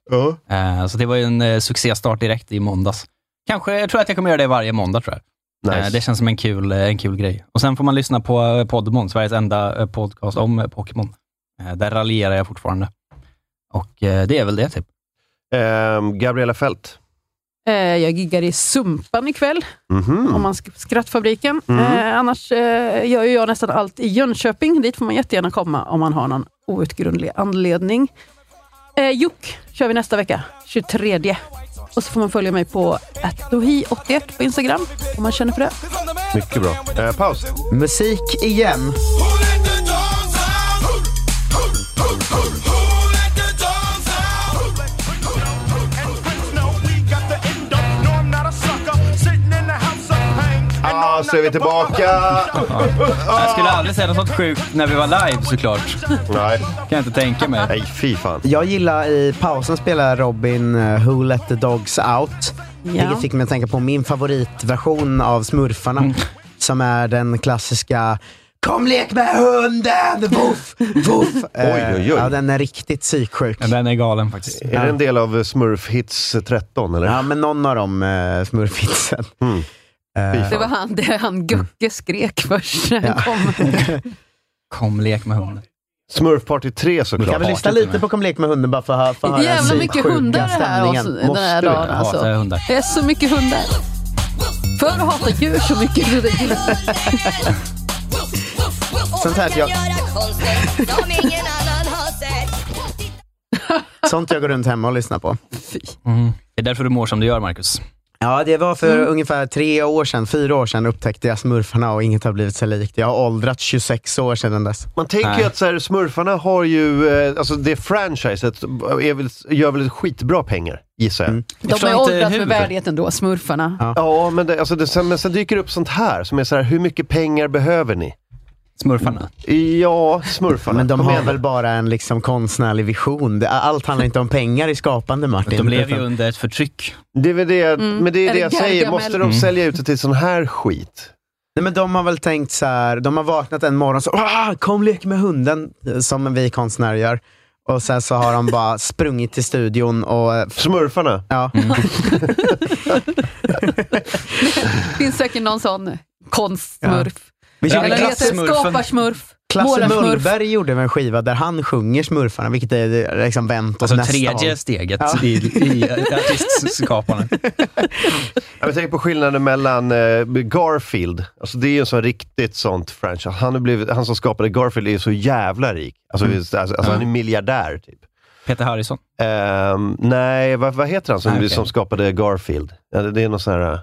[SPEAKER 4] Eh, så det var ju en eh, succéstart direkt i måndags. Kanske, jag tror att jag kommer göra det varje måndag tror jag.
[SPEAKER 2] Nice.
[SPEAKER 4] Eh, Det känns som en kul, eh, en kul grej. Och Sen får man lyssna på eh, Podemon, Sveriges enda eh, podcast om eh, Pokémon. Eh, Där raljerar jag fortfarande. Och eh, det är väl det typ.
[SPEAKER 2] Ehm, Gabriella Fält.
[SPEAKER 1] Eh, Jag giggar i Sumpan ikväll,
[SPEAKER 3] Mm.
[SPEAKER 2] Mhm.
[SPEAKER 1] om man ska Skrattfabriken.
[SPEAKER 2] Mm.
[SPEAKER 1] Eh, annars eh, gör ju jag nästan allt i Jönköping. Dit får man jättegärna komma om man har någon outgrundlig anledning. Eh, Juck kör vi nästa vecka, 23. Och så får man följa mig på atdohi81 på Instagram, om man känner för det.
[SPEAKER 2] Mycket bra. Eh, paus.
[SPEAKER 3] Musik igen.
[SPEAKER 2] Ah, så är vi tillbaka.
[SPEAKER 4] Jag skulle aldrig säga något sånt sjukt när vi var live såklart.
[SPEAKER 2] Nej.
[SPEAKER 4] Kan jag inte tänka mig.
[SPEAKER 2] Nej, fy fan.
[SPEAKER 3] Jag gillar i pausen spelar Robin eh, Who Let The Dogs Out. Vilket fick mig att tänka på min favoritversion av Smurfarna.
[SPEAKER 13] Mm.
[SPEAKER 3] Som är den klassiska Kom lek med hunden! Woof! Woof!
[SPEAKER 2] Oj, oj, oj.
[SPEAKER 3] Ja, den är riktigt psyksjuk.
[SPEAKER 4] Den är galen faktiskt.
[SPEAKER 2] Är det en del av eh, Smurf Hits 13 eller?
[SPEAKER 3] Ja, men någon av dem eh, smurfitsen. Eh,
[SPEAKER 13] Det var han, det han Gucke skrek först när han kom.
[SPEAKER 4] Kom lek med hunden.
[SPEAKER 2] Smurf Party 3 såklart.
[SPEAKER 3] Kan vi lyssna lite på Kom lek med hunden bara för att hö- för att höra
[SPEAKER 13] Jävla mycket
[SPEAKER 3] psyksjuka
[SPEAKER 13] hundar det här
[SPEAKER 3] stämningen?
[SPEAKER 13] avsn- den här
[SPEAKER 3] Måste vi?
[SPEAKER 13] dagen alltså. Det är så mycket hundar. Förr hatade jag djur så mycket. så det är gillar-
[SPEAKER 3] Sånt här att jag, sånt jag går runt hemma och lyssnar på.
[SPEAKER 4] Mm. Det är därför du mår som du gör, Marcus.
[SPEAKER 3] Ja, det var
[SPEAKER 4] Mm.
[SPEAKER 3] för ungefär tre år sedan, fyra år sedan upptäckte jag smurfarna och inget har blivit sig likt. Jag har åldrats 26 år sedan dess.
[SPEAKER 2] Man tänker ju att så här, smurfarna har ju, eh, alltså det franchiset är väl, gör väl skitbra pengar, gissar
[SPEAKER 3] Mm,
[SPEAKER 2] jag.
[SPEAKER 13] De har ju åldrats med värdighet ändå, smurfarna.
[SPEAKER 2] Ja, men, det, alltså det, sen, men sen dyker det upp sånt här som är så här, hur mycket pengar behöver ni?
[SPEAKER 4] Smurfarna?
[SPEAKER 2] Ja, smurfarna.
[SPEAKER 3] Men de
[SPEAKER 2] Kom
[SPEAKER 3] har
[SPEAKER 2] igen.
[SPEAKER 3] väl bara en liksom konstnärlig vision. Det- Allt handlar inte om pengar i skapande, Martin.
[SPEAKER 4] De lever ju
[SPEAKER 3] Utan-
[SPEAKER 4] under ett förtryck.
[SPEAKER 2] Det är väl det, men det är,
[SPEAKER 3] Mm. Är
[SPEAKER 2] det
[SPEAKER 3] det
[SPEAKER 2] jag säger,
[SPEAKER 3] Gargamel?
[SPEAKER 2] måste de
[SPEAKER 3] Mm.
[SPEAKER 2] sälja ut det till sån här skit?
[SPEAKER 3] Nej, men de har väl tänkt så här, de har vaknat en morgon så "Ah, kom lek med hunden, som vi konstnärer gör. Och sen så har de bara sprungit till studion och...
[SPEAKER 2] Smurfarna?
[SPEAKER 3] Ja.
[SPEAKER 4] Mm.
[SPEAKER 13] Det finns säkert någon sån konstsmurf.
[SPEAKER 3] Vi gjorde
[SPEAKER 13] Eller heter det
[SPEAKER 3] klassmurfen.
[SPEAKER 13] skaparsmurf.
[SPEAKER 3] Klasse
[SPEAKER 13] målarsmurf.
[SPEAKER 3] Mullberg gjorde väl en skiva där han sjunger Smurfarna, vilket är liksom vänt åt
[SPEAKER 4] Alltså
[SPEAKER 3] nästa
[SPEAKER 4] tredje
[SPEAKER 3] håll.
[SPEAKER 4] steget
[SPEAKER 3] Ja.
[SPEAKER 4] i, i artistskaparna.
[SPEAKER 2] Jag tänker på skillnaden mellan eh, Garfield, alltså det är ju en sån riktigt sånt franchise. Han, har blivit, han som skapade Garfield är ju så jävla rik. Alltså, alltså, alltså han är miljardär typ.
[SPEAKER 4] Peter Harrison.
[SPEAKER 2] Ehm, nej, vad, vad heter han som,
[SPEAKER 4] Ah, okej.
[SPEAKER 2] som skapade Garfield? Ja, det, det är någon sån här... eh,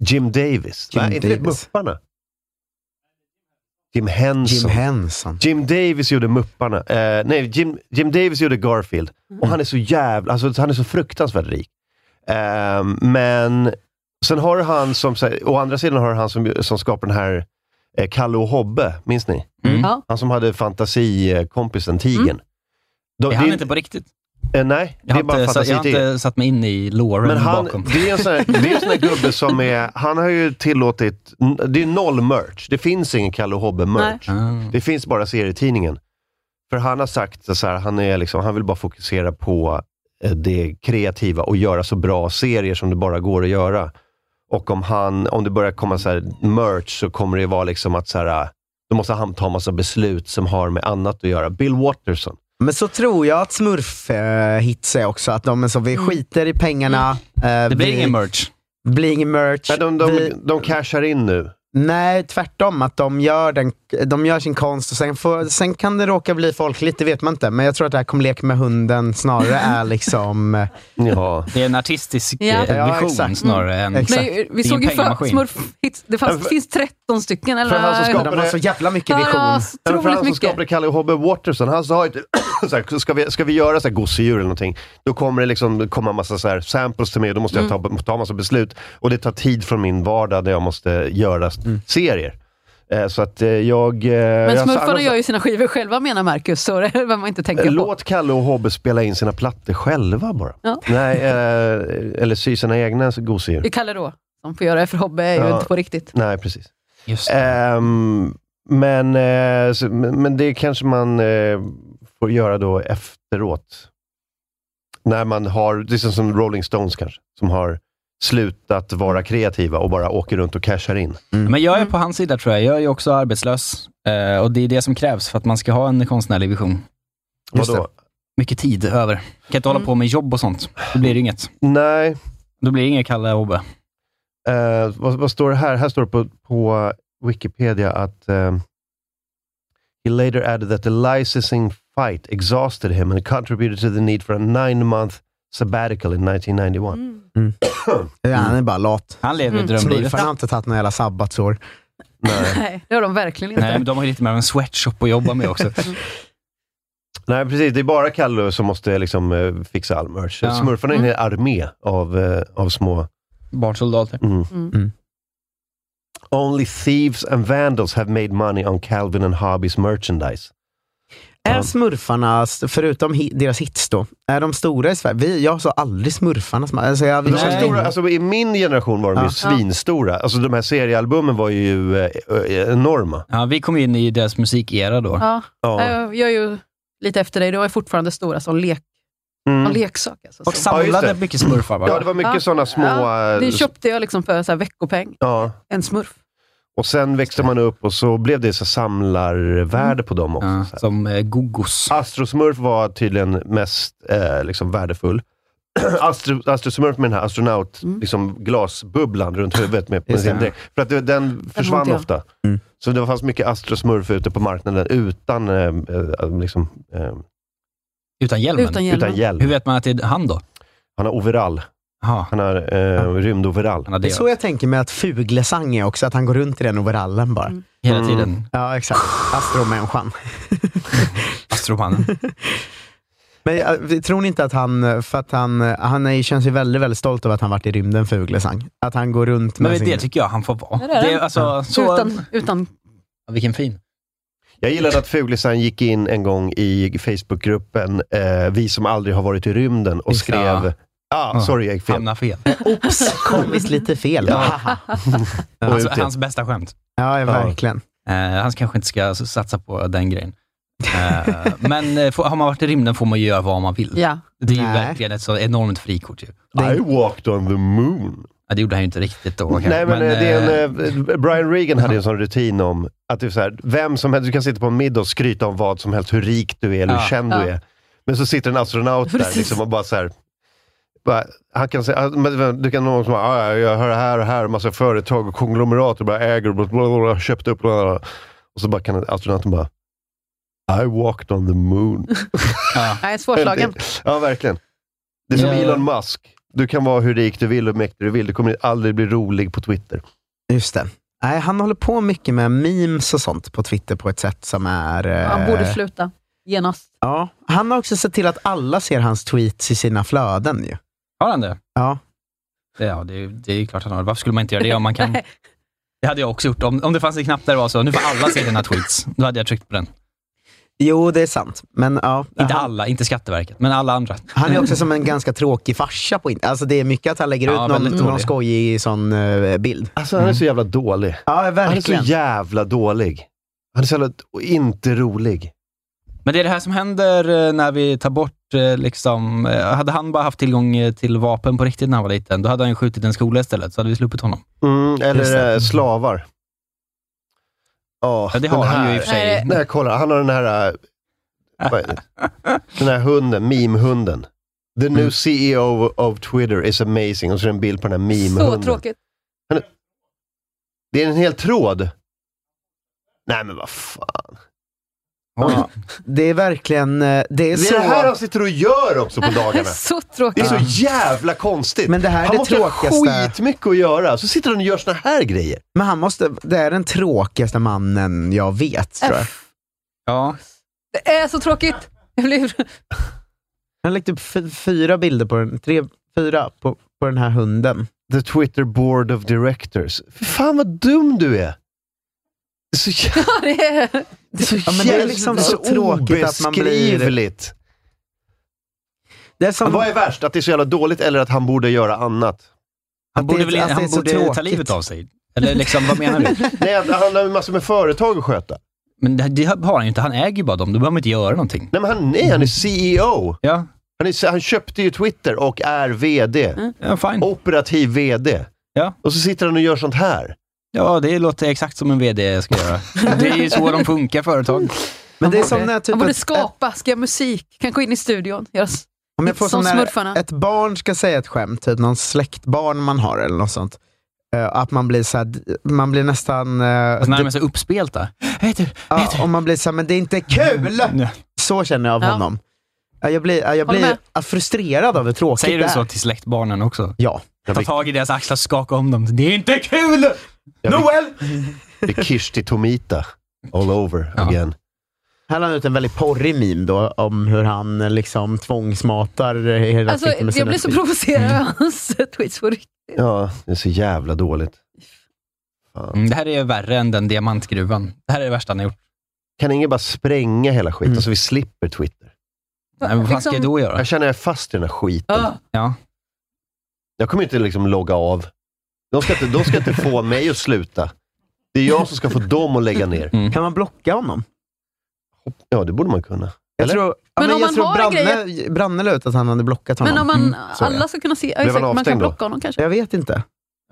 [SPEAKER 2] Jim Davis?
[SPEAKER 3] Jim
[SPEAKER 2] nej, inte det
[SPEAKER 3] Davis.
[SPEAKER 2] Mupparna? Jim Henson.
[SPEAKER 3] Jim Henson.
[SPEAKER 2] Jim Davis gjorde Mupparna. Eh, nej, Jim, Jim Davis gjorde Garfield.
[SPEAKER 4] Mm.
[SPEAKER 2] Och han är så jävla... Alltså, han är så fruktansvärt rik. Ehm, men sen har du han som... så här- Å andra sidan har du han som, som skapar den här eh, Kalle och Hobbe, minns ni?
[SPEAKER 1] Mm.
[SPEAKER 4] Mm.
[SPEAKER 13] Ja.
[SPEAKER 2] Han som hade fantasikompisen Tigern. De-
[SPEAKER 4] är han
[SPEAKER 2] det-
[SPEAKER 4] inte på riktigt?
[SPEAKER 2] Eh, nej,
[SPEAKER 4] Jag
[SPEAKER 2] det
[SPEAKER 4] har,
[SPEAKER 2] är bara
[SPEAKER 4] inte, sa- jag har
[SPEAKER 2] fantasiidéer.
[SPEAKER 4] inte satt mig in i loren
[SPEAKER 2] Men han,
[SPEAKER 4] bakom.
[SPEAKER 2] det är en sån här, det är en sån här gubbe som är, han har ju tillåtit, det är noll merch. Det finns ingen Kalle och Hobbe-merch. Det finns bara serietidningen. För han har sagt så här, han, är liksom, han vill bara fokusera på eh, det kreativa och göra så bra serier som det bara går att göra. Och om, han, om det börjar komma så här merch så kommer det vara liksom att så här, då måste han ta massa beslut som har med annat att göra. Bill Watterson.
[SPEAKER 3] Men så tror jag att smurf-hits är också, att de är så, vi skiter i pengarna. eh,
[SPEAKER 2] Det blir
[SPEAKER 3] vi-
[SPEAKER 2] ingen merch.
[SPEAKER 3] Det blir ingen merch.
[SPEAKER 2] Nej, de, de,
[SPEAKER 3] vi,
[SPEAKER 2] de cashar in nu.
[SPEAKER 3] Nej, tvärtom. Att de gör, den, de gör sin konst och sen, får, sen kan det råka bli folkligt, det vet man inte. Men jag tror att det här Kom lek med hunden snarare är liksom...
[SPEAKER 2] Ja.
[SPEAKER 4] Det är en artistisk eh,
[SPEAKER 3] Ja. Ja,
[SPEAKER 4] vision
[SPEAKER 3] exakt.
[SPEAKER 4] snarare än...
[SPEAKER 3] Mm. Exakt.
[SPEAKER 13] Nej, vi
[SPEAKER 4] Det är
[SPEAKER 13] såg
[SPEAKER 4] en
[SPEAKER 13] ju för,
[SPEAKER 4] pengamaskin.
[SPEAKER 13] Smurf Hits, det fanns,
[SPEAKER 2] För-
[SPEAKER 13] finns 13 stycken. Eller?
[SPEAKER 2] För han som skapade,
[SPEAKER 13] Ja, Ja, så
[SPEAKER 2] Ja, men för
[SPEAKER 13] otroligt
[SPEAKER 2] han som
[SPEAKER 13] mycket.
[SPEAKER 2] skapade Kalle och Hobbe Watterson, han sa ju typ, så här, ska, vi, ska vi göra så här gosedjur eller någonting, då kommer det liksom komma massa så här samples till mig och då måste
[SPEAKER 13] Mm.
[SPEAKER 2] jag ta, ta massa beslut. Och det tar tid från min vardag där jag måste göra serier. Eh, så att eh, jag... eh,
[SPEAKER 13] Men
[SPEAKER 2] jag-
[SPEAKER 13] smurfarna
[SPEAKER 2] annars- eh,
[SPEAKER 13] gör ju sina skivor själva menar Marcus, så det behöver man inte tänka på.
[SPEAKER 2] Låt Kalle och Hobbe spela in sina plattor själva bara.
[SPEAKER 13] Ja.
[SPEAKER 2] Nej, eh, eller sy sina egna gosedjur.
[SPEAKER 13] Det kallar då, som får göra det, för Hobbe är ju
[SPEAKER 2] Ja.
[SPEAKER 13] inte på riktigt.
[SPEAKER 2] Nej, precis. Ehm, men, eh, så, men men det kanske man eh, får göra då efteråt. När man har, liksom som Rolling Stones kanske, som har slutat vara kreativa och bara åker runt och cashar in.
[SPEAKER 3] Mm.
[SPEAKER 4] Men jag är
[SPEAKER 2] mm.
[SPEAKER 4] på hans sida tror jag. Jag är ju också arbetslös. Eh, och det är det som krävs för att man ska ha en konstnärlig vision.
[SPEAKER 2] Just
[SPEAKER 4] Vadå? Mycket tid över. Kan inte hålla på med jobb och sånt. Då blir det inget.
[SPEAKER 2] Nej.
[SPEAKER 4] Då blir det inget Kalle och Hobbe.
[SPEAKER 2] Eh, vad, vad står det här? Här står det på, på Wikipedia att ehm, he later added that the licensing fight exhausted him and contributed to the need for a nine month sabbatical in 1991.
[SPEAKER 1] Mm.
[SPEAKER 13] Mm.
[SPEAKER 3] Ja, han är bara lat.
[SPEAKER 4] Han lever
[SPEAKER 2] Mm. drömlivet.
[SPEAKER 3] Smurfarna har inte tagit några jävla sabbatsår.
[SPEAKER 13] Nej, det har de verkligen inte.
[SPEAKER 4] Nej, men de har ju lite mer av en sweatshop att jobba med också.
[SPEAKER 2] Nej, precis. Det är bara Kalle som måste liksom, eh, fixa all merch.
[SPEAKER 4] Ja.
[SPEAKER 2] Smurfarna är en
[SPEAKER 4] Mm.
[SPEAKER 2] hel armé av, eh, av små...
[SPEAKER 4] Barnsoldater.
[SPEAKER 2] Mm.
[SPEAKER 13] Mm.
[SPEAKER 2] Only thieves and vandals have made money on Calvin and Hobbes merchandise.
[SPEAKER 3] Är smurfarna, förutom hi- deras hits då, är de stora i Sverige? Vi, jag sa aldrig smurfarna. som- Alltså, jag,
[SPEAKER 2] De var stora, alltså, I min generation var de ju
[SPEAKER 3] Ja.
[SPEAKER 2] svinstora. Alltså, de här seriealbumen var ju eh, eh, enorma.
[SPEAKER 4] Ja, vi kom in i deras musikera då.
[SPEAKER 13] Ja.
[SPEAKER 2] Ja.
[SPEAKER 13] Eh, Jag är ju lite efter dig, de är fortfarande stora som, lek,
[SPEAKER 3] Mm.
[SPEAKER 13] som leksak. Alltså,
[SPEAKER 4] Och
[SPEAKER 13] så.
[SPEAKER 4] samlade mycket smurfar va?
[SPEAKER 2] Mm. Ja, det var mycket
[SPEAKER 13] Ja.
[SPEAKER 2] sådana små...
[SPEAKER 13] Ja,
[SPEAKER 2] eh,
[SPEAKER 13] det köpte jag liksom för så här veckopeng.
[SPEAKER 2] ja.
[SPEAKER 13] En smurf.
[SPEAKER 2] Och sen växte man upp och så blev det så samlarvärde på dem också.
[SPEAKER 4] som eh, Gogos.
[SPEAKER 2] Astrosmurf var tydligen mest eh, liksom, värdefull. Astro, Astrosmurf med den här astronaut, liksom, glasbubblan runt huvudet med, med
[SPEAKER 3] Just det. Mm.
[SPEAKER 2] sin dräkt. För att det, den försvann
[SPEAKER 3] ja.
[SPEAKER 2] ofta. Så det fanns mycket Astrosmurf ute på marknaden utan eh, eh, liksom, eh,
[SPEAKER 4] Utan hjälmen?
[SPEAKER 2] Utan hjälmen. Utan hjälm.
[SPEAKER 4] Hur vet man att det är han då?
[SPEAKER 2] Han har overall. Han har eh, rymdoverall.
[SPEAKER 4] Han har
[SPEAKER 3] det är så jag tänker mig att Fuglesang är också, att han går runt i den overallen bara.
[SPEAKER 4] Hela
[SPEAKER 2] Mm.
[SPEAKER 4] tiden.
[SPEAKER 3] Ja, exakt. Astromänniskan.
[SPEAKER 4] Astromannen.
[SPEAKER 3] Men eh, vi- tror ni inte att han, för att han, eh, han är, känns ju väldigt, väldigt stolt över att han varit i rymden, Fuglesang. Att han går runt med
[SPEAKER 4] Men
[SPEAKER 3] sin...
[SPEAKER 4] det tycker jag han får vara.
[SPEAKER 13] Där är
[SPEAKER 4] Det är
[SPEAKER 13] den.
[SPEAKER 4] alltså, så...
[SPEAKER 13] Utan, utan
[SPEAKER 4] Ja, Vilken fin.
[SPEAKER 2] Jag gillade att Fuglesang gick in en gång i Facebookgruppen eh, Vi som aldrig har varit i rymden och skrev... Ja, ah, sorry jag gick fel.
[SPEAKER 4] Hamnar fel.
[SPEAKER 3] Oops, kom visst lite fel.
[SPEAKER 2] Ja. Och
[SPEAKER 4] Hans,
[SPEAKER 2] ut igen.
[SPEAKER 4] Alltså, hans bästa skämt.
[SPEAKER 3] Ja, ja, verkligen.
[SPEAKER 4] Eh, han kanske inte ska s- satsa på den grejen. Eh, men eh, får, har man varit i rymden får man ju göra vad man vill.
[SPEAKER 13] Ja.
[SPEAKER 4] Det är ju
[SPEAKER 2] Nej.
[SPEAKER 4] verkligen ett så enormt frikort ju.
[SPEAKER 2] I walked on the moon.
[SPEAKER 4] Ja, det gjorde han ju inte riktigt då. kanske.
[SPEAKER 2] Nej, men, eh, det är
[SPEAKER 4] eh,
[SPEAKER 2] en, eh, Brian Regan hade en sån rutin om att det är så här, vem som helst, du kan sitta på en middag och skryta om vad som helst, hur rik du är eller
[SPEAKER 4] Ja.
[SPEAKER 2] hur känd
[SPEAKER 4] Ja.
[SPEAKER 2] du är. Men så sitter en astronaut där
[SPEAKER 4] Precis.
[SPEAKER 2] liksom, och bara så här, bara, han kan säga, ah, men du kan någon som bara, ah, jag hör här och här, massa företag och konglomerat och bara äger och bla, bla, bla, bla, köpt upp. Bla, bla, bla. Och så bara kan astronauten bara, I walked on the moon.
[SPEAKER 13] Nej, svårslagen.
[SPEAKER 2] Ja, verkligen. Det är som
[SPEAKER 4] Ja.
[SPEAKER 2] Elon Musk. Du kan vara hur rik du vill och hur mäktig du vill. Du kommer aldrig bli rolig på Twitter.
[SPEAKER 3] Just det. Nej, han håller på mycket med memes och sånt på Twitter på ett sätt som är... eh,
[SPEAKER 13] Han borde sluta genast.
[SPEAKER 3] Ja, han har också sett till att alla ser hans tweets i sina flöden ju.
[SPEAKER 4] Har han det?
[SPEAKER 3] Ja.
[SPEAKER 4] Det, ja, det, är- det är ju klart han har. Varför skulle man inte göra det om man kan? Det hade jag också gjort. Om, om det fanns en knapp där det var så, nu får alla se dina tweets. Då hade jag tryckt på den.
[SPEAKER 3] Jo, det är sant. Men ja.
[SPEAKER 4] Inte alla, inte Skatteverket, men alla andra.
[SPEAKER 3] Han är också som en ganska tråkig farsa på internet. Alltså det är mycket att han lägger
[SPEAKER 4] Ja,
[SPEAKER 3] ut någon,
[SPEAKER 4] väldigt
[SPEAKER 3] någon
[SPEAKER 4] dålig.
[SPEAKER 3] skojig sån eh, bild.
[SPEAKER 2] Alltså han är så jävla dålig.
[SPEAKER 3] Ja,
[SPEAKER 2] Han är så
[SPEAKER 3] verkligen.
[SPEAKER 2] jävla dålig. Han är så jävla och inte rolig.
[SPEAKER 4] Men det är det här som händer eh, när vi tar bort, eh, liksom, eh, hade han bara haft tillgång eh, till vapen på riktigt när han var liten, då hade han ju skjutit en skola istället, så hade vi sluppit honom.
[SPEAKER 2] Mm,
[SPEAKER 4] Just
[SPEAKER 2] eller
[SPEAKER 4] det.
[SPEAKER 2] eh, slavar. Ja,
[SPEAKER 4] Ja, det
[SPEAKER 2] den
[SPEAKER 4] har han
[SPEAKER 2] här-
[SPEAKER 4] ju i och för sig.
[SPEAKER 2] Nej, kolla. Han har den här, eh, vad är det? den här hunden, meme-hunden. The new E CEO of Twitter is amazing. Och så är det en bild på den här meme-hunden.
[SPEAKER 13] Så tråkigt.
[SPEAKER 2] Det är en hel tråd. Nej men vad fan.
[SPEAKER 3] Ja, det är verkligen... eh, Det
[SPEAKER 2] Det
[SPEAKER 3] är, så...
[SPEAKER 2] är det här han sitter och gör också på dagarna.
[SPEAKER 3] Så
[SPEAKER 2] Det är så jävla konstigt.
[SPEAKER 3] Men det här är
[SPEAKER 2] han
[SPEAKER 3] det
[SPEAKER 2] måste
[SPEAKER 3] tråkigaste.
[SPEAKER 2] ha skitmycket att göra, så sitter han och gör såna här grejer.
[SPEAKER 3] Men han måste, det är den tråkigaste mannen jag vet tror jag.
[SPEAKER 4] Ja.
[SPEAKER 13] Det är så tråkigt. Jag blir...
[SPEAKER 3] Han har lagt upp fy- fyra bilder på den, tre, fyra på, på den här hunden.
[SPEAKER 2] The Twitter board of directors. Fy fan vad dum du är. Så jävla...
[SPEAKER 13] Ja, det
[SPEAKER 3] Typ
[SPEAKER 13] är...
[SPEAKER 3] Ja, men det är liksom så tråkigt att man blir...
[SPEAKER 2] obeskrivligt.
[SPEAKER 3] Det är som...
[SPEAKER 2] Vad är värst? Att det är så jävla dåligt eller att han borde göra annat?
[SPEAKER 4] Han borde, väl, han borde ta livet av sig? Eller liksom, vad menar du?
[SPEAKER 2] Nej, att han har ju massor med företag att sköta.
[SPEAKER 4] Men det, det har han ju inte. Han äger ju bara dem. Då behöver man inte göra någonting.
[SPEAKER 2] Nej, men han, nej, han är CEO.
[SPEAKER 4] Ja.
[SPEAKER 2] Han, är, han köpte ju Twitter och är VD.
[SPEAKER 4] Ja, fine.
[SPEAKER 2] Operativ VD.
[SPEAKER 4] Ja.
[SPEAKER 2] Och så sitter han och gör sånt här.
[SPEAKER 4] Ja, det låter exakt som en VD ska göra. Det är ju så de funkar, företag. Alltså,
[SPEAKER 3] Men det är som när typ
[SPEAKER 13] Han borde
[SPEAKER 3] ett-
[SPEAKER 13] skapa, ska göra musik, kan gå in i studion, göra s-
[SPEAKER 3] Om jag får
[SPEAKER 13] som
[SPEAKER 3] som
[SPEAKER 13] smurfarna.
[SPEAKER 3] när ett barn ska säga ett skämt, typ någon släktbarn man har eller något sånt. eh, att man blir såhär, man blir nästan... Uh,
[SPEAKER 4] Alltså, närmast uppspelta.
[SPEAKER 3] ja, och man blir såhär, men det är inte kul! Så känner jag av
[SPEAKER 4] Ja.
[SPEAKER 3] honom. Ja, Jag blir, ja, jag
[SPEAKER 4] Håller
[SPEAKER 3] blir
[SPEAKER 4] med.
[SPEAKER 3] ja, frustrerad av hur tråkigt
[SPEAKER 4] Säger
[SPEAKER 3] det
[SPEAKER 4] du
[SPEAKER 3] är.
[SPEAKER 4] så till släktbarnen också?
[SPEAKER 3] Ja.
[SPEAKER 4] Ta tag i deras axlar, skaka om dem. Det är inte kul! Noel!
[SPEAKER 2] Det är Kirsti Tomita. All over again.
[SPEAKER 3] Här la han ut en väldigt porrig meme då om hur han eh, liksom tvångsmatar eh, hela
[SPEAKER 13] Alltså,
[SPEAKER 3] Twitter
[SPEAKER 13] jag
[SPEAKER 3] med sina Mm.
[SPEAKER 13] blir så
[SPEAKER 3] tweets.
[SPEAKER 13] provocerad av hans tweets på riktigt.
[SPEAKER 2] Ja, det är så jävla dåligt.
[SPEAKER 4] Mm, det här är värre än den diamantgruvan. Det här är det värsta han har gjort.
[SPEAKER 2] Kan ingen bara spränga hela skiten
[SPEAKER 4] Mm.
[SPEAKER 2] så vi slipper Twitter?
[SPEAKER 4] Nej, men vad fan ska jag då göra?
[SPEAKER 2] Jag känner jag är fast i den här skiten.
[SPEAKER 4] Ja.
[SPEAKER 2] Jag kommer inte liksom logga av. De ska inte, de ska inte få mig att sluta. Det är jag som ska få dem att lägga ner.
[SPEAKER 4] Mm.
[SPEAKER 3] Kan man blocka honom?
[SPEAKER 2] Ja, det borde man kunna.
[SPEAKER 3] Jag tror, ja,
[SPEAKER 13] Men
[SPEAKER 3] men
[SPEAKER 13] om
[SPEAKER 3] jag
[SPEAKER 13] man
[SPEAKER 3] tror
[SPEAKER 13] har
[SPEAKER 3] Branne, Branne la ut att han hade blockat honom.
[SPEAKER 13] Men om man,
[SPEAKER 4] Mm.
[SPEAKER 3] mm. Så är det.
[SPEAKER 13] alla ska kunna se, ja,
[SPEAKER 3] Blev
[SPEAKER 13] exakt, man
[SPEAKER 3] han
[SPEAKER 13] kan
[SPEAKER 3] avstängd då?
[SPEAKER 13] blocka honom kanske.
[SPEAKER 3] Jag vet inte.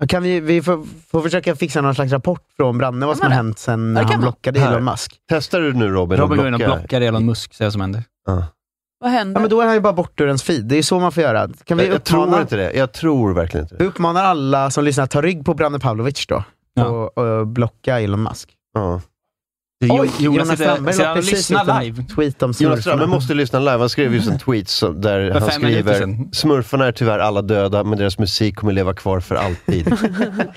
[SPEAKER 3] Kan vi, vi får, får försöka fixa någon slags rapport från Branne vad som
[SPEAKER 13] Kan
[SPEAKER 3] har
[SPEAKER 13] man
[SPEAKER 3] hänt sen
[SPEAKER 13] Ja, det
[SPEAKER 3] han
[SPEAKER 13] kan man.
[SPEAKER 3] blockade
[SPEAKER 2] Här.
[SPEAKER 3] Elon Musk.
[SPEAKER 2] Testar du nu Robin?
[SPEAKER 4] Robin går in och blockar Elon Musk, ser jag som händer.
[SPEAKER 13] Vad
[SPEAKER 3] Ja,
[SPEAKER 13] händer?
[SPEAKER 3] men då är han ju bara bort ur ens feed. Det är ju så man får göra. Kan vi
[SPEAKER 2] Jag, jag
[SPEAKER 3] uppmana,
[SPEAKER 2] tror inte det. Jag tror verkligen inte det.
[SPEAKER 3] Vi uppmanar alla som lyssnar att ta rygg på Branne Pavlovic då. Och, och blocka Elon Musk.
[SPEAKER 2] Ja.
[SPEAKER 4] Oj, Jonas sitter, ser han och lyssnar live?
[SPEAKER 3] tweet om
[SPEAKER 2] Jonas
[SPEAKER 3] smurfarna.
[SPEAKER 2] Strömmer måste lyssna live. Han skrev just en tweet som, där
[SPEAKER 4] Mm. För
[SPEAKER 2] han
[SPEAKER 4] fem minuter
[SPEAKER 2] skriver
[SPEAKER 4] sedan.
[SPEAKER 2] “Smurfarna är tyvärr alla döda, men deras musik kommer leva kvar för alltid”.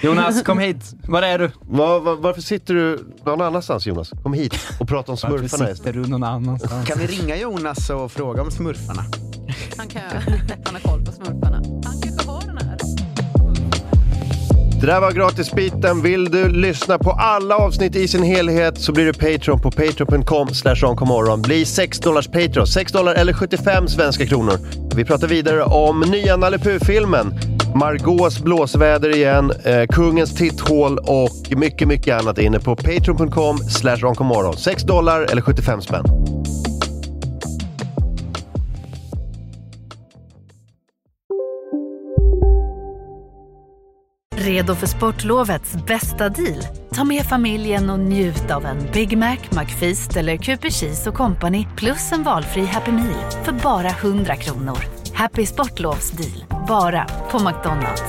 [SPEAKER 4] Jonas, kom hit. Var är du?
[SPEAKER 2] Var, var, varför sitter du någon annanstans Jonas? Kom hit och prata om smurfarna
[SPEAKER 4] Varför sitter
[SPEAKER 2] istället.
[SPEAKER 4] du någon annanstans?
[SPEAKER 3] Kan vi ringa Jonas och fråga om smurfarna?
[SPEAKER 13] Han, kan, han har koll på smurfarna. Han kanske har den här.
[SPEAKER 2] Det där var gratisbiten. Vill du lyssna på alla avsnitt i sin helhet så blir du Patreon på patreon.com onkomorron. Bli 6 dollars Patreon. 6 dollar eller 75 svenska kronor. Vi pratar vidare om nya Nalle Puh-filmen. Margaux blåsväder igen, eh, Kungens titthål och mycket, mycket annat inne på patreon.com onkomorron. 6 dollar eller 75 spänn.
[SPEAKER 9] Redo för sportlovets bästa deal? Ta med familjen och njut av en Big Mac, McFeast eller Cooper Cheese och Company plus en valfri Happy Meal för bara 100 kronor. Happy Sportlovs deal, bara på McDonalds.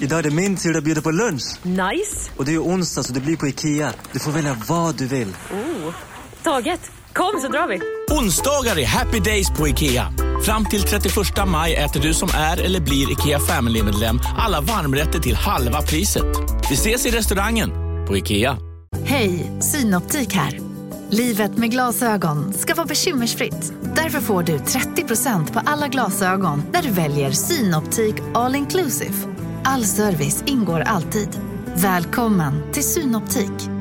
[SPEAKER 14] Idag är det min tur att bjuda på lunch.
[SPEAKER 15] Nice.
[SPEAKER 14] Och det är ju onsdag så det blir på IKEA. Du får välja vad du vill.
[SPEAKER 15] Oh. Taget. Kom så drar vi.
[SPEAKER 16] Onsdagar är happy days på IKEA. Fram till 31 maj äter du som är eller blir IKEA Family-medlem alla varmrätter till halva priset. Vi ses i restaurangen på IKEA.
[SPEAKER 9] Hej, Synoptik här. Livet med glasögon ska vara bekymmersfritt. Därför får du 30% på alla glasögon när du väljer Synoptik All Inclusive. All service ingår alltid. Välkommen till Synoptik.